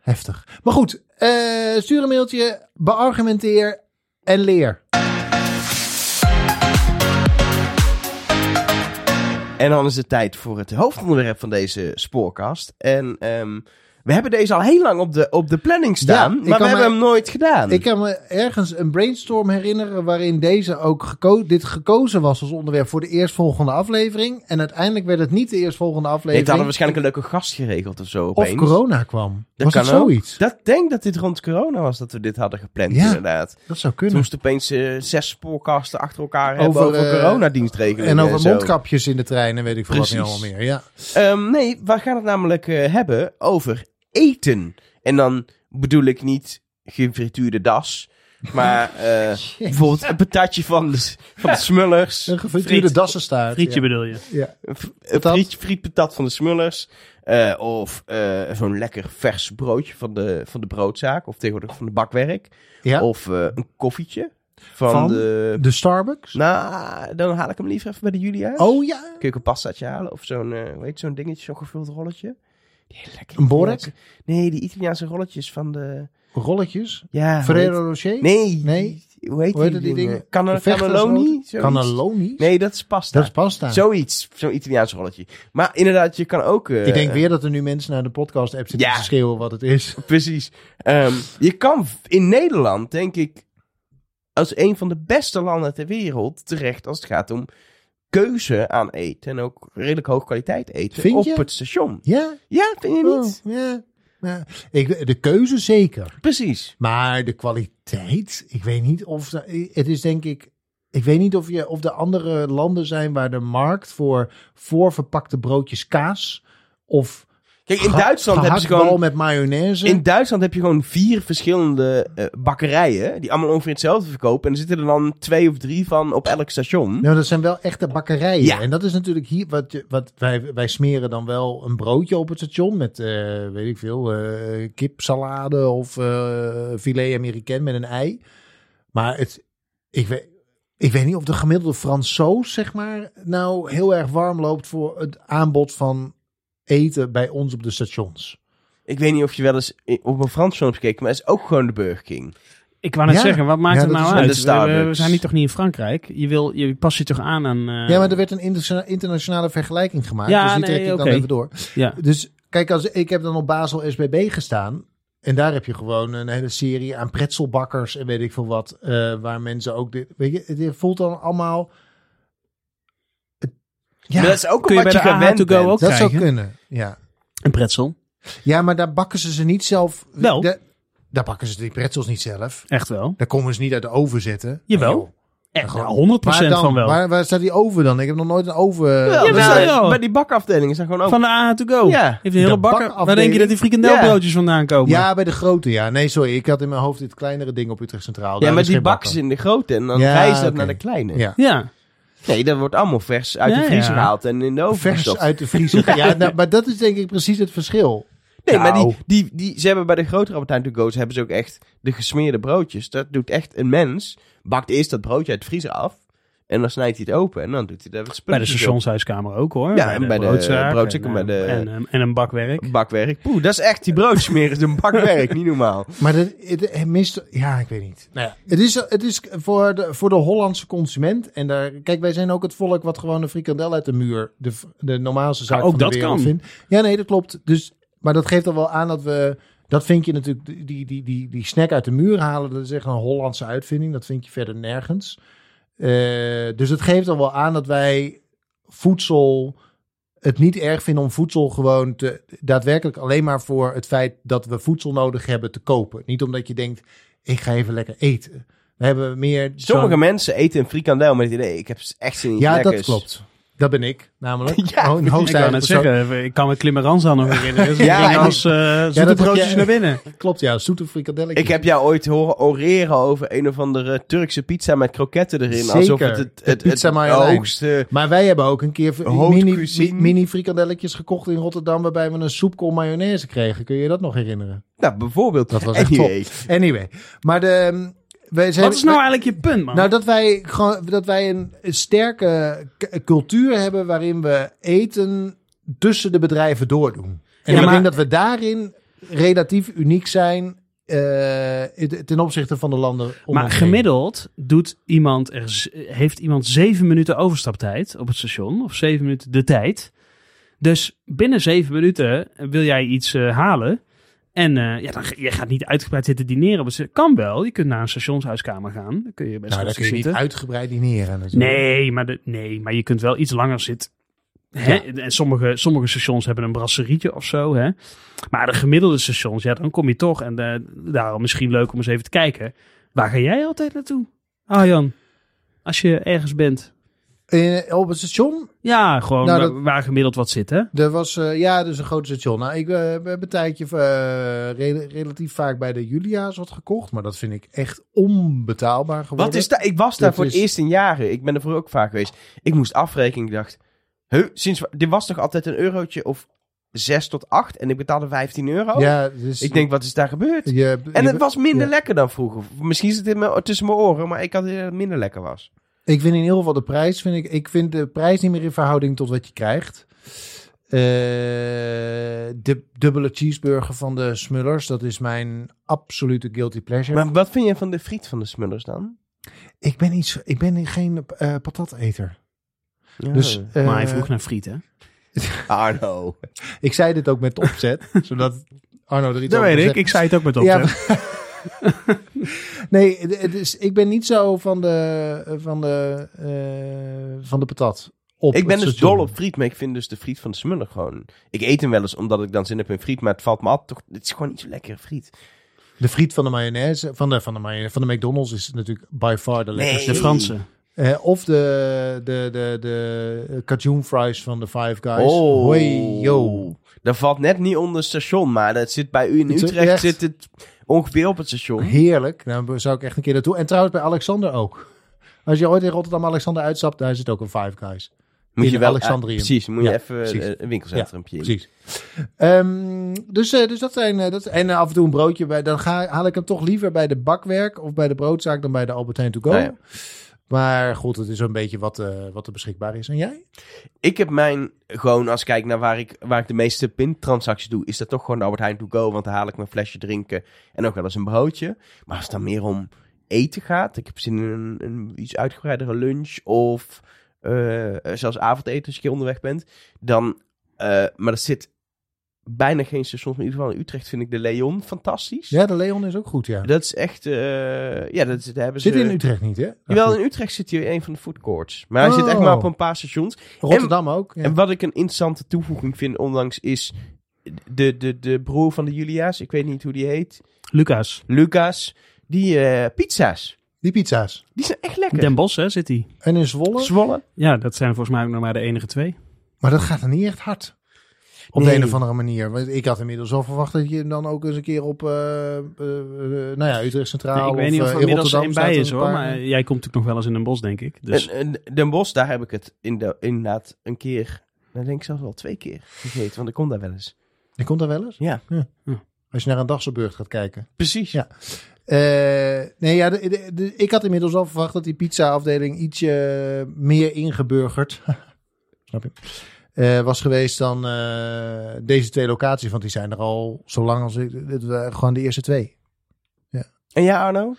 [SPEAKER 6] heftig. Maar goed, eh, stuur een mailtje, beargumenteer en leer.
[SPEAKER 5] En dan is het tijd voor het hoofdonderwerp van deze spoorkast. En ehm, We hebben deze al heel lang op de, op de planning staan,
[SPEAKER 6] Ja, ik
[SPEAKER 5] maar we
[SPEAKER 6] kan
[SPEAKER 5] hebben
[SPEAKER 6] mij-
[SPEAKER 5] hem nooit gedaan.
[SPEAKER 6] Ik kan me ergens een brainstorm herinneren waarin deze ook geko- dit gekozen was als onderwerp voor de eerstvolgende aflevering. En uiteindelijk werd het niet de eerstvolgende
[SPEAKER 5] Nee, het
[SPEAKER 6] aflevering.
[SPEAKER 5] hadden waarschijnlijk een leuke gast geregeld of zo.
[SPEAKER 6] of
[SPEAKER 5] Opeens.
[SPEAKER 6] corona kwam.
[SPEAKER 5] Dat
[SPEAKER 6] was dat
[SPEAKER 5] kan ook.
[SPEAKER 6] zoiets?
[SPEAKER 5] Dat denk dat dit rond corona was dat we dit hadden gepland,
[SPEAKER 6] Ja.
[SPEAKER 5] inderdaad.
[SPEAKER 6] Dat zou
[SPEAKER 5] Toen
[SPEAKER 6] kunnen.
[SPEAKER 5] moest opeens eh, zes podcasten achter elkaar hebben
[SPEAKER 6] Over,
[SPEAKER 5] over
[SPEAKER 6] eh,
[SPEAKER 5] coronadienstregelingen.
[SPEAKER 6] En over
[SPEAKER 5] zo.
[SPEAKER 6] mondkapjes in de trein en weet ik veel wat niet
[SPEAKER 5] Precies.
[SPEAKER 6] allemaal meer. Ja.
[SPEAKER 5] Ehm, nee, we gaan het namelijk eh, hebben over eten. En dan bedoel ik niet gefrituurde das. Maar eh, bijvoorbeeld een patatje van de, van de Smullers.
[SPEAKER 6] Een gefrituurde
[SPEAKER 3] Friet.
[SPEAKER 6] dassenstaart.
[SPEAKER 3] Frietje
[SPEAKER 6] ja.
[SPEAKER 3] bedoel je?
[SPEAKER 5] Een fr- een
[SPEAKER 6] Patat.
[SPEAKER 5] friet, frietpatat van de Smullers. Eh, of eh, zo'n lekker vers broodje van de, van de broodzaak. Of tegenwoordig van de bakwerk.
[SPEAKER 6] Ja.
[SPEAKER 5] Of eh, een koffietje van,
[SPEAKER 6] Van?
[SPEAKER 5] de...
[SPEAKER 6] De Starbucks.
[SPEAKER 5] Nou, dan haal ik hem liever even bij de Julia.
[SPEAKER 6] Oh ja.
[SPEAKER 5] Kun je ook een pastaatje halen of zo'n, eh, hoe heet zo'n dingetje, zo'n gevuld rolletje? Die hele lekkere
[SPEAKER 6] Een borek?
[SPEAKER 5] Italiaanse- Nee, die Italiaanse rolletjes van de...
[SPEAKER 6] Rolletjes.
[SPEAKER 5] Ja, hoe
[SPEAKER 6] Ferrero Rocher.
[SPEAKER 5] heet- Nee,
[SPEAKER 6] Nee.
[SPEAKER 5] Hoe heet,
[SPEAKER 6] Hoe heet
[SPEAKER 5] die,
[SPEAKER 6] die
[SPEAKER 5] dingen?
[SPEAKER 6] dingen?
[SPEAKER 5] Canna-
[SPEAKER 6] De vechtersrood?
[SPEAKER 5] cannelloni? Zoiets.
[SPEAKER 6] Cannelloni.
[SPEAKER 5] Nee, dat is pasta.
[SPEAKER 6] Dat is pasta.
[SPEAKER 5] Zoiets, zo'n Italiaans rolletje. Maar inderdaad, je kan ook... eh,
[SPEAKER 6] Ik denk weer dat er nu mensen naar de podcast-app zitten
[SPEAKER 5] Ja.
[SPEAKER 6] te schreeuwen wat het is.
[SPEAKER 5] Precies. Ehm, je kan v- in Nederland, denk ik, als een van de beste landen ter wereld terecht als het gaat om keuze aan eten. En ook redelijk hoog kwaliteit eten
[SPEAKER 6] Vind
[SPEAKER 5] op
[SPEAKER 6] je?
[SPEAKER 5] het station.
[SPEAKER 6] Ja,
[SPEAKER 5] Ja, vind je niet?
[SPEAKER 6] Oh, ja. ja. Ik, de keuze
[SPEAKER 3] Oh.
[SPEAKER 6] zeker.
[SPEAKER 5] Precies.
[SPEAKER 6] Maar de kwaliteit, ik weet niet of... de- Het is denk ik... Ik weet niet of, je, of er andere landen zijn waar de markt voor voorverpakte broodjes kaas of
[SPEAKER 5] Kijk, in
[SPEAKER 6] geha-
[SPEAKER 5] Duitsland hebben ze
[SPEAKER 6] gehaktbal
[SPEAKER 5] gewoon...
[SPEAKER 6] met mayonaise.
[SPEAKER 5] In Duitsland heb je gewoon vier verschillende eh, bakkerijen. die allemaal ongeveer hetzelfde verkopen. En er zitten er dan twee of drie van op elk
[SPEAKER 3] Hm?
[SPEAKER 5] station.
[SPEAKER 6] Nou, dat zijn wel echte bakkerijen.
[SPEAKER 5] Ja.
[SPEAKER 6] En dat is natuurlijk hier wat, je- wat wij, wij smeren dan wel een broodje op het station met, eh, weet ik veel, eh, kipsalade of eh, filet americain met een ei. Maar het, ik, weet, ik weet niet of de gemiddelde Fransoos, zeg maar, nou heel erg warm loopt voor het aanbod van eten bij ons op de stations.
[SPEAKER 5] Ik weet niet of je wel eens i- op een Frans film hebt gekeken. maar het is ook gewoon de Burger King.
[SPEAKER 3] Ik wou net
[SPEAKER 6] Ja.
[SPEAKER 3] zeggen, wat maakt
[SPEAKER 6] Ja,
[SPEAKER 3] het
[SPEAKER 6] dat
[SPEAKER 3] nou
[SPEAKER 5] is- En
[SPEAKER 3] uit?
[SPEAKER 5] de
[SPEAKER 3] We- We, we
[SPEAKER 5] Starbucks.
[SPEAKER 3] zijn niet toch niet in Frankrijk? Je, wil, je pas je toch aan aan... eh,
[SPEAKER 6] ja, maar er werd een interna- internationale vergelijking gemaakt,
[SPEAKER 3] Ja,
[SPEAKER 6] dus die
[SPEAKER 3] nee,
[SPEAKER 6] trek ik dan
[SPEAKER 3] oké.
[SPEAKER 6] even door.
[SPEAKER 3] ja.
[SPEAKER 6] Dus kijk, als, ik heb dan op Basel SBB gestaan. En daar heb je gewoon een hele serie aan pretzelbakkers en weet ik veel wat. eh, waar mensen ook dit. Weet je, het voelt dan allemaal. het- ja,
[SPEAKER 5] maar dat is ook
[SPEAKER 3] Kun je bij
[SPEAKER 5] wat je
[SPEAKER 3] de AH
[SPEAKER 5] gewend
[SPEAKER 3] to
[SPEAKER 5] bent.
[SPEAKER 3] go ook
[SPEAKER 6] dat zou
[SPEAKER 3] krijgen?
[SPEAKER 6] kunnen. Ja.
[SPEAKER 3] Een pretzel.
[SPEAKER 6] ja, maar daar bakken ze ze niet zelf.
[SPEAKER 3] Wel.
[SPEAKER 6] Da- daar bakken ze die pretzels niet zelf.
[SPEAKER 3] Echt wel.
[SPEAKER 6] Daar komen ze niet uit de oven zetten.
[SPEAKER 3] Jawel.
[SPEAKER 6] Nee, joh.
[SPEAKER 3] Echt,
[SPEAKER 6] Gewoon-
[SPEAKER 3] nou, 100%
[SPEAKER 6] Waar dan?
[SPEAKER 3] van wel.
[SPEAKER 6] Waar, waar staat die oven dan? Ik heb nog nooit een oven. eh,
[SPEAKER 5] Wel,
[SPEAKER 3] Jawel,
[SPEAKER 5] maar
[SPEAKER 3] joh.
[SPEAKER 5] Bij die bakafdelingen zijn gewoon ook...
[SPEAKER 3] Van de AH to go.
[SPEAKER 5] Oh. Ja.
[SPEAKER 3] Heeft een hele
[SPEAKER 6] De
[SPEAKER 3] bakker.
[SPEAKER 6] bakafdeling.
[SPEAKER 3] Waar denk je dat die frikandelbroodjes vandaan komen?
[SPEAKER 6] ja, bij de grote, ja. Nee, sorry. Ik had in mijn hoofd dit kleinere ding op Utrecht Centraal.
[SPEAKER 5] ja,
[SPEAKER 6] Daar
[SPEAKER 5] maar
[SPEAKER 6] is
[SPEAKER 5] die
[SPEAKER 6] geen
[SPEAKER 5] bakken ze in de grote en dan
[SPEAKER 6] Ja,
[SPEAKER 5] reizen dat
[SPEAKER 6] oké.
[SPEAKER 5] naar de kleine.
[SPEAKER 6] Ja.
[SPEAKER 3] Ja.
[SPEAKER 5] Nee, dat wordt allemaal vers uit
[SPEAKER 3] Ja,
[SPEAKER 5] de vriezer
[SPEAKER 3] ja.
[SPEAKER 5] gehaald en in de
[SPEAKER 3] Oh,
[SPEAKER 5] oven
[SPEAKER 6] Vers
[SPEAKER 5] gestopt.
[SPEAKER 6] uit de vriezer. ja, nou, maar dat is denk ik precies het verschil.
[SPEAKER 5] Nee, maar
[SPEAKER 6] Nou.
[SPEAKER 5] die, die, die, ze hebben bij de grotere Albertijn to go's hebben ze ook echt de gesmeerde broodjes. Dat doet echt een mens. Bakt eerst dat broodje uit de vriezer af. En dan snijdt hij het open. En dan doet hij daar het
[SPEAKER 3] Bij de
[SPEAKER 5] spulletjes
[SPEAKER 3] stationshuiskamer ook hoor.
[SPEAKER 5] Ja, en bij de
[SPEAKER 3] broodzaak
[SPEAKER 5] broodzaak en bij
[SPEAKER 3] eh,
[SPEAKER 5] de-
[SPEAKER 3] en, eh, en een bakwerk.
[SPEAKER 5] op. Bakwerk. Poeh, dat is echt die broodsmeer is een bakwerk. niet normaal.
[SPEAKER 6] Maar dat, het, het mist... Ja, ik weet niet. Nou ja, het is, het is voor, de, voor de Hollandse consument. En daar, kijk, wij zijn ook het volk wat gewoon een frikandel uit de muur... de, de normaalste zaak
[SPEAKER 3] Ja, ook
[SPEAKER 6] van de
[SPEAKER 3] dat
[SPEAKER 6] wereld
[SPEAKER 3] kan.
[SPEAKER 6] vindt. Ja, nee, dat klopt. Dus, maar dat geeft al wel aan dat we... Dat vind je natuurlijk, die, die, die, die snack uit de muur halen, dat is echt een Hollandse uitvinding. Dat vind je verder nergens. Eh, dus het geeft al wel aan dat wij voedsel het niet erg vinden om voedsel gewoon te, daadwerkelijk alleen maar voor het feit dat we voedsel nodig hebben te kopen. Niet omdat je denkt, ik ga even lekker eten. We hebben meer.
[SPEAKER 5] Sommige
[SPEAKER 6] zo'n-
[SPEAKER 5] mensen eten een frikandel met het idee, ik heb echt zin in iets
[SPEAKER 6] Ja,
[SPEAKER 5] lekkers.
[SPEAKER 6] dat klopt. Dat ben ik namelijk.
[SPEAKER 5] Ja,
[SPEAKER 6] Ho- een
[SPEAKER 3] Ik wou
[SPEAKER 6] hoogstijgende
[SPEAKER 3] net
[SPEAKER 6] persoon.
[SPEAKER 3] zeggen, eh, ik kan me Klimmerans aan nog herinneren. Ze
[SPEAKER 5] Ja,
[SPEAKER 3] gingen
[SPEAKER 5] en-
[SPEAKER 3] als eh zoete
[SPEAKER 6] dat heb
[SPEAKER 3] broodjes
[SPEAKER 6] je-
[SPEAKER 3] naar binnen.
[SPEAKER 6] Klopt, ja, zoete frikadelletje.
[SPEAKER 5] Ik heb jou ooit horen oreren over een of andere Turkse pizza met kroketten erin.
[SPEAKER 6] Zeker.
[SPEAKER 5] Alsof het het,
[SPEAKER 6] De
[SPEAKER 5] het, het,
[SPEAKER 6] pizza Marjolein.
[SPEAKER 5] hoogste...
[SPEAKER 6] Maar wij hebben ook een keer
[SPEAKER 5] Haute
[SPEAKER 6] mini,
[SPEAKER 5] cuisine.
[SPEAKER 6] mi- mini frikandelletjes gekocht in Rotterdam, waarbij we een soepkom mayonaise kregen. Kun je je dat nog herinneren?
[SPEAKER 5] Nou, bijvoorbeeld.
[SPEAKER 6] Dat was echt
[SPEAKER 5] Anyway.
[SPEAKER 6] Anyway, maar de, wij zijn,
[SPEAKER 3] Wat is nou eigenlijk je punt, man?
[SPEAKER 6] Nou, dat wij, gewoon, dat wij een een sterke k- cultuur hebben waarin we eten tussen de bedrijven doordoen. En
[SPEAKER 3] Ja,
[SPEAKER 6] ik
[SPEAKER 3] maar-
[SPEAKER 6] denk dat we daarin relatief uniek zijn eh, ten opzichte van de landen om
[SPEAKER 3] maar
[SPEAKER 6] ons heen.
[SPEAKER 3] gemiddeld doet iemand er, z- heeft iemand zeven minuten overstaptijd op het station. Of zeven minuten de tijd. Dus binnen zeven minuten wil jij iets eh, halen. En eh, ja, dan, ga- je gaat niet uitgebreid zitten dineren. Maar ze kan wel. Je kunt naar een stationshuiskamer gaan. Dan kun je best
[SPEAKER 6] Nou,
[SPEAKER 3] rustig
[SPEAKER 6] daar kun je niet
[SPEAKER 3] zitten.
[SPEAKER 6] uitgebreid dineren natuurlijk.
[SPEAKER 3] Nee maar, de, nee, maar je kunt wel iets langer zitten. Hè? En sommige, sommige stations hebben een brasserietje of zo. Hè? Maar de gemiddelde stations, ja, dan kom je toch. En eh, daarom misschien leuk om eens even te kijken. Waar ga jij altijd naartoe? Ah, Jan, als je ergens bent.
[SPEAKER 6] Eh, op het station,
[SPEAKER 3] Ja, gewoon
[SPEAKER 6] Nou,
[SPEAKER 3] wa-
[SPEAKER 6] dat-
[SPEAKER 3] waar gemiddeld wat zit, hè?
[SPEAKER 6] er was, eh, ja, dus een groot station. Nou, ik eh, heb een tijdje eh, re- relatief vaak bij de Julia's wat gekocht. Maar dat vind ik echt onbetaalbaar geworden.
[SPEAKER 5] Wat is daar? Ik was daar
[SPEAKER 6] Dat
[SPEAKER 5] voor
[SPEAKER 6] is-
[SPEAKER 5] het eerst in jaren. Ik ben er voor ook vaak geweest. Ik moest afrekenen. Ik dacht, huh, sinds, wa- dit was toch altijd een eurotje of 6 tot 8 en ik betaalde 15 euro?
[SPEAKER 6] Ja, dus...
[SPEAKER 5] Oh. Ik denk, wat is daar gebeurd?
[SPEAKER 6] je,
[SPEAKER 5] En
[SPEAKER 6] je-
[SPEAKER 5] het was minder
[SPEAKER 6] ja.
[SPEAKER 5] lekker dan vroeger. Misschien zit het in mijn- tussen mijn oren, maar ik had idee dat het minder lekker was.
[SPEAKER 6] Ik vind in ieder geval de prijs. Vind ik, ik vind de prijs niet meer in verhouding tot wat je krijgt. Eh, de dubbele cheeseburger van de Smullers, dat is mijn absolute guilty pleasure.
[SPEAKER 5] Maar wat vind je van de friet van de Smullers dan?
[SPEAKER 6] ik, ben iets, ik ben geen eh, patateter.
[SPEAKER 5] Ja.
[SPEAKER 6] Dus, eh,
[SPEAKER 3] Oh. maar hij vroeg naar friet, hè?
[SPEAKER 5] Arno.
[SPEAKER 6] Ik zei dit ook met opzet, zodat Arno er iets
[SPEAKER 3] Dat
[SPEAKER 6] over
[SPEAKER 3] weet ik.
[SPEAKER 6] zegt.
[SPEAKER 3] Ik zei het ook met op.
[SPEAKER 6] Ja, maar- nee, het- het is, ik ben niet zo van de, van de, eh, van de patat. Op
[SPEAKER 5] Ik ben
[SPEAKER 6] het
[SPEAKER 5] dus
[SPEAKER 6] station.
[SPEAKER 5] dol op friet, maar ik vind dus de friet van de Smuller gewoon... Ik eet hem wel eens omdat ik dan zin heb in friet, maar het valt me af. Toch, het is gewoon niet zo lekkere friet.
[SPEAKER 6] De friet van de mayonaise, van de, van de, mayonaise, van de McDonald's is natuurlijk by far de lekkerste.
[SPEAKER 3] De Fransen.
[SPEAKER 6] Eh, of de, de, de, de Cajun fries van de Five Guys.
[SPEAKER 3] Oh.
[SPEAKER 6] Hoi, yo.
[SPEAKER 5] Oh. Dat valt net niet onder het station, maar dat zit bij u in
[SPEAKER 6] Het is
[SPEAKER 5] Utrecht
[SPEAKER 6] echt-
[SPEAKER 5] zit het ongeveer op het station.
[SPEAKER 6] Heerlijk. Daar zou ik echt een keer naartoe. En trouwens bij Alexander ook. Als je ooit in Rotterdam Alexander uitstapt, daar zit ook een Five Guys.
[SPEAKER 5] Moet
[SPEAKER 6] In
[SPEAKER 5] je wel
[SPEAKER 6] Alexandrium.
[SPEAKER 5] eh, precies, moet je
[SPEAKER 6] Ja,
[SPEAKER 5] even
[SPEAKER 6] precies.
[SPEAKER 5] eh, een winkelcentrumpje. in.
[SPEAKER 6] Precies. Ehm, dus, eh, dus dat zijn... eh, dat, en eh, af en toe een broodje. Bij, dan ga, haal ik hem toch liever bij de bakwerk of bij de broodzaak dan bij de Albert Heijn To Go.
[SPEAKER 5] Nou ja.
[SPEAKER 6] Maar goed, het is een beetje wat, eh, wat er beschikbaar is. En jij?
[SPEAKER 5] Ik heb mijn, gewoon als ik kijk naar waar ik, waar ik de meeste pintransacties doe, is dat toch gewoon de Albert Heijn to go, want dan haal ik mijn flesje drinken en ook wel eens een broodje. Maar als het dan meer om eten gaat, ik heb zin in een, een iets uitgebreidere lunch of eh, zelfs avondeten als je een keer onderweg bent, dan, eh, maar dat zit bijna geen stations, maar in ieder geval in Utrecht vind ik de Leon fantastisch.
[SPEAKER 6] Ja, de Leon is ook goed, ja.
[SPEAKER 5] Dat is echt, eh, ja, dat, daar hebben ze...
[SPEAKER 6] Zit in Utrecht niet, hè? Nou
[SPEAKER 5] Jawel, in Utrecht zit hier een van de food courts. Maar hij zit echt
[SPEAKER 6] Oh.
[SPEAKER 5] maar op een paar stations.
[SPEAKER 6] Rotterdam ook. Ja.
[SPEAKER 5] En wat ik een interessante toevoeging vind onlangs is... De, de, de broer van de Julia's, ik weet niet hoe die heet,
[SPEAKER 3] Lucas.
[SPEAKER 5] Lucas, die eh, pizza's,
[SPEAKER 6] Die pizza's.
[SPEAKER 5] die zijn echt lekker.
[SPEAKER 3] Den Bosch, hè, zit hij.
[SPEAKER 6] En in Zwolle.
[SPEAKER 5] Zwolle?
[SPEAKER 3] Ja, dat zijn volgens mij ook nog maar de enige twee.
[SPEAKER 6] Maar dat gaat er niet echt hard. Op
[SPEAKER 5] Nee.
[SPEAKER 6] de een of andere manier. Want ik had inmiddels al verwacht dat je hem dan ook eens een keer op eh, eh, eh, nou ja, Utrecht Centraal
[SPEAKER 3] Nee, ik weet niet
[SPEAKER 6] of,
[SPEAKER 3] of er
[SPEAKER 6] eh, in
[SPEAKER 3] inmiddels
[SPEAKER 6] Rotterdam
[SPEAKER 3] één bij
[SPEAKER 6] staat
[SPEAKER 3] is
[SPEAKER 6] een
[SPEAKER 3] hoor,
[SPEAKER 6] paar- eh,
[SPEAKER 3] maar jij komt natuurlijk nog wel eens in een bos, denk ik. Dus
[SPEAKER 5] En, en Den Bosch, daar heb ik het in de, inderdaad een keer, dan denk ik zelfs wel twee keer gegeten, want ik kom daar wel eens.
[SPEAKER 6] Die komt er wel eens?
[SPEAKER 5] Ja.
[SPEAKER 3] Ja. Hm.
[SPEAKER 6] Als je naar een dagsebeurt gaat kijken.
[SPEAKER 5] Precies.
[SPEAKER 6] Ja. Eh, nee, ja, de- de- de- ik had inmiddels al verwacht dat die pizza-afdeling ietsje meer ingeburgerd snap je, eh, was geweest dan eh, deze twee locaties. Want die zijn er al zo lang als ik, dit waren gewoon de eerste twee.
[SPEAKER 5] En ja, Arno?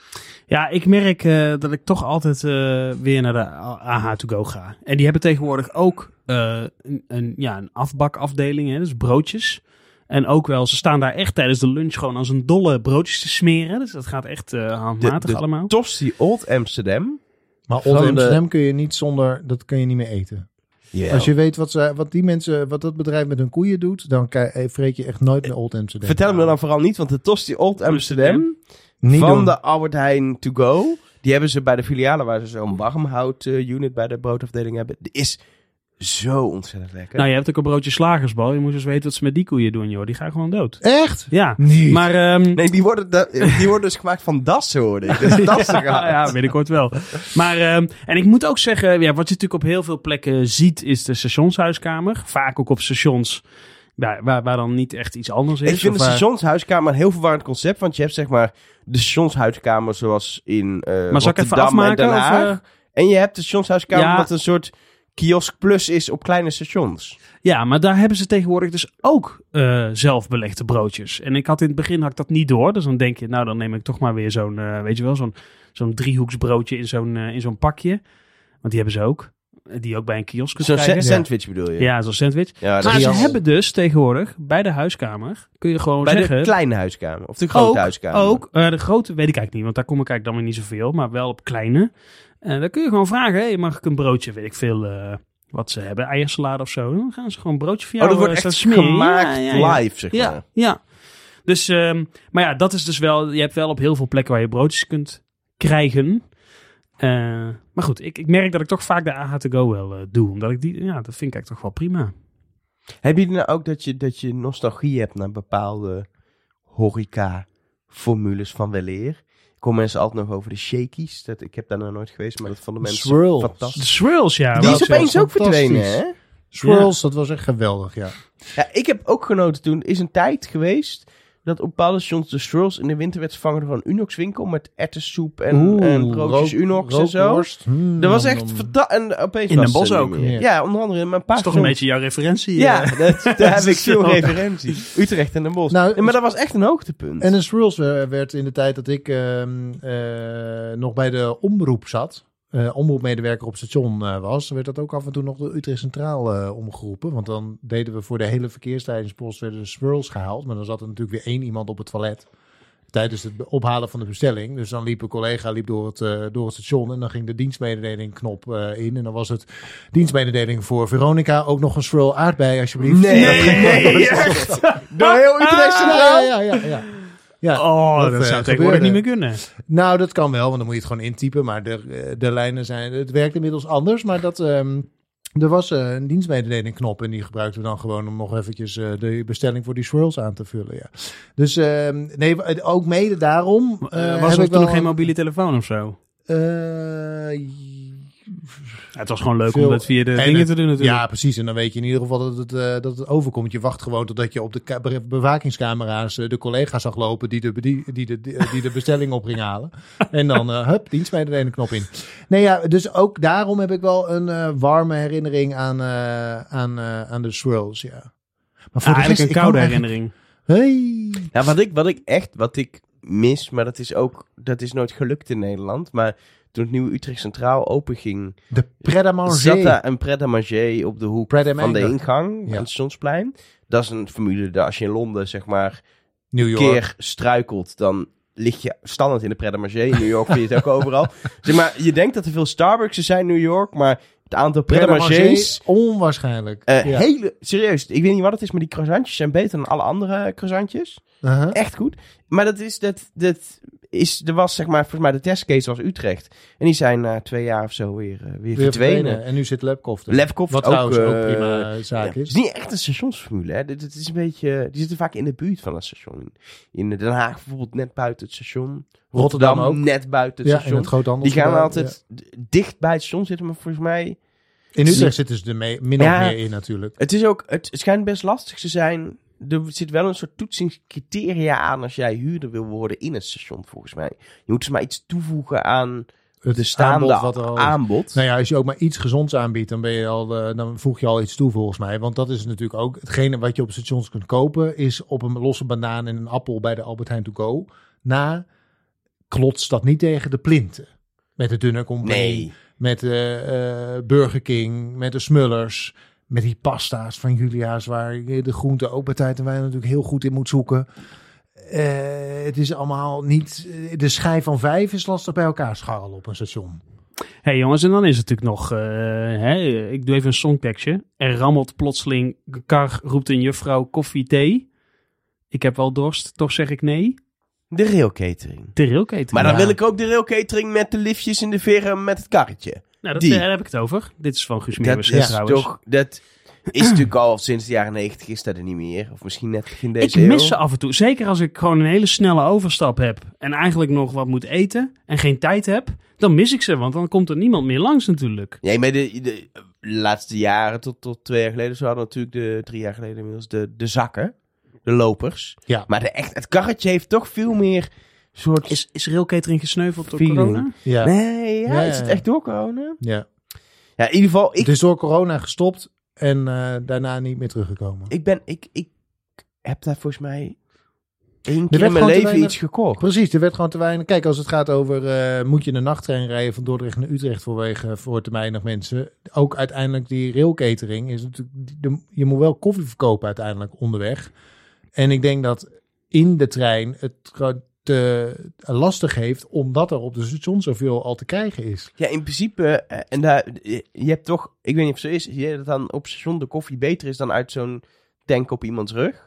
[SPEAKER 3] ja, ik merk eh, dat ik toch altijd eh, weer naar de AH to go ga. En die hebben tegenwoordig ook eh, een, een, ja, een afbakafdeling, hè, dus broodjes. En ook wel, ze staan daar echt tijdens de lunch gewoon als een dolle broodjes te smeren. Dus dat gaat echt eh, handmatig
[SPEAKER 5] De- de-
[SPEAKER 3] allemaal.
[SPEAKER 5] Tosti Old Amsterdam.
[SPEAKER 6] Maar
[SPEAKER 5] Van
[SPEAKER 6] Old
[SPEAKER 5] de-
[SPEAKER 6] Amsterdam kun je niet zonder, dat kun je niet meer eten. Als je weet wat, ze, wat die mensen, wat dat bedrijf met hun koeien doet, dan ki- eh, vreet je echt nooit meer Old Amsterdam.
[SPEAKER 5] Vertel me dan vooral niet, want de Tosti Old Amsterdam...
[SPEAKER 6] Niet
[SPEAKER 5] van
[SPEAKER 6] doen.
[SPEAKER 5] de Albert Heijn To Go. Die hebben ze bij de filialen waar ze zo'n warmhout-unit bij de broodafdeling hebben. Die is zo ontzettend lekker.
[SPEAKER 3] Nou, je hebt ook een broodje slagersbal. Je moet eens weten wat ze met die koeien doen, joh. Die gaan gewoon dood.
[SPEAKER 6] Echt?
[SPEAKER 3] Ja,
[SPEAKER 6] Nee.
[SPEAKER 3] maar... ehm,
[SPEAKER 5] Nee, die worden, da- die worden dus gemaakt van dassen, hoorde ik. Dus dassen
[SPEAKER 3] ja, ja, binnenkort wel. Maar, ehm, en ik moet ook zeggen, ja, wat je natuurlijk op heel veel plekken ziet, is de stationshuiskamer. Vaak ook op stations waar, waar, waar dan niet echt iets anders is.
[SPEAKER 5] Ik vind
[SPEAKER 3] of
[SPEAKER 5] de
[SPEAKER 3] waar-
[SPEAKER 5] stationshuiskamer een heel verwarrend concept. Want je hebt zeg maar de stationshuiskamer zoals in eh
[SPEAKER 3] maar zal ik even
[SPEAKER 5] Rotterdam en
[SPEAKER 3] afmaken?
[SPEAKER 5] Den Haag.
[SPEAKER 3] of, eh,
[SPEAKER 5] En je hebt de stationshuiskamer
[SPEAKER 3] Ja.
[SPEAKER 5] wat een soort kiosk plus is op kleine stations.
[SPEAKER 3] ja, maar daar hebben ze tegenwoordig dus ook eh zelf belegde broodjes. En ik had in het begin had ik dat niet door. Dus dan denk je, nou dan neem ik toch maar weer zo'n, eh, weet je wel, zo'n, zo'n driehoeksbroodje in zo'n, eh, in zo'n pakje. Want die hebben ze ook. die je ook bij een kiosk kunt
[SPEAKER 5] Zo'n sa-
[SPEAKER 3] krijgen.
[SPEAKER 5] sandwich bedoel je?
[SPEAKER 3] Ja, zo'n sandwich.
[SPEAKER 5] Ja, dat
[SPEAKER 3] Maar
[SPEAKER 5] is-
[SPEAKER 3] ze
[SPEAKER 6] kiosk.
[SPEAKER 3] hebben dus tegenwoordig bij de huiskamer, kun je gewoon
[SPEAKER 5] bij
[SPEAKER 3] zeggen...
[SPEAKER 5] de kleine huiskamer. Of de grote
[SPEAKER 3] ook,
[SPEAKER 5] huiskamer.
[SPEAKER 3] Ook, eh, de grote weet ik eigenlijk niet, want daar kom ik eigenlijk dan weer niet zoveel, maar wel op kleine. En dan kun je gewoon vragen, hey, mag ik een broodje, weet ik veel, eh, wat ze hebben, eiersalade of zo. Dan gaan ze gewoon een broodje voor
[SPEAKER 5] Oh,
[SPEAKER 3] jou
[SPEAKER 5] dat wordt
[SPEAKER 3] eh,
[SPEAKER 5] echt
[SPEAKER 3] staan smeren.
[SPEAKER 5] gemaakt
[SPEAKER 3] Ja, ja, ja.
[SPEAKER 5] live, zeg maar.
[SPEAKER 3] Ja, ja. Dus, ehm, maar ja, dat is dus wel, je hebt wel op heel veel plekken waar je broodjes kunt krijgen. Eh, maar goed, ik, ik merk dat ik toch vaak de AH to go wel eh, doe, omdat ik die, ja, dat vind ik eigenlijk toch wel prima.
[SPEAKER 5] Heb je nou ook dat je, dat je nostalgie hebt naar bepaalde horeca-formules van weleer? Ik hoor mensen altijd nog over de shakies. Dat, ik heb daar nog nooit geweest, maar dat vonden
[SPEAKER 6] De
[SPEAKER 5] mensen
[SPEAKER 6] swirls.
[SPEAKER 3] De
[SPEAKER 5] fantastisch.
[SPEAKER 3] swirls, ja.
[SPEAKER 5] Die
[SPEAKER 3] wel
[SPEAKER 5] is
[SPEAKER 3] zo.
[SPEAKER 5] opeens ook verdwenen,
[SPEAKER 6] fantastisch.
[SPEAKER 5] hè?
[SPEAKER 6] Swirls, dat was echt geweldig, ja.
[SPEAKER 5] Ja, ik heb ook genoten toen. Er is een tijd geweest dat op bepaalde stations de swirls in de winter werd vervangen door een Unox-winkel met ertessoep en, en broodjes Unox en zo.
[SPEAKER 6] rookworst. Hmm,
[SPEAKER 5] Dat was
[SPEAKER 6] nom,
[SPEAKER 5] echt
[SPEAKER 6] nom.
[SPEAKER 5] verda- en opeens
[SPEAKER 3] In
[SPEAKER 5] was
[SPEAKER 3] Den
[SPEAKER 5] het
[SPEAKER 3] Bosch
[SPEAKER 5] er
[SPEAKER 3] ook.
[SPEAKER 5] niet meer.
[SPEAKER 6] Ja.
[SPEAKER 5] Ja. onder andere maar een paar
[SPEAKER 3] Dat is toch een
[SPEAKER 5] stations-
[SPEAKER 3] beetje jouw referentie.
[SPEAKER 5] Ja,
[SPEAKER 3] eh.
[SPEAKER 5] dat, daar heb
[SPEAKER 3] is
[SPEAKER 5] ik veel
[SPEAKER 3] wel-
[SPEAKER 5] referentie. Utrecht en Den Bosch.
[SPEAKER 6] Nou,
[SPEAKER 5] Nee, maar dat was echt een hoogtepunt.
[SPEAKER 6] En de Swirls eh, werd in de tijd dat ik ehm, eh, nog bij de omroep zat, eh, omroepmedewerker op station eh, was, werd dat ook af en toe nog door Utrecht Centraal eh, omgeroepen. Want dan deden we voor de hele verkeerstijdingspost werden de Swirls gehaald. Maar dan zat er natuurlijk weer één iemand op het toilet tijdens het ophalen van de bestelling. Dus dan liep een collega liep door, het, eh, door het station en dan ging de dienstmededeling knop eh, in. En dan was het dienstmededeling voor Veronica ook nog een Swirl aardbei alsjeblieft.
[SPEAKER 5] Nee,
[SPEAKER 6] Dat ging-
[SPEAKER 3] nee, echt.
[SPEAKER 5] Door heel Utrecht
[SPEAKER 6] ja,
[SPEAKER 5] Centraal.
[SPEAKER 6] ja, ja, ja. ja.
[SPEAKER 3] Ah! Oh, dat,
[SPEAKER 6] Dat, eh,
[SPEAKER 3] zou tegenwoordig
[SPEAKER 6] gebeurde.
[SPEAKER 3] niet meer kunnen.
[SPEAKER 6] Nou, dat kan wel, want dan moet je het gewoon intypen. Maar de, eh, de lijnen zijn. Het werkt inmiddels anders. Maar dat. ehm, er was eh, een dienstmededeling knop en die gebruikten we dan gewoon om nog eventjes eh, de bestelling voor die swirls aan te vullen. Ja. Dus ehm, nee, wa- eh, ook mede daarom. eh,
[SPEAKER 3] Eh,
[SPEAKER 6] heb
[SPEAKER 3] was er
[SPEAKER 6] ik
[SPEAKER 3] toen nog
[SPEAKER 6] wel-
[SPEAKER 3] geen mobiele telefoon of zo?
[SPEAKER 6] Eh,
[SPEAKER 3] Ja, het was gewoon leuk om
[SPEAKER 6] Veel-
[SPEAKER 3] dat via de
[SPEAKER 6] en
[SPEAKER 3] dingen
[SPEAKER 6] het-
[SPEAKER 3] te doen natuurlijk. Ah,
[SPEAKER 6] ja, precies. En dan weet je in ieder geval dat het, eh, dat het overkomt. Je wacht gewoon totdat je op de ka- be- bewakingscamera's eh, de collega's zag lopen die de, be- die, die de, die, die de bestelling op ging halen. En dan, eh hup, dienstmededeling knop in. Nee, ja, dus ook daarom heb ik wel een eh, warme herinnering aan, eh, aan, eh, aan de swirls, ja. Maar
[SPEAKER 3] Ah, eigenlijk
[SPEAKER 6] rest,
[SPEAKER 3] een
[SPEAKER 6] ik
[SPEAKER 3] koude
[SPEAKER 6] kan
[SPEAKER 3] herinnering.
[SPEAKER 6] eigenlijk- Hey.
[SPEAKER 5] Ja, wat ik, wat ik echt, wat ik mis, maar dat is ook, dat is nooit gelukt in Nederland. Maar toen het nieuwe Utrecht Centraal openging,
[SPEAKER 6] De Preda
[SPEAKER 5] zat
[SPEAKER 6] Manger.
[SPEAKER 5] daar een pret à manger op de hoek
[SPEAKER 6] Pret à
[SPEAKER 5] van de
[SPEAKER 6] manger.
[SPEAKER 5] ingang
[SPEAKER 6] Ja.
[SPEAKER 5] aan het Stationsplein. Dat is een formule dat als je in Londen zeg maar
[SPEAKER 6] New
[SPEAKER 5] een
[SPEAKER 6] York.
[SPEAKER 5] keer struikelt, dan lig je standaard in de pret à manger. In New York vind je het ook overal. Zeg maar, je denkt dat er veel Starbucks zijn in New York, maar het aantal pret à
[SPEAKER 6] Pret à
[SPEAKER 5] mangers...
[SPEAKER 6] Manger, Onwaarschijnlijk.
[SPEAKER 5] eh,
[SPEAKER 6] Ja.
[SPEAKER 5] Hele, serieus, ik weet niet wat het is, maar die croissantjes zijn beter dan alle andere croissantjes.
[SPEAKER 6] Uh-huh.
[SPEAKER 5] Echt goed. Maar dat is, dat, dat is, er was zeg maar, volgens mij de testcase was Utrecht. En die zijn na twee jaar of zo weer, eh, weer,
[SPEAKER 6] Weer
[SPEAKER 5] verdwenen.
[SPEAKER 6] verdwenen. En nu zit Lepkoff er.
[SPEAKER 5] Lepkoff
[SPEAKER 6] Wat
[SPEAKER 5] ook,
[SPEAKER 6] trouwens ook
[SPEAKER 5] eh,
[SPEAKER 6] prima eh,
[SPEAKER 5] Ja,
[SPEAKER 6] zaak
[SPEAKER 5] het is
[SPEAKER 6] is.
[SPEAKER 5] niet echt een stationsformule. Hè. Dit, dit is een beetje, eh, die zitten vaak in de buurt van het station. In Den Haag bijvoorbeeld net buiten het station.
[SPEAKER 6] Rotterdam
[SPEAKER 5] Rotterdam,
[SPEAKER 6] ook.
[SPEAKER 5] net buiten het
[SPEAKER 6] Ja, in
[SPEAKER 5] station.
[SPEAKER 6] het groothandel.
[SPEAKER 5] dus die gaan altijd d- dicht bij het station zitten, maar volgens mij...
[SPEAKER 6] In Utrecht zitten ze er mee, min of
[SPEAKER 5] Ja.
[SPEAKER 6] meer in natuurlijk.
[SPEAKER 5] Het, is ook, het schijnt best lastig te zijn. Er zit wel een soort toetsingscriteria aan als jij huurder wil worden in het station, volgens mij. Je moet dus maar iets toevoegen aan
[SPEAKER 6] Het
[SPEAKER 5] de staande
[SPEAKER 6] aanbod
[SPEAKER 5] aanbod.
[SPEAKER 6] wat er al is. Nou ja, als je ook maar iets gezonds aanbiedt, dan, ben je al, eh, dan voeg je al iets toe volgens mij. Want dat is natuurlijk ook hetgene wat je op stations kunt kopen, is op een losse banaan en een appel bij de Albert Heijn To Go. Na klotst dat niet tegen de plinten. Met de dunne compagnie,
[SPEAKER 5] nee.
[SPEAKER 6] met eh, eh, Burger King, met de Smullers, met die pasta's van Julia's, waar je de groente ook bij tijd en wijn natuurlijk heel goed in moet zoeken. Eh, het is allemaal niet. eh, De schijf van vijf is lastig bij elkaar scharrelen op een station.
[SPEAKER 3] hey, jongens, en dan is het natuurlijk nog... eh, hè, ik doe even een songtekstje. Er rammelt plotseling een kar, roept een juffrouw koffie, thee. Ik heb wel dorst, toch zeg ik nee.
[SPEAKER 5] De rail catering.
[SPEAKER 3] De railketen.
[SPEAKER 5] Maar dan
[SPEAKER 6] Ja.
[SPEAKER 5] wil ik ook de rail catering met de liftjes in de veren met het karretje.
[SPEAKER 3] nou, dat,
[SPEAKER 5] die.
[SPEAKER 3] daar heb ik het over. Dit is van Guus
[SPEAKER 5] Dat
[SPEAKER 3] Meeuwis
[SPEAKER 5] is
[SPEAKER 3] trouwens.
[SPEAKER 5] toch... Dat is natuurlijk al sinds de jaren negentig is dat er niet meer. Of misschien net begin
[SPEAKER 3] Ik
[SPEAKER 5] deze
[SPEAKER 3] mis ze
[SPEAKER 5] eeuw.
[SPEAKER 3] af en toe. Zeker als ik gewoon een hele snelle overstap heb. En eigenlijk nog wat moet eten. En geen tijd heb. Dan mis ik ze. Want dan komt er niemand meer langs natuurlijk.
[SPEAKER 5] Nee, maar de, de laatste jaren tot, tot twee jaar geleden... zo hadden we natuurlijk de drie jaar geleden inmiddels de, de zakken. De lopers.
[SPEAKER 6] Ja.
[SPEAKER 5] Maar de, echt, het karretje heeft toch veel meer soort...
[SPEAKER 3] Is, is railcatering gesneuveld door
[SPEAKER 5] Feeling.
[SPEAKER 3] corona?
[SPEAKER 6] Ja.
[SPEAKER 5] Nee, ja,
[SPEAKER 6] Ja,
[SPEAKER 5] is het
[SPEAKER 6] ja.
[SPEAKER 5] echt door corona?
[SPEAKER 6] ja.
[SPEAKER 5] Ja, in ieder geval, ik,
[SPEAKER 6] Het is door corona gestopt en eh, daarna niet meer teruggekomen.
[SPEAKER 5] ik ben... Ik, ik heb daar volgens mij
[SPEAKER 6] werd
[SPEAKER 5] één keer in mijn
[SPEAKER 6] gewoon te
[SPEAKER 5] leven
[SPEAKER 6] weinig-
[SPEAKER 5] iets gekocht.
[SPEAKER 6] Precies, er werd gewoon te weinig. Kijk, als het gaat over eh, moet je in de nachttrein rijden van Dordrecht naar Utrecht voorwege voor te weinig mensen. Ook uiteindelijk die railcatering is natuurlijk. de- je moet wel koffie verkopen uiteindelijk onderweg. En ik denk dat in de trein het gewoon te lastig heeft omdat er op de station zoveel al te krijgen is.
[SPEAKER 5] Ja, in principe, eh, en daar, je je hebt toch, ik weet niet of het zo is, zie je dat dan op station de koffie beter is dan uit zo'n tank op iemands rug?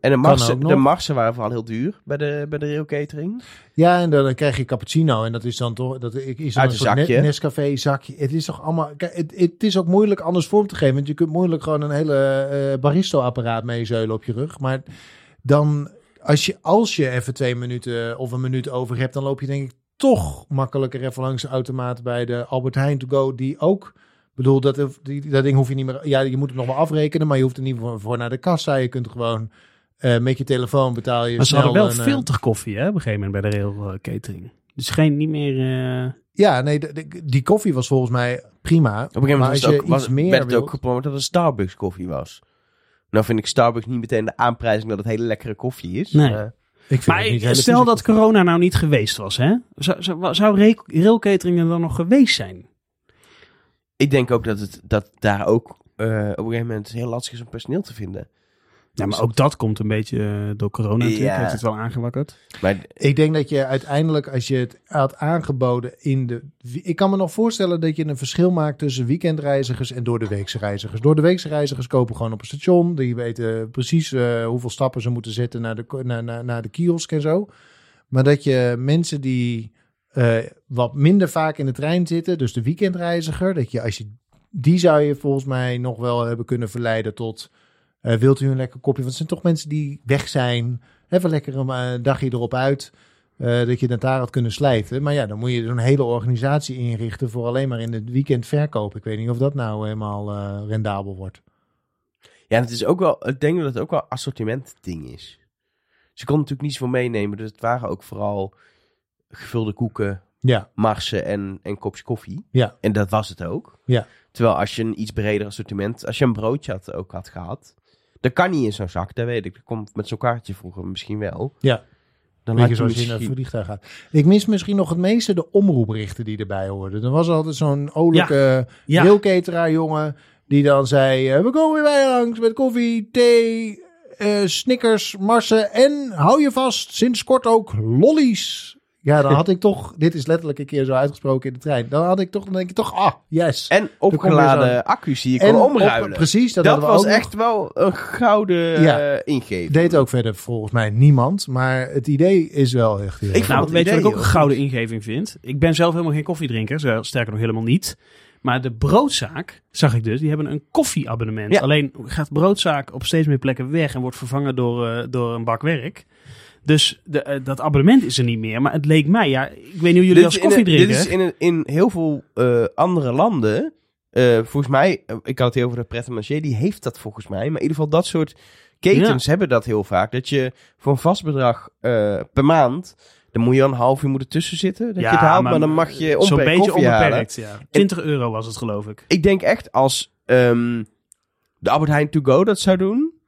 [SPEAKER 5] En de marsen,
[SPEAKER 6] ook nog.
[SPEAKER 5] de marsen waren vooral heel duur bij de, bij de rail catering.
[SPEAKER 6] Ja, en dan, dan krijg je cappuccino. En dat is dan toch. Dat is dan
[SPEAKER 5] Uit
[SPEAKER 6] een
[SPEAKER 5] een
[SPEAKER 6] soort Ne-
[SPEAKER 5] zakje.
[SPEAKER 6] Nescafé zakje. Het is toch allemaal. Kijk, het, het is ook moeilijk anders vorm te geven. Want je kunt moeilijk gewoon een hele eh baristo-apparaat meezeulen op je rug. Maar dan. Als je, als je even twee minuten of een minuut over hebt, dan loop je denk ik toch makkelijker even langs de automaat bij de Albert Heijn to go. Die ook. Ik bedoel, dat, die, dat ding hoef je niet meer. Ja, je moet het nog wel afrekenen, maar je hoeft er niet voor, voor naar de kassa. Je kunt gewoon eh, met je telefoon betaal je.
[SPEAKER 3] Maar ze
[SPEAKER 6] snel
[SPEAKER 3] hadden wel
[SPEAKER 6] een, eh,
[SPEAKER 3] filterkoffie hè, op een gegeven moment bij de rail eh, catering. Dus geen niet meer... eh,
[SPEAKER 6] Ja, nee, de- de- die koffie was volgens mij prima.
[SPEAKER 5] Op een gegeven
[SPEAKER 6] maar
[SPEAKER 5] moment
[SPEAKER 6] als
[SPEAKER 5] was
[SPEAKER 6] je
[SPEAKER 5] het ook,
[SPEAKER 6] iets
[SPEAKER 5] was,
[SPEAKER 6] meer
[SPEAKER 5] werd het
[SPEAKER 6] wilt-
[SPEAKER 5] ook gepromoot dat het Starbucks koffie was. Nou vind ik Starbucks niet meteen de aanprijzing dat het hele lekkere koffie is.
[SPEAKER 3] Nee.
[SPEAKER 5] Eh,
[SPEAKER 6] ik vind
[SPEAKER 3] Maar
[SPEAKER 6] het niet
[SPEAKER 3] ik-
[SPEAKER 6] hele
[SPEAKER 3] stel
[SPEAKER 6] vieze
[SPEAKER 3] dat
[SPEAKER 6] koffie.
[SPEAKER 3] corona nou niet geweest was, hè? Zou, zou, zou re- railcatering er dan nog geweest zijn?
[SPEAKER 5] ik denk ook dat, het, dat daar ook eh, op een gegeven moment heel lastig is om personeel te vinden. Dus-
[SPEAKER 3] Ja, maar ook dat komt een beetje eh, door corona natuurlijk.
[SPEAKER 5] Ja.
[SPEAKER 3] Heeft het wel aangewakkerd.
[SPEAKER 5] Maar
[SPEAKER 6] Ik denk dat je uiteindelijk, als je het had aangeboden in de... Ik kan me nog voorstellen dat je een verschil maakt tussen weekendreizigers en doordeweekse reizigers. Doordeweekse reizigers kopen gewoon op een station. Die weten precies eh, hoeveel stappen ze moeten zetten naar de, ko- naar, naar, naar de kiosk en zo. Maar dat je mensen die eh, wat minder vaak in de trein zitten, dus de weekendreiziger, dat je als je die zou je volgens mij nog wel hebben kunnen verleiden tot eh, wilt u een lekker kopje? Want het zijn toch mensen die weg zijn, even lekker een eh, dagje erop uit. eh, dat je het daar had kunnen slijten. Maar ja, dan moet je zo'n hele organisatie inrichten voor alleen maar in het weekend verkopen. Ik weet niet of dat nou helemaal eh, rendabel wordt.
[SPEAKER 5] Ja, het is ook wel, ik denk dat het ook wel assortiment ding is. Ze kon natuurlijk niet zoveel meenemen, dus het waren ook vooral gevulde koeken,
[SPEAKER 6] Ja,
[SPEAKER 5] marsen en, en kopjes koffie.
[SPEAKER 6] Ja.
[SPEAKER 5] En dat was het ook.
[SPEAKER 6] Ja.
[SPEAKER 5] Terwijl als je een iets breder assortiment, als je een broodje had, ook had gehad, dat kan niet in zo'n zak, dat weet ik. Dat komt met zo'n kaartje vroeger misschien wel.
[SPEAKER 6] ja.
[SPEAKER 5] Dan
[SPEAKER 6] Weet
[SPEAKER 5] had
[SPEAKER 6] je,
[SPEAKER 5] je
[SPEAKER 6] zoals je naar het
[SPEAKER 5] misschien...
[SPEAKER 6] vliegtuig gaat. Ik mis misschien nog het meeste de omroeprichten die erbij hoorden. Er was altijd zo'n olijke
[SPEAKER 3] Ja.
[SPEAKER 6] railcateraar jongen die dan zei... eh, we komen weer bij je langs met koffie, thee, eh, snickers, marsen en hou je vast, sinds kort ook lollies. Ja, dan had ik toch... Dit is letterlijk een keer zo uitgesproken in de trein. Dan had ik toch, dan denk ik toch, ah, yes.
[SPEAKER 5] En
[SPEAKER 6] weer zo'n-
[SPEAKER 5] opgeladen accu's die je kon
[SPEAKER 6] op-
[SPEAKER 5] omruilen.
[SPEAKER 6] precies, dat,
[SPEAKER 5] dat
[SPEAKER 6] hadden we
[SPEAKER 5] was
[SPEAKER 6] ook nog.
[SPEAKER 5] echt wel een gouden
[SPEAKER 6] Ja.
[SPEAKER 5] eh, ingeving.
[SPEAKER 6] Deed ook verder volgens mij niemand, maar het idee is wel echt... heel
[SPEAKER 5] Ik vond
[SPEAKER 3] Nou,
[SPEAKER 5] het
[SPEAKER 3] weet je wat ik
[SPEAKER 5] idee
[SPEAKER 3] ook een
[SPEAKER 5] heel
[SPEAKER 3] gouden ingeving vind? Ik ben zelf helemaal geen koffiedrinker, zo- sterker nog helemaal niet. Maar de broodzaak, zag ik dus, die hebben een koffieabonnement.
[SPEAKER 5] Ja.
[SPEAKER 3] Alleen gaat broodzaak op steeds meer plekken weg en wordt vervangen door, eh, door een bak werk. Dus de, eh, dat abonnement is er niet meer. Maar het leek mij, ja, ik weet niet hoe jullie als
[SPEAKER 5] is in een-
[SPEAKER 3] koffiedrinker...
[SPEAKER 5] Dit is in, een- in heel veel eh, andere landen. eh, volgens mij, eh, ik had het heel over de pret-à-manger, die heeft dat volgens mij. Maar in ieder geval dat soort ketens hebben dat heel vaak. Dat je voor een vast bedrag eh, per maand, dan moet je een half uur moeten tussen zitten. Dat je het haalt, maar, dan mag je
[SPEAKER 3] Zo'n
[SPEAKER 5] onbeperkt
[SPEAKER 3] beetje
[SPEAKER 5] koffie halen.
[SPEAKER 3] onbeperkt, ja. 20 euro was het, geloof ik.
[SPEAKER 5] Ik denk echt als ehm, de Albert Heijn To Go dat zou doen,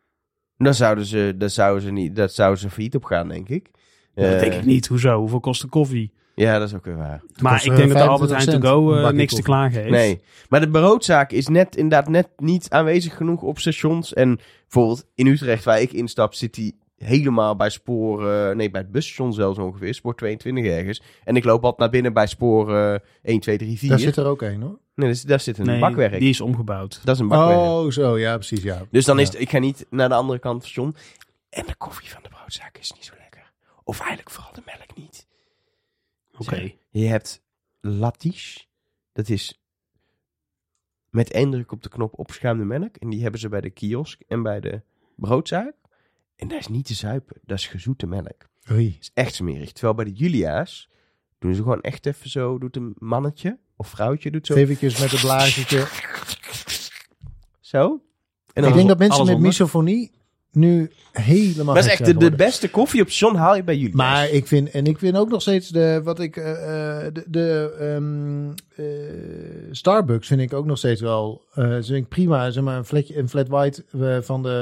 [SPEAKER 5] dan zouden ze, dat zouden ze, niet, dat zouden ze failliet op gaan, denk ik.
[SPEAKER 3] dat
[SPEAKER 5] Eh,
[SPEAKER 3] denk ik niet. Hoezo? Hoeveel kost een koffie?
[SPEAKER 5] Ja, dat is ook weer waar.
[SPEAKER 3] Maar
[SPEAKER 6] kost,
[SPEAKER 3] ik
[SPEAKER 6] eh,
[SPEAKER 3] denk dat de
[SPEAKER 6] 25
[SPEAKER 3] Albert Heijn
[SPEAKER 6] cent
[SPEAKER 3] To Go eh,
[SPEAKER 6] een bakje
[SPEAKER 3] niks te
[SPEAKER 6] koffie.
[SPEAKER 3] klagen heeft.
[SPEAKER 5] Nee, maar de broodzaak is net inderdaad net niet aanwezig genoeg op stations. En bijvoorbeeld in Utrecht, waar ik instap, zit die helemaal bij spoor... eh, nee, bij het busstation zelfs ongeveer, spoor 22 ergens. En ik loop altijd naar binnen bij spoor eh 1, 2, 3, 4.
[SPEAKER 6] Daar zit er ook een hoor.
[SPEAKER 5] Nee, daar zit, daar zit een
[SPEAKER 3] Nee,
[SPEAKER 5] bakwerk.
[SPEAKER 3] die is omgebouwd.
[SPEAKER 5] Dat is een bakwerk.
[SPEAKER 6] Oh, zo, ja, precies, ja.
[SPEAKER 5] Dus dan
[SPEAKER 6] Ja.
[SPEAKER 5] is het, ik ga niet naar de andere kant van het station. En de koffie van de broodzaak is niet zo lekker. Of eigenlijk vooral de melk niet.
[SPEAKER 3] Oké.
[SPEAKER 5] Je hebt lattice. Dat is met één druk op de knop opschuimde melk. En die hebben ze bij de kiosk en bij de broodzaak. En dat is niet te zuipen. Dat is gezoete melk. Dat
[SPEAKER 6] Oei.
[SPEAKER 5] is echt smerig. Terwijl bij de Julia's doen ze gewoon echt even zo. Doet een mannetje of vrouwtje doet zo.
[SPEAKER 6] Eventjes met een blaasje.
[SPEAKER 5] Zo. En
[SPEAKER 6] Ik denk dat mensen
[SPEAKER 3] alles
[SPEAKER 6] met
[SPEAKER 3] onder.
[SPEAKER 6] misofonie nu helemaal
[SPEAKER 5] dat is
[SPEAKER 6] gek zijn
[SPEAKER 5] echt de, de
[SPEAKER 6] geworden.
[SPEAKER 5] beste koffie op station haal je bij Julia's.
[SPEAKER 6] Maar ik vind, en ik vind ook nog steeds de, wat ik, eh, eh, de, de ehm, eh, Starbucks vind ik ook nog steeds wel, eh vind ik prima, zeg maar, een, flatje, een flat white eh, van de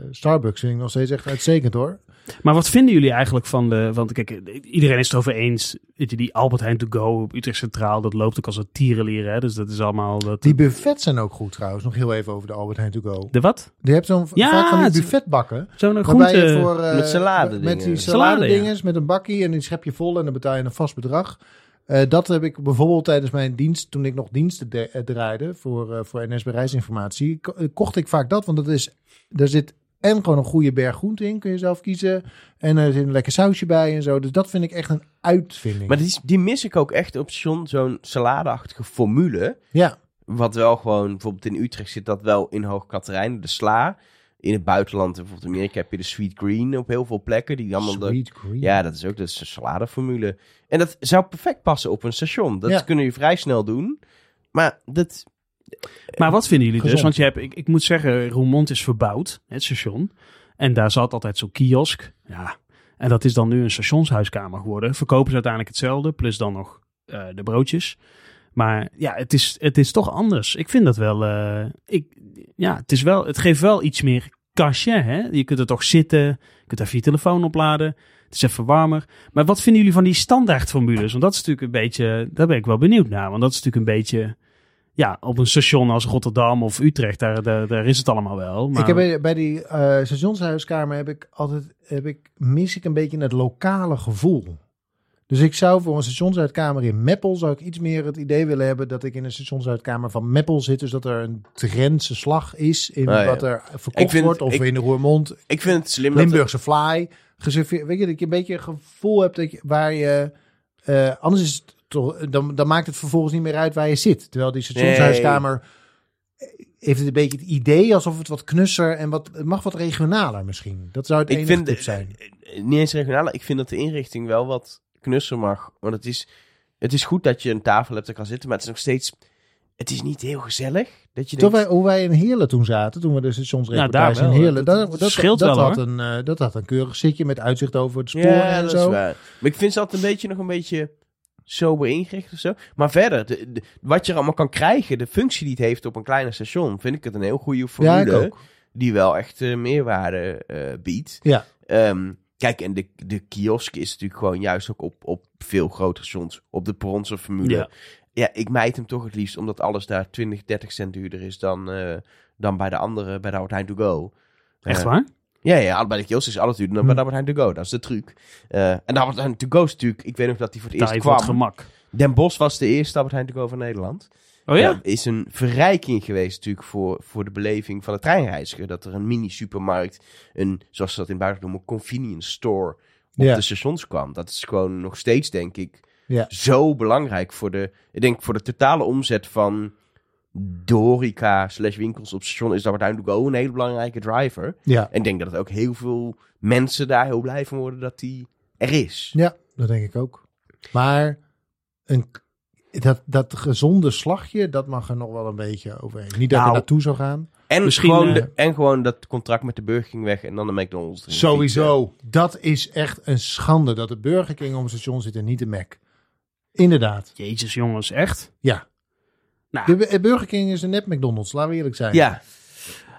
[SPEAKER 6] eh, Starbucks vind ik nog steeds echt uitstekend hoor.
[SPEAKER 3] Maar wat vinden jullie eigenlijk van de... Want kijk, iedereen is het erover eens. Weet je, die Albert Heijn to go op Utrecht Centraal, dat loopt ook als een tierenlier. Hè? Dus dat is allemaal... Dat,
[SPEAKER 6] Die buffets zijn ook goed trouwens. Nog heel even over de Albert Heijn to go.
[SPEAKER 3] de wat?
[SPEAKER 6] Die hebt zo'n
[SPEAKER 3] Ja,
[SPEAKER 6] vaak van
[SPEAKER 3] het
[SPEAKER 6] die
[SPEAKER 3] is-
[SPEAKER 6] buffetbakken.
[SPEAKER 3] Zo'n
[SPEAKER 6] Waarbij je
[SPEAKER 3] groente...
[SPEAKER 6] voor, eh,
[SPEAKER 5] met salade
[SPEAKER 6] Met
[SPEAKER 5] dingen.
[SPEAKER 6] die
[SPEAKER 3] Salade,
[SPEAKER 6] salade dinges, met een bakkie en die schep je vol en dan betaal je een vast bedrag. Eh, dat heb ik bijvoorbeeld tijdens mijn dienst, toen ik nog diensten de- eh, draaide voor, eh, voor NS Reisinformatie, ko- eh, kocht ik vaak dat. Want dat is, daar zit en gewoon een goede berg groente in, kun je zelf kiezen. En er zit een lekker sausje bij en zo. Dus dat vind ik echt een uitvinding.
[SPEAKER 5] Maar die, die mis ik ook echt op station, zo'n saladeachtige formule.
[SPEAKER 6] ja,
[SPEAKER 5] Wat wel gewoon, bijvoorbeeld in Utrecht zit dat wel in Hoog-Katerijnen, de sla. In het buitenland, bijvoorbeeld Amerika, heb je de sweet green op heel veel plekken. Die allemaal de-
[SPEAKER 6] sweet green.
[SPEAKER 5] Ja, dat is ook dat is een saladeformule. En dat zou perfect passen op een station. Dat
[SPEAKER 6] Ja.
[SPEAKER 5] kunnen je vrij snel doen. Maar dat...
[SPEAKER 3] Maar wat vinden jullie dus?
[SPEAKER 6] Gezond.
[SPEAKER 3] Want je hebt, ik, ik moet zeggen, Roermond is verbouwd, het station. En daar zat altijd zo'n kiosk. Ja. En dat is dan nu een stationshuiskamer geworden. Verkopen ze uiteindelijk hetzelfde, plus dan nog eh, de broodjes. Maar ja, het is, het is toch anders. Ik vind dat wel. eh, ik, ja, het, is wel het geeft wel iets meer cachet. Hè? Je kunt er toch zitten, je kunt even je telefoon opladen. Het is even warmer. Maar wat vinden jullie van die standaardformules? Want dat is natuurlijk een beetje. Daar ben ik wel benieuwd naar. Want dat is natuurlijk een beetje ja, op een station als Rotterdam of Utrecht, daar, daar, daar is het allemaal wel. Maar
[SPEAKER 6] Ik heb bij, bij die eh, stationshuiskamer heb ik altijd heb ik, mis ik een beetje het lokale gevoel. Dus ik zou voor een stationshuiskamer in Meppel zou ik iets meer het idee willen hebben dat ik in een stationshuiskamer van Meppel zit. Dus dat er een Drentse slag is in
[SPEAKER 5] Ah, ja.
[SPEAKER 6] wat er verkocht
[SPEAKER 5] Ik vind-
[SPEAKER 6] wordt. Of
[SPEAKER 5] ik-
[SPEAKER 6] in de Roermond,
[SPEAKER 5] Ik vind het slim dat...
[SPEAKER 6] Limburgse fly. Geserveerd, weet je, dat je een beetje een gevoel hebt dat je, waar je... eh, anders is het toch, dan, dan maakt het vervolgens niet meer uit waar je zit. Terwijl die stationshuiskamer... Heeft het een beetje het idee alsof het wat knusser en wat... Het mag wat regionaler misschien. Dat zou het
[SPEAKER 5] Ik
[SPEAKER 6] enige
[SPEAKER 5] vind
[SPEAKER 6] tip zijn.
[SPEAKER 5] eh, niet eens regionaal. Ik vind dat de inrichting wel wat knusser mag. Want het is, het is goed dat je een tafel hebt en kan zitten, maar het is nog steeds. Het is niet heel gezellig. Dat je
[SPEAKER 6] Toch
[SPEAKER 5] denkt,
[SPEAKER 6] wij, hoe wij in Heerlen toen zaten, toen we de
[SPEAKER 3] Ja,
[SPEAKER 6] stationsreportage
[SPEAKER 3] Nou, daar wel.
[SPEAKER 6] in Heerlen...
[SPEAKER 3] Dat-
[SPEAKER 6] Dat,
[SPEAKER 3] dat
[SPEAKER 6] dat,
[SPEAKER 3] scheelt
[SPEAKER 6] dat
[SPEAKER 3] wel,
[SPEAKER 6] had
[SPEAKER 3] hoor.
[SPEAKER 6] een, eh, dat had een keurig zitje met uitzicht over het spoor
[SPEAKER 5] ja,
[SPEAKER 6] en
[SPEAKER 5] dat
[SPEAKER 6] zo.
[SPEAKER 5] is waar. Maar ik vind ze altijd een beetje nog een beetje sober ingericht of zo. Maar verder, de- de- wat je er allemaal kan krijgen, de functie die het heeft op een kleine station, vind ik het een heel goede
[SPEAKER 6] Ja,
[SPEAKER 5] formule.
[SPEAKER 6] ik ook.
[SPEAKER 5] die wel echt eh, meerwaarde eh, biedt.
[SPEAKER 6] Ja.
[SPEAKER 5] Ehm, kijk, en de, de kiosk is natuurlijk gewoon juist ook op, op veel grotere stations, op de bronzen formule.
[SPEAKER 3] Ja.
[SPEAKER 5] Ja. ik mijt hem toch het liefst, omdat alles daar 20, 30 cent duurder is dan, eh, dan bij de andere, bij de Albert Heijn To Go.
[SPEAKER 3] echt
[SPEAKER 5] Eh,
[SPEAKER 3] waar?
[SPEAKER 5] Ja, ja, bij de kiosk is alles duurder dan
[SPEAKER 3] Hm.
[SPEAKER 5] bij de Albert Heijn To Go, dat is de truc. Eh, en de Albert Heijn To Go is natuurlijk, ik weet nog dat die voor het
[SPEAKER 3] Daar
[SPEAKER 5] eerst
[SPEAKER 3] heeft wat
[SPEAKER 5] kwam.
[SPEAKER 3] gemak.
[SPEAKER 5] Den Bosch was de eerste Albert Heijn To Go van Nederland.
[SPEAKER 3] Oh ja?
[SPEAKER 5] Ja, is een verrijking geweest natuurlijk voor, voor de beleving van de treinreiziger. Dat er een mini-supermarkt, een, zoals ze dat in het buitenland noemen, convenience store op
[SPEAKER 6] Ja.
[SPEAKER 5] de stations kwam. Dat is gewoon nog steeds, denk ik,
[SPEAKER 6] Ja.
[SPEAKER 5] zo belangrijk voor de, ik denk voor de totale omzet van de horeca slash winkels op station is dat uiteindelijk ook een hele belangrijke driver.
[SPEAKER 6] Ja.
[SPEAKER 5] En ik denk dat het ook heel veel mensen daar heel blij van worden dat die er is.
[SPEAKER 6] Ja, dat denk ik ook. Maar een, dat, dat gezonde slagje, dat mag er nog wel een beetje overheen. Niet dat
[SPEAKER 3] Nou,
[SPEAKER 6] je naartoe zou gaan.
[SPEAKER 5] En,
[SPEAKER 3] Misschien,
[SPEAKER 5] gewoon
[SPEAKER 3] eh,
[SPEAKER 5] de- en gewoon dat contract met de Burger King weg en dan de McDonald's. erin fietsen.
[SPEAKER 6] Sowieso. Dat is echt een schande dat de Burger King om het station zit en niet de Mac. Inderdaad.
[SPEAKER 3] Jezus jongens, echt?
[SPEAKER 6] Ja.
[SPEAKER 3] Nou.
[SPEAKER 6] De Bu- Burger King is een net McDonald's, laten we eerlijk zijn.
[SPEAKER 5] Ja,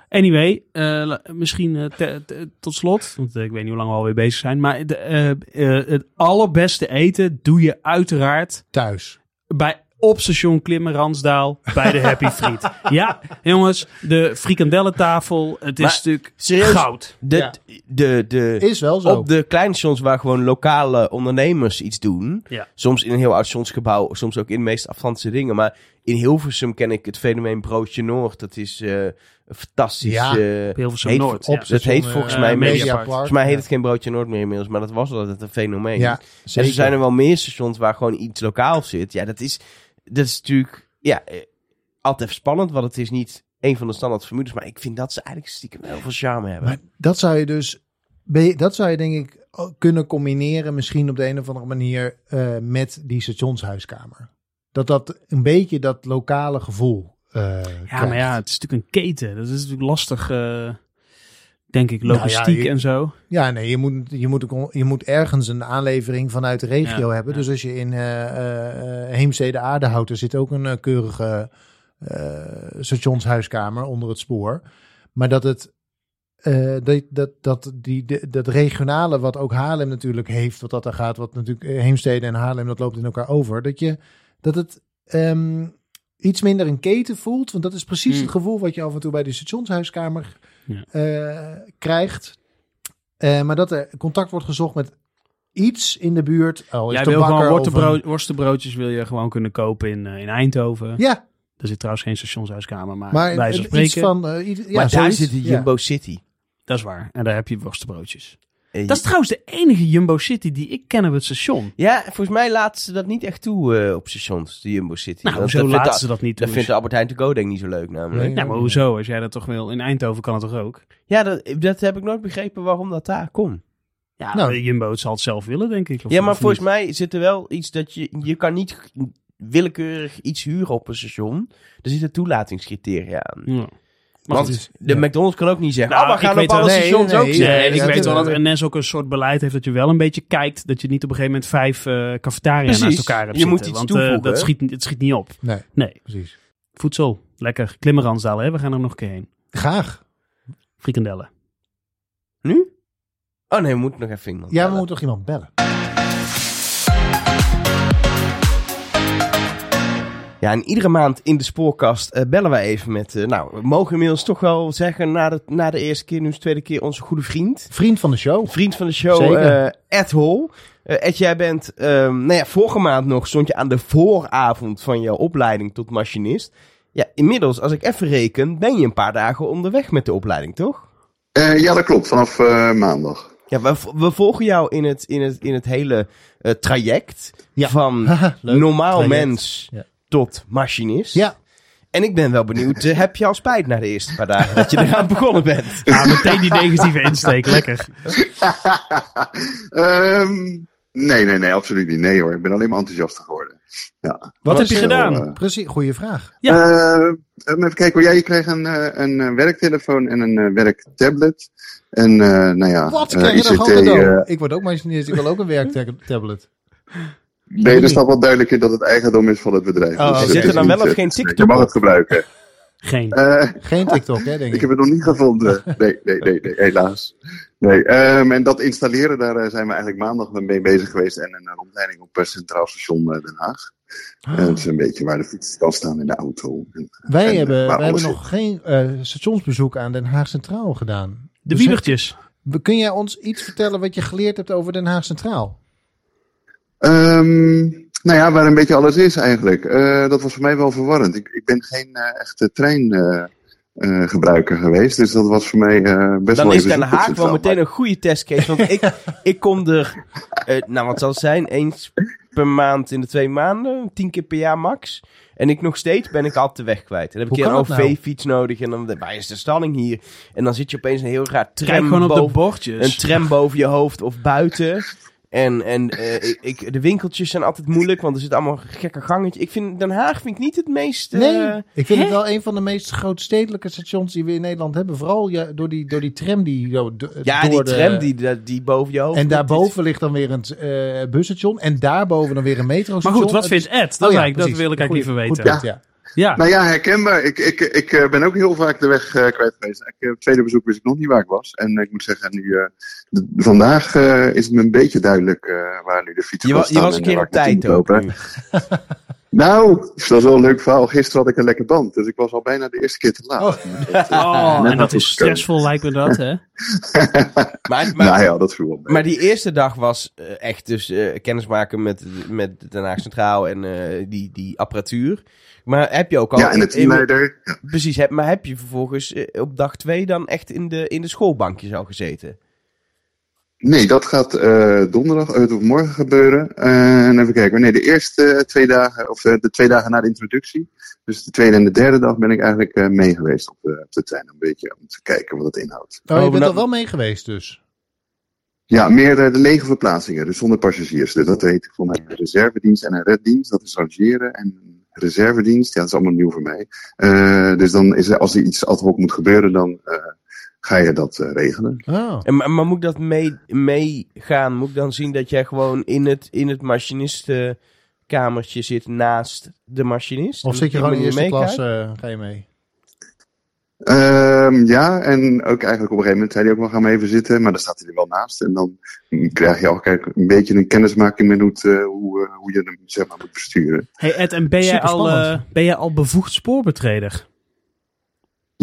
[SPEAKER 3] Anyway, eh, la- misschien eh, te- te- tot slot, want eh, ik weet niet hoe lang we alweer bezig zijn. Maar de, eh, eh, het allerbeste eten doe je uiteraard
[SPEAKER 6] Thuis.
[SPEAKER 3] bij op station Klimmen Ransdaal bij de Happy Friet. ja, jongens, de frikandellentafel, het is
[SPEAKER 5] Maar-
[SPEAKER 3] natuurlijk
[SPEAKER 5] Serieus?
[SPEAKER 3] goud.
[SPEAKER 5] De,
[SPEAKER 6] Ja.
[SPEAKER 5] de, de,
[SPEAKER 6] Is wel zo.
[SPEAKER 5] op de kleine stations waar gewoon lokale ondernemers iets doen.
[SPEAKER 3] Ja.
[SPEAKER 5] Soms in een heel oud stationsgebouw, soms ook in de meest afstandse dingen. Maar in Hilversum ken ik het fenomeen Broodje Noord. Dat is eh, een fantastisch.
[SPEAKER 6] Ja,
[SPEAKER 5] eh,
[SPEAKER 3] Hilversum
[SPEAKER 5] heet-
[SPEAKER 3] Noord.
[SPEAKER 5] op-
[SPEAKER 3] ja.
[SPEAKER 5] dat heet volgens
[SPEAKER 3] eh,
[SPEAKER 5] mij...
[SPEAKER 3] Media
[SPEAKER 5] Media-
[SPEAKER 3] Park.
[SPEAKER 5] volgens mij heet het geen Broodje Noord meer inmiddels. Maar dat was altijd een fenomeen.
[SPEAKER 6] Ja,
[SPEAKER 5] en
[SPEAKER 6] zeker.
[SPEAKER 5] er zijn er wel meer stations waar gewoon iets lokaals zit. Ja, dat is, dat is natuurlijk... Ja, eh, altijd even spannend, want het is niet... Een van de standaard formules, maar ik vind dat ze eigenlijk stiekem heel veel charme hebben.
[SPEAKER 6] Maar dat zou je dus, ben je- dat zou je denk ik ook kunnen combineren, misschien op de een of andere manier, eh, met die stationshuiskamer. Dat dat een beetje dat lokale gevoel. eh,
[SPEAKER 3] Ja, maar
[SPEAKER 6] krijgt.
[SPEAKER 3] ja, het is natuurlijk een keten. Dat is natuurlijk lastig, eh, denk ik,
[SPEAKER 6] Nou ja,
[SPEAKER 3] logistiek
[SPEAKER 6] je-
[SPEAKER 3] en zo.
[SPEAKER 6] Ja, nee, je moet, je, moet, ook- je moet ergens een aanlevering vanuit de regio
[SPEAKER 3] Ja,
[SPEAKER 6] hebben.
[SPEAKER 3] ja.
[SPEAKER 6] Dus als je in eh, eh, eh, Heemstede Aardehout, er zit ook een eh, keurige eh, stationshuiskamer onder het spoor. Maar dat het eh, dat, dat, dat, die, de- dat regionale, wat ook Haarlem natuurlijk heeft, wat dat er gaat, wat natuurlijk eh, Heemstede en Haarlem, dat loopt in elkaar over. Dat, je, dat het ehm, iets minder een keten voelt, want dat is precies
[SPEAKER 1] Hmm.
[SPEAKER 6] het gevoel wat je af en toe bij de stationshuiskamer
[SPEAKER 3] Ja.
[SPEAKER 6] eh, krijgt. Eh, maar dat er contact wordt gezocht met iets in de buurt. Oh, is
[SPEAKER 3] Jij
[SPEAKER 6] het een
[SPEAKER 3] wil gewoon
[SPEAKER 6] bakker of een-
[SPEAKER 3] worstenbrood, worstenbroodjes wil je gewoon kunnen kopen in, eh, in Eindhoven.
[SPEAKER 6] Ja,
[SPEAKER 3] Er zit trouwens geen stationshuiskamer, maar,
[SPEAKER 6] maar
[SPEAKER 3] wij
[SPEAKER 6] het-
[SPEAKER 3] spreken.
[SPEAKER 6] iets van... eh, iets- ja,
[SPEAKER 5] maar daar
[SPEAKER 6] zoiets.
[SPEAKER 5] zit de
[SPEAKER 6] Ja.
[SPEAKER 5] Jumbo City.
[SPEAKER 3] Dat is waar. En daar heb je worstenbroodjes.
[SPEAKER 5] Eh,
[SPEAKER 3] Dat is trouwens de enige Jumbo City die ik ken op het station.
[SPEAKER 5] Ja, volgens mij laten ze dat niet echt toe eh, op stations, de Jumbo City.
[SPEAKER 3] Nou,
[SPEAKER 5] Want
[SPEAKER 3] hoezo
[SPEAKER 5] dat vindt
[SPEAKER 3] laten
[SPEAKER 5] de-
[SPEAKER 3] ze dat niet?
[SPEAKER 5] Dat
[SPEAKER 3] doen?
[SPEAKER 5] vindt de Albert Heijn to go denk ik niet zo leuk namelijk.
[SPEAKER 6] Nee.
[SPEAKER 3] Ja, maar hoezo? Als jij dat toch wil... In Eindhoven kan het toch ook?
[SPEAKER 5] Ja, dat, dat heb ik nooit begrepen waarom dat daar kon.
[SPEAKER 3] Ja,
[SPEAKER 6] Nou.
[SPEAKER 3] de Jumbo het zal het zelf willen, denk ik. of-
[SPEAKER 5] ja, maar
[SPEAKER 3] of
[SPEAKER 5] volgens
[SPEAKER 3] niet.
[SPEAKER 5] mij zit er wel iets dat je... Je kan niet g- willekeurig iets huren op een station. Er zitten toelatingscriteria aan.
[SPEAKER 3] Ja. Maar
[SPEAKER 5] Want
[SPEAKER 3] goed.
[SPEAKER 5] de McDonald's kan ook niet zeggen...
[SPEAKER 3] Nou,
[SPEAKER 5] oh, we
[SPEAKER 3] ik
[SPEAKER 5] gaan op
[SPEAKER 3] weet
[SPEAKER 5] alle
[SPEAKER 3] wel-
[SPEAKER 6] Nee,
[SPEAKER 5] stations
[SPEAKER 6] nee,
[SPEAKER 5] ook
[SPEAKER 6] nee,
[SPEAKER 5] zeggen.
[SPEAKER 3] Nee, ik
[SPEAKER 6] dat-
[SPEAKER 3] weet wel dat
[SPEAKER 6] eh,
[SPEAKER 3] NS ook een soort beleid heeft dat je wel een beetje kijkt. Dat je niet op een gegeven moment vijf eh cafetaria's naast
[SPEAKER 5] Precies.
[SPEAKER 3] elkaar hebt
[SPEAKER 5] Je moet
[SPEAKER 3] zitten.
[SPEAKER 5] iets
[SPEAKER 3] want eh,
[SPEAKER 5] toevoegen,
[SPEAKER 3] dat
[SPEAKER 5] hè?
[SPEAKER 3] schiet, niet- het schiet niet op.
[SPEAKER 6] Nee,
[SPEAKER 3] Nee,
[SPEAKER 6] precies.
[SPEAKER 3] voedsel. Lekker. Klimmerandzaal, hè? We gaan er nog een keer heen.
[SPEAKER 6] Graag.
[SPEAKER 3] Frikandellen.
[SPEAKER 5] Nu? Oh nee, we moeten nog even iemand
[SPEAKER 6] Ja, we
[SPEAKER 5] bellen.
[SPEAKER 6] moeten toch iemand bellen?
[SPEAKER 5] Ja, en iedere maand in de spoorkast eh, bellen wij even met... eh, nou, we mogen inmiddels toch wel zeggen... Na de, na de eerste keer, nu is de tweede keer, onze goede vriend...
[SPEAKER 6] Vriend van de show.
[SPEAKER 5] Vriend van de show,
[SPEAKER 6] Zeker.
[SPEAKER 5] eh Ed Hol. Eh, Ed, jij bent, ehm, nou ja, vorige maand nog stond je aan de vooravond van jouw opleiding tot machinist. Ja, inmiddels, als ik even reken, ben je een paar dagen onderweg met de opleiding, toch?
[SPEAKER 7] Eh, ja, dat klopt. Vanaf eh, maandag.
[SPEAKER 5] Ja, we, v- we volgen jou in het, in het, in het hele eh, traject
[SPEAKER 6] Ja.
[SPEAKER 5] van
[SPEAKER 6] Haha, leuk.
[SPEAKER 5] normaal
[SPEAKER 6] Traject.
[SPEAKER 5] mens
[SPEAKER 6] Ja.
[SPEAKER 5] tot machinist.
[SPEAKER 6] Ja.
[SPEAKER 5] En ik ben wel benieuwd, eh, heb je al spijt na de eerste paar dagen dat je eraan begonnen bent?
[SPEAKER 3] Ja, Ah, meteen die negatieve insteek. Lekker.
[SPEAKER 7] Ehm, nee, nee, nee, absoluut niet. Nee hoor, ik ben alleen maar enthousiast geworden.
[SPEAKER 3] Wat heb je
[SPEAKER 7] heel,
[SPEAKER 3] gedaan?
[SPEAKER 7] eh,
[SPEAKER 6] Precies, goede vraag.
[SPEAKER 7] Eh, even kijken hoor. Ja, je kreeg een, eh, een eh, werktelefoon en een eh, werktablet. En eh nou ja,
[SPEAKER 6] Wat
[SPEAKER 7] eh,
[SPEAKER 6] krijg je dan
[SPEAKER 7] ICT,
[SPEAKER 6] gewoon cadeau?
[SPEAKER 7] eh,
[SPEAKER 6] Ik word ook machinist, ik wil ook een werktablet.
[SPEAKER 7] nee, er staat wel duidelijk in dat het eigendom is van het bedrijf.
[SPEAKER 6] Oh,
[SPEAKER 7] Dus
[SPEAKER 6] zit
[SPEAKER 7] het
[SPEAKER 5] er
[SPEAKER 7] is
[SPEAKER 5] dan
[SPEAKER 7] niet,
[SPEAKER 5] wel of
[SPEAKER 7] eh,
[SPEAKER 5] geen
[SPEAKER 7] Je
[SPEAKER 5] TikTok
[SPEAKER 7] mag
[SPEAKER 5] op?
[SPEAKER 7] het gebruiken.
[SPEAKER 3] Geen.
[SPEAKER 7] Eh,
[SPEAKER 6] Geen TikTok, hè, denk
[SPEAKER 7] ik
[SPEAKER 6] ik.
[SPEAKER 7] heb het nog niet gevonden. Nee, nee, nee, nee helaas. Nee, ehm, en dat installeren, daar eh, zijn we eigenlijk maandag mee bezig geweest. En een eh, rondleiding op eh, Centraal Station eh, Den Haag.
[SPEAKER 5] Ah.
[SPEAKER 7] En dat is een beetje waar de fiets kan staan in de auto. En,
[SPEAKER 6] Wij
[SPEAKER 7] en,
[SPEAKER 6] hebben,
[SPEAKER 7] eh, waar
[SPEAKER 6] wij hebben
[SPEAKER 7] alles
[SPEAKER 6] nog geen eh, stationsbezoek aan Den Haag Centraal gedaan.
[SPEAKER 3] De
[SPEAKER 6] Dus
[SPEAKER 3] wiebertjes.
[SPEAKER 6] heb- Kun jij ons iets vertellen wat je geleerd hebt over Den Haag Centraal?
[SPEAKER 7] Ehm, nou ja, waar een beetje alles is eigenlijk. Eh, dat was voor mij wel verwarrend. Ik, ik ben geen eh, echte treingebruiker geweest. Dus dat was voor mij eh, best wel
[SPEAKER 5] Dan is Den
[SPEAKER 7] even zoeken op
[SPEAKER 5] Haag wel
[SPEAKER 7] Centraal.
[SPEAKER 5] meteen een goede testcase. Want ik, ik kom er, eh, nou wat zal het zijn, eens per maand in de twee maanden, tien keer per jaar max. En ik nog steeds ben ik altijd de weg kwijt. Dan heb ik
[SPEAKER 6] Hoe
[SPEAKER 5] een
[SPEAKER 6] kan dat nou?
[SPEAKER 5] OV-fiets nodig en dan de- waar is de stalling hier? En dan zit je opeens een heel raar
[SPEAKER 3] Kijk
[SPEAKER 5] tram,
[SPEAKER 3] gewoon op de
[SPEAKER 5] boven, een
[SPEAKER 3] bordjes.
[SPEAKER 5] tram boven je hoofd of buiten. En, en eh, ik, de winkeltjes zijn altijd moeilijk, want er zit allemaal gekke gangetje. Ik vind Den Haag vind ik niet het meest... eh,
[SPEAKER 6] Nee, ik vind het
[SPEAKER 3] hè?
[SPEAKER 6] wel een van de meest grootstedelijke stations die we in Nederland hebben. Vooral ja, door, die, door die tram die zo do-
[SPEAKER 5] ja,
[SPEAKER 6] door
[SPEAKER 5] die
[SPEAKER 6] de-
[SPEAKER 5] tram die, die boven je hoofd...
[SPEAKER 6] En
[SPEAKER 5] komt, die-
[SPEAKER 6] daarboven ligt dan weer een eh busstation. En daarboven dan weer een metrostation.
[SPEAKER 3] Maar goed, wat
[SPEAKER 6] Het-
[SPEAKER 3] vindt Ed? Dat,
[SPEAKER 6] Oh ja,
[SPEAKER 3] eigenlijk- dat
[SPEAKER 6] precies.
[SPEAKER 3] wil ik eigenlijk
[SPEAKER 6] Goeie-
[SPEAKER 3] liever weten.
[SPEAKER 6] Goed punt, ja.
[SPEAKER 3] Ja.
[SPEAKER 7] Nou ja, herkenbaar. Ik, ik, ik eh, ben ook heel vaak de weg eh, kwijt geweest. Ik, eh, het tweede bezoek wist ik nog niet waar ik was. En eh, ik moet zeggen, nu, eh, d- vandaag eh, is het me een beetje duidelijk eh, waar nu de fiets
[SPEAKER 5] Je, wa-
[SPEAKER 7] was.
[SPEAKER 5] je was een keer op tijd ook. nu.
[SPEAKER 7] Nou, dat is wel een leuk verhaal. Gisteren had ik een lekker band, dus ik was al bijna de eerste keer te laat.
[SPEAKER 3] Oh,
[SPEAKER 7] Net
[SPEAKER 3] en
[SPEAKER 7] had
[SPEAKER 3] dat
[SPEAKER 7] het
[SPEAKER 3] is stressvol, lijkt me dat, hè?
[SPEAKER 5] Maar, maar,
[SPEAKER 7] nou ja, dat viel op.
[SPEAKER 5] maar die eerste dag was eh, echt dus eh, kennismaken met, met Den Haag Centraal en eh, die, die apparatuur. Maar heb je ook al...
[SPEAKER 7] ja, en de teamleider. Ja.
[SPEAKER 5] precies, heb, maar heb je vervolgens eh, op dag twee dan echt in de, in de schoolbankjes al gezeten?
[SPEAKER 7] Nee, dat gaat eh, donderdag, eh, of morgen gebeuren. Eh, en even kijken. Nee, de eerste twee dagen, of eh, de twee dagen na de introductie. Dus de tweede en de derde dag ben ik eigenlijk eh, mee geweest op de, op de trein. Een beetje om te kijken wat het inhoudt.
[SPEAKER 6] Oh, je
[SPEAKER 5] Oh,
[SPEAKER 6] bent
[SPEAKER 5] nou-
[SPEAKER 6] al wel mee geweest dus.
[SPEAKER 7] Ja, meer eh, de lege verplaatsingen, dus zonder passagiers. Dus dat heet voor mij reservedienst en een reddienst. Dat is rangeren en reservedienst. Ja, dat is allemaal nieuw voor mij. Eh, dus dan is er, als er iets ad hoc moet gebeuren, dan eh, ga je dat eh, regelen.
[SPEAKER 6] Oh.
[SPEAKER 5] En, maar, maar moet ik dat mee- meegaan? moet ik dan zien dat jij gewoon in het, in het machinistenkamertje zit naast de machinist?
[SPEAKER 6] Of zit je
[SPEAKER 5] En dat
[SPEAKER 6] gewoon in
[SPEAKER 5] die
[SPEAKER 6] eerste
[SPEAKER 5] meekijkt?
[SPEAKER 6] klas, eh, ga je mee?
[SPEAKER 7] Ehm, ja, en ook eigenlijk op een gegeven moment zei hij ook nog, ga maar even zitten. Maar dan staat hij er wel naast. En dan krijg je al kijk, een beetje een kennismaking met hoe, het, eh, hoe, eh, hoe je hem zeg maar, moet besturen.
[SPEAKER 3] Hey Ed, en ben jij, al,
[SPEAKER 6] Superspannend.
[SPEAKER 3] eh, ben jij al bevoegd spoorbetreder?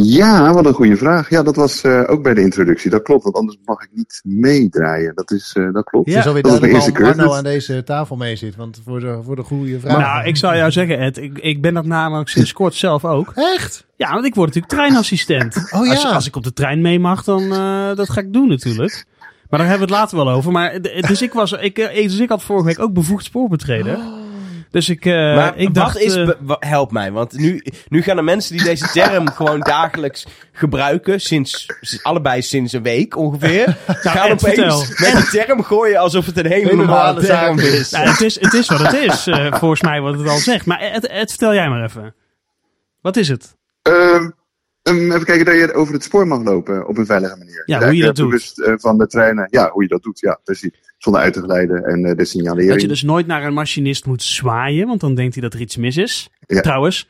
[SPEAKER 7] Ja, wat een goede vraag. Ja, dat was eh, ook bij de introductie. Dat klopt, want anders mag ik niet meedraaien. Dat, is, eh, dat klopt.
[SPEAKER 6] Het is alweer
[SPEAKER 7] dat is mijn
[SPEAKER 6] duidelijk
[SPEAKER 7] eerste
[SPEAKER 6] waarom Arno
[SPEAKER 7] cursus.
[SPEAKER 6] aan deze tafel mee zit. Want voor de, voor de goede vraag.
[SPEAKER 3] Nou, ik zou jou zeggen Ed, ik, ik ben dat namelijk sinds kort zelf ook.
[SPEAKER 6] Echt?
[SPEAKER 3] Ja, want ik word natuurlijk treinassistent.
[SPEAKER 6] Oh ja.
[SPEAKER 3] als, als ik op de trein mee mag, dan eh, dat ga ik doen natuurlijk. Maar daar hebben we het later wel over. Maar, eh, dus, ik was, ik, eh, dus ik had vorige week ook bevoegd spoorbetreder.
[SPEAKER 6] Oh.
[SPEAKER 3] Dus ik, eh,
[SPEAKER 5] maar
[SPEAKER 3] ik
[SPEAKER 5] wat
[SPEAKER 3] dacht...
[SPEAKER 5] is...
[SPEAKER 3] eh,
[SPEAKER 5] be- wa- help mij, want nu, nu gaan de mensen die deze term gewoon dagelijks gebruiken, sinds, allebei sinds een week ongeveer, gaan
[SPEAKER 3] Ed,
[SPEAKER 5] opeens
[SPEAKER 3] vertel.
[SPEAKER 5] met de term gooien alsof het een hele
[SPEAKER 6] Hele
[SPEAKER 5] normale
[SPEAKER 6] normale
[SPEAKER 5] term
[SPEAKER 6] zaak.
[SPEAKER 5] is.
[SPEAKER 3] nou, het, is, het is wat het is, eh, volgens mij wat het al zegt. Maar Ed, Ed, vertel jij maar even. Wat is het?
[SPEAKER 7] Ehm, ehm, even kijken dat je over het spoor mag lopen op een veilige manier.
[SPEAKER 3] Ja, hoe je dat
[SPEAKER 7] eh,
[SPEAKER 3] doet.
[SPEAKER 7] bewust, eh, van de treinen. Ja, hoe je dat doet. Ja, precies. Zonder uit te glijden en eh, de signalering.
[SPEAKER 3] Dat je dus nooit naar een machinist moet zwaaien, want dan denkt hij dat er iets mis is.
[SPEAKER 7] Ja.
[SPEAKER 3] Trouwens,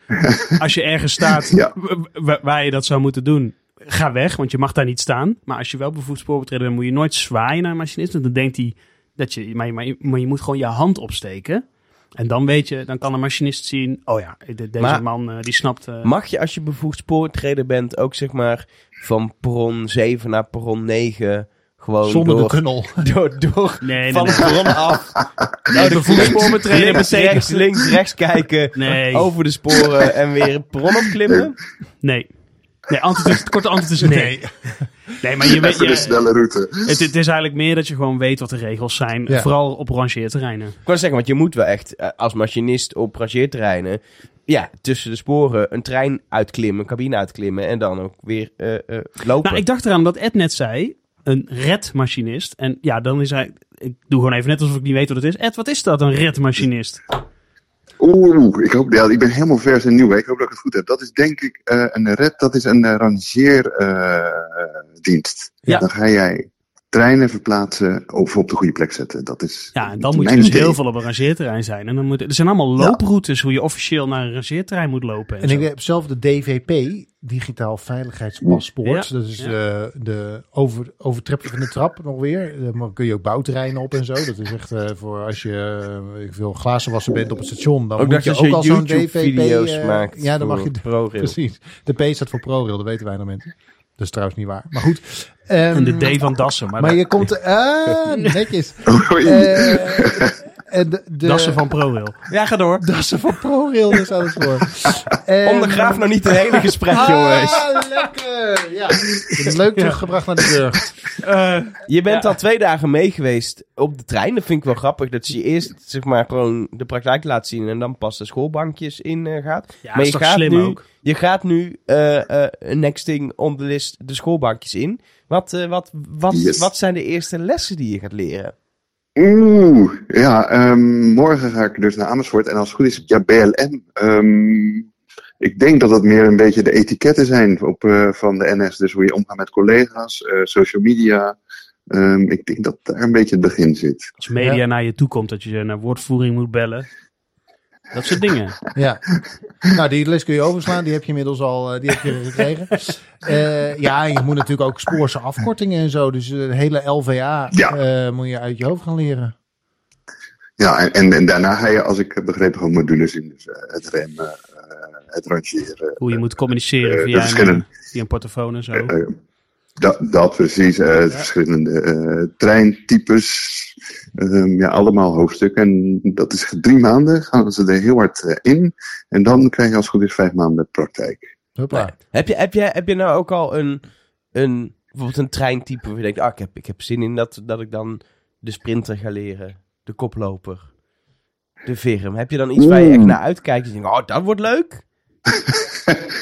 [SPEAKER 3] als je ergens staat
[SPEAKER 7] Ja.
[SPEAKER 3] w- w- waar je dat zou moeten doen, ga weg, want je mag daar niet staan. Maar als je wel bevoegd spoorbetreder bent, moet je nooit zwaaien naar een machinist, want dan denkt hij dat je, maar, je- maar, je- maar je moet gewoon je hand opsteken. En dan weet je, dan kan een machinist zien, oh ja, de- deze
[SPEAKER 5] Maar-
[SPEAKER 3] man eh, die snapt... eh,
[SPEAKER 5] Mag je als je bevoegd spoortrader bent ook zeg maar van perron 7 naar perron 9 gewoon
[SPEAKER 6] Zonder de
[SPEAKER 5] door,
[SPEAKER 6] tunnel.
[SPEAKER 5] door, door
[SPEAKER 3] nee, nee,
[SPEAKER 5] van
[SPEAKER 3] nee.
[SPEAKER 5] het perron af. Nou,
[SPEAKER 3] Nee, bevoegd spoorbetreder
[SPEAKER 5] links,
[SPEAKER 3] betekent...
[SPEAKER 5] rechts, links, rechts kijken,
[SPEAKER 3] Nee.
[SPEAKER 5] over de sporen en weer het perron opklimmen?
[SPEAKER 3] Nee. Nee, antwoord is, het korte antwoord is nee. Nee, maar je weet...
[SPEAKER 7] Even de
[SPEAKER 3] Je,
[SPEAKER 7] snelle route.
[SPEAKER 3] Het, het is eigenlijk meer dat je gewoon weet wat de regels zijn.
[SPEAKER 6] Ja.
[SPEAKER 3] Vooral op rangeerterreinen.
[SPEAKER 5] Ik wou zeggen, want je moet wel echt eh, als machinist op rangeerterreinen... Ja, tussen de sporen een trein uitklimmen, een cabine uitklimmen en dan ook weer eh, eh, lopen.
[SPEAKER 3] Nou, ik dacht eraan dat Ed net zei, een redmachinist. En ja, dan is hij... Ik doe gewoon even net alsof ik niet weet wat het is. Ed, wat is dat, een redmachinist?
[SPEAKER 7] Oeh, ik, hoop, ja, ik ben helemaal vers en nieuw. hè. Ik hoop dat ik het goed heb. Dat is denk ik eh, een red, dat is een eh, rangeerdienst.
[SPEAKER 3] Ja.
[SPEAKER 7] Dan ga jij treinen verplaatsen of op de goede plek zetten. Dat is
[SPEAKER 3] Ja, en dan moet je
[SPEAKER 7] mijn
[SPEAKER 3] dus
[SPEAKER 7] idee.
[SPEAKER 3] heel veel op een rangeerterrein zijn. En dan moet, er zijn allemaal
[SPEAKER 7] Ja.
[SPEAKER 3] looproutes hoe je officieel naar een rangeerterrein moet lopen. En
[SPEAKER 6] En
[SPEAKER 3] zo.
[SPEAKER 6] ik heb zelf de DVP, Digitaal Veiligheidspaspoort.
[SPEAKER 3] Ja,
[SPEAKER 6] Dat is
[SPEAKER 3] ja.
[SPEAKER 6] de, de over, overtreppen van de trap nog weer. Eh, Maar kun je ook bouwterreinen op en zo. Dat is echt eh, voor als je eh, ik wil, glazenwasser bent op het station. Dan
[SPEAKER 5] Ook
[SPEAKER 6] moet
[SPEAKER 5] dacht
[SPEAKER 6] je
[SPEAKER 5] als je
[SPEAKER 6] ook al zo'n DVP...
[SPEAKER 5] YouTube-video's
[SPEAKER 6] eh,
[SPEAKER 5] maakt
[SPEAKER 6] Ja, dan mag je...
[SPEAKER 5] voor ProRail.
[SPEAKER 6] Precies. De P staat voor ProRail, dat weten wij nog mensen. Dat is trouwens niet waar. Maar goed. ehm,
[SPEAKER 3] En de D van Dassen. Maar,
[SPEAKER 6] Maar
[SPEAKER 3] dat-
[SPEAKER 6] je komt... Ah, netjes.
[SPEAKER 7] Oei.
[SPEAKER 6] Eh, en de, de,
[SPEAKER 3] Dassen van ProRail. Ja, ga door.
[SPEAKER 6] Dassen van ProRail is aan het woord.
[SPEAKER 5] Ondergraaf nou niet het hele gesprek, jongens.
[SPEAKER 6] Ah, lekker! Ja. Leuk teruggebracht naar de burg.
[SPEAKER 5] Je bent al twee dagen mee geweest op de trein. Dat vind ik wel grappig. Dat ze je eerst zeg maar, gewoon de praktijk laat zien en dan pas de schoolbankjes in eh, gaat.
[SPEAKER 3] Ja,
[SPEAKER 5] maar
[SPEAKER 3] is
[SPEAKER 5] je
[SPEAKER 3] toch
[SPEAKER 5] gaat
[SPEAKER 3] slim
[SPEAKER 5] nu,
[SPEAKER 3] ook?
[SPEAKER 5] Je gaat nu eh eh nexting on the list de schoolbankjes in. Wat, eh, wat, wat,
[SPEAKER 7] Yes.
[SPEAKER 5] wat zijn de eerste lessen die je gaat leren?
[SPEAKER 7] Oeh, ja, ehm, morgen ga ik dus naar Amersfoort en als het goed is, ja, BLM. Ehm, ik denk dat dat meer een beetje de etiketten zijn op, eh, van de NS. Dus hoe je omgaat met collega's, eh, social media. Ehm, ik denk dat daar een beetje het begin zit.
[SPEAKER 3] Als media
[SPEAKER 6] Ja.
[SPEAKER 3] naar je toe komt, dat je naar woordvoering moet bellen. Dat soort dingen.
[SPEAKER 6] Ja. Nou, die les kun je overslaan. Die heb je inmiddels al eh, die heb je gekregen. Eh, ja, en je moet natuurlijk ook spoorse afkortingen en zo. Dus eh, de hele LVA
[SPEAKER 7] Ja.
[SPEAKER 6] eh, moet je uit je hoofd gaan leren.
[SPEAKER 7] Ja, en, en, en daarna ga je, als ik heb begrepen, gewoon modules in. Dus eh, het remmen, eh, het rangeren.
[SPEAKER 3] Hoe je moet communiceren
[SPEAKER 7] Eh,
[SPEAKER 3] via,
[SPEAKER 7] dat
[SPEAKER 3] een,
[SPEAKER 7] is kennen.
[SPEAKER 3] via een portofoon en zo.
[SPEAKER 7] Eh, eh, dat, dat precies, eh, het verschillende eh, treintypes, ehm, ja, allemaal hoofdstukken. En dat is drie maanden, gaan ze er heel hard eh, in. En dan krijg je als het goed is vijf maanden praktijk.
[SPEAKER 6] Hoppa.
[SPEAKER 5] Nee. Nou, Heb je, heb, je, heb je nou ook al een, een, bijvoorbeeld een treintype waar je denkt, ah, ik, heb, ik heb zin in dat, dat ik dan de sprinter ga leren, de koploper, de firm. Heb je dan iets waar je echt
[SPEAKER 7] Oeh.
[SPEAKER 5] naar uitkijkt en je denkt, oh, dat wordt leuk?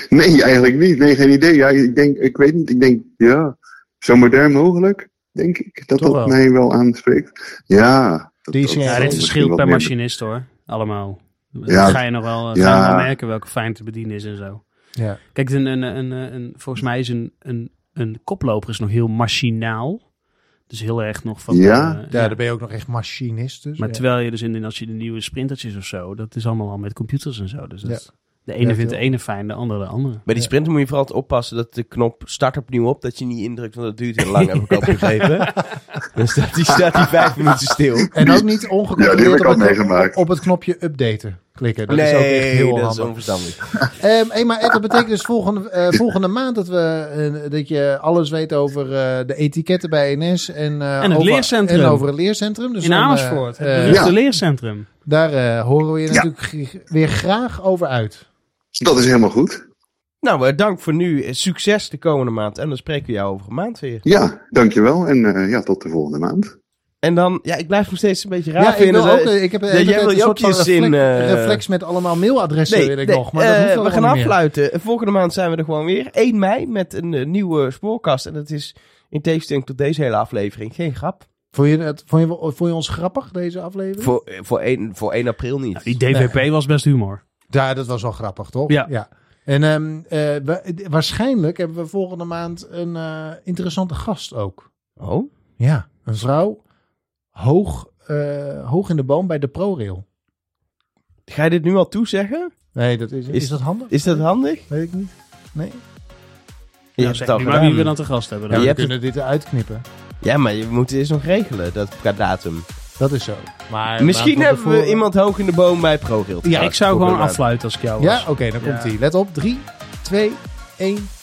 [SPEAKER 7] Nee, eigenlijk niet. Nee, geen idee. Ja, ik, denk, ik weet niet. Ik denk, ja, zo modern mogelijk, denk ik, dat
[SPEAKER 6] Toch
[SPEAKER 7] dat
[SPEAKER 6] wel.
[SPEAKER 7] mij wel aanspreekt. Ja. dat-
[SPEAKER 6] Die
[SPEAKER 7] dat-
[SPEAKER 6] zijn- Ja,
[SPEAKER 3] Ja,
[SPEAKER 7] dat
[SPEAKER 3] dit
[SPEAKER 7] is
[SPEAKER 3] verschilt per
[SPEAKER 7] misschien wat minder.
[SPEAKER 3] machinist hoor. Allemaal.
[SPEAKER 7] Ja.
[SPEAKER 3] Dat ga je nog wel, eh,
[SPEAKER 7] Ja.
[SPEAKER 3] ga je nog wel merken welke fijn te bedienen is en zo.
[SPEAKER 6] Ja.
[SPEAKER 3] Kijk, een, een, een, een, een- volgens mij is een, een, een koploper is nog heel machinaal. Dus heel erg nog van...
[SPEAKER 7] Ja.
[SPEAKER 3] eh,
[SPEAKER 6] Ja, daar ben je ook nog echt machinist. Dus,
[SPEAKER 3] Maar
[SPEAKER 6] ja.
[SPEAKER 3] terwijl je dus in, als je de nieuwe sprintertjes of zo, dat is allemaal al met computers en zo. Dus dat
[SPEAKER 6] Ja.
[SPEAKER 3] is De ene
[SPEAKER 6] Ja,
[SPEAKER 3] vindt de
[SPEAKER 6] veel.
[SPEAKER 3] ene fijn, de andere de andere.
[SPEAKER 5] Bij die sprinter moet je vooral altijd oppassen dat de knop start opnieuw op, dat je niet indrukt, want dat duurt heel lang, heb ik opgegeven. Dan staat die, staat die vijf minuten stil.
[SPEAKER 6] En ook niet
[SPEAKER 7] Ja, die heb
[SPEAKER 6] ongecontroleerd
[SPEAKER 7] ik al
[SPEAKER 6] op, het-
[SPEAKER 7] meegemaakt.
[SPEAKER 6] op het knopje updaten klikken. Dat
[SPEAKER 5] nee,
[SPEAKER 6] is ook echt heel
[SPEAKER 5] dat is
[SPEAKER 6] handig.
[SPEAKER 5] onverstandig.
[SPEAKER 6] Ehm, hey, maar Ed, dat betekent dus volgende, eh, volgende maand dat, we, eh, dat je alles weet over eh, de etiketten bij NS. En, eh,
[SPEAKER 3] En het
[SPEAKER 6] over,
[SPEAKER 3] leercentrum.
[SPEAKER 6] En over het leercentrum. Dus
[SPEAKER 3] In
[SPEAKER 6] dan, eh,
[SPEAKER 3] Amersfoort, het
[SPEAKER 6] eh,
[SPEAKER 3] beruchte
[SPEAKER 7] Ja.
[SPEAKER 3] leercentrum.
[SPEAKER 6] Daar eh, horen we je
[SPEAKER 7] Ja.
[SPEAKER 6] natuurlijk g- weer graag over uit.
[SPEAKER 7] Dat is helemaal goed.
[SPEAKER 5] Nou, eh, dank voor nu. Eh, Succes de komende maand. En dan spreken we jou over een maand weer.
[SPEAKER 7] Ja, dankjewel. En eh, ja, tot de volgende maand.
[SPEAKER 5] En dan, ja, ik blijf nog steeds een beetje raar
[SPEAKER 6] Ja, ik
[SPEAKER 5] vinden.
[SPEAKER 6] wil ook. eh, Ik heb eh,
[SPEAKER 5] jij
[SPEAKER 6] ik heb
[SPEAKER 5] wil
[SPEAKER 6] een
[SPEAKER 5] je
[SPEAKER 6] soort
[SPEAKER 5] ook
[SPEAKER 6] van
[SPEAKER 5] je zin,
[SPEAKER 6] reflex,
[SPEAKER 5] eh,
[SPEAKER 6] reflex met allemaal mailadressen wil ik nog. Maar dat
[SPEAKER 5] eh,
[SPEAKER 6] hoeft
[SPEAKER 5] we
[SPEAKER 6] allemaal
[SPEAKER 5] gaan
[SPEAKER 6] niet meer.
[SPEAKER 5] afsluiten. Volgende maand zijn we er gewoon weer. 1 mei met een eh, nieuwe spoorkast. En dat is in tegenstelling tot deze hele aflevering geen grap.
[SPEAKER 6] Vond je, het, vond, je, vond je ons grappig, deze aflevering?
[SPEAKER 5] Voor, eh, voor, 1, voor 1 april niet.
[SPEAKER 3] Nou, die DVP was best humor.
[SPEAKER 6] Ja, dat was wel grappig, toch?
[SPEAKER 3] Ja.
[SPEAKER 6] En ehm, eh, wa- waarschijnlijk hebben we volgende maand een eh, interessante gast ook.
[SPEAKER 5] Oh?
[SPEAKER 6] Ja. Een vrouw hoog, eh, hoog in de boom bij de ProRail.
[SPEAKER 5] Ga je dit nu al toezeggen?
[SPEAKER 6] Nee, dat is, is,
[SPEAKER 5] Is-
[SPEAKER 6] dat handig?
[SPEAKER 5] Is dat handig?
[SPEAKER 6] Weet ik niet. Nee.
[SPEAKER 5] Je
[SPEAKER 3] Ja,
[SPEAKER 5] hebt
[SPEAKER 3] zeg
[SPEAKER 5] het al
[SPEAKER 3] nu maar wie we
[SPEAKER 5] gedaan.
[SPEAKER 3] dan te gast hebben.
[SPEAKER 5] Ja,
[SPEAKER 3] dan.
[SPEAKER 5] je
[SPEAKER 6] we
[SPEAKER 5] hebt
[SPEAKER 6] kunnen dit eruit knippen.
[SPEAKER 5] Ja, maar je moet eerst nog regelen, dat qua datum.
[SPEAKER 6] Dat is zo. Maar
[SPEAKER 5] Misschien
[SPEAKER 6] maar
[SPEAKER 5] hebben we
[SPEAKER 6] tevoren-
[SPEAKER 5] iemand hoog in de boom bij ProRail.
[SPEAKER 3] Ja, ik zou
[SPEAKER 5] Voor
[SPEAKER 3] gewoon
[SPEAKER 5] de maand.
[SPEAKER 3] affluiten als ik jou was.
[SPEAKER 6] Ja, oké, dan
[SPEAKER 3] Ja.
[SPEAKER 6] komt hij. Let op. 3, 2, 1.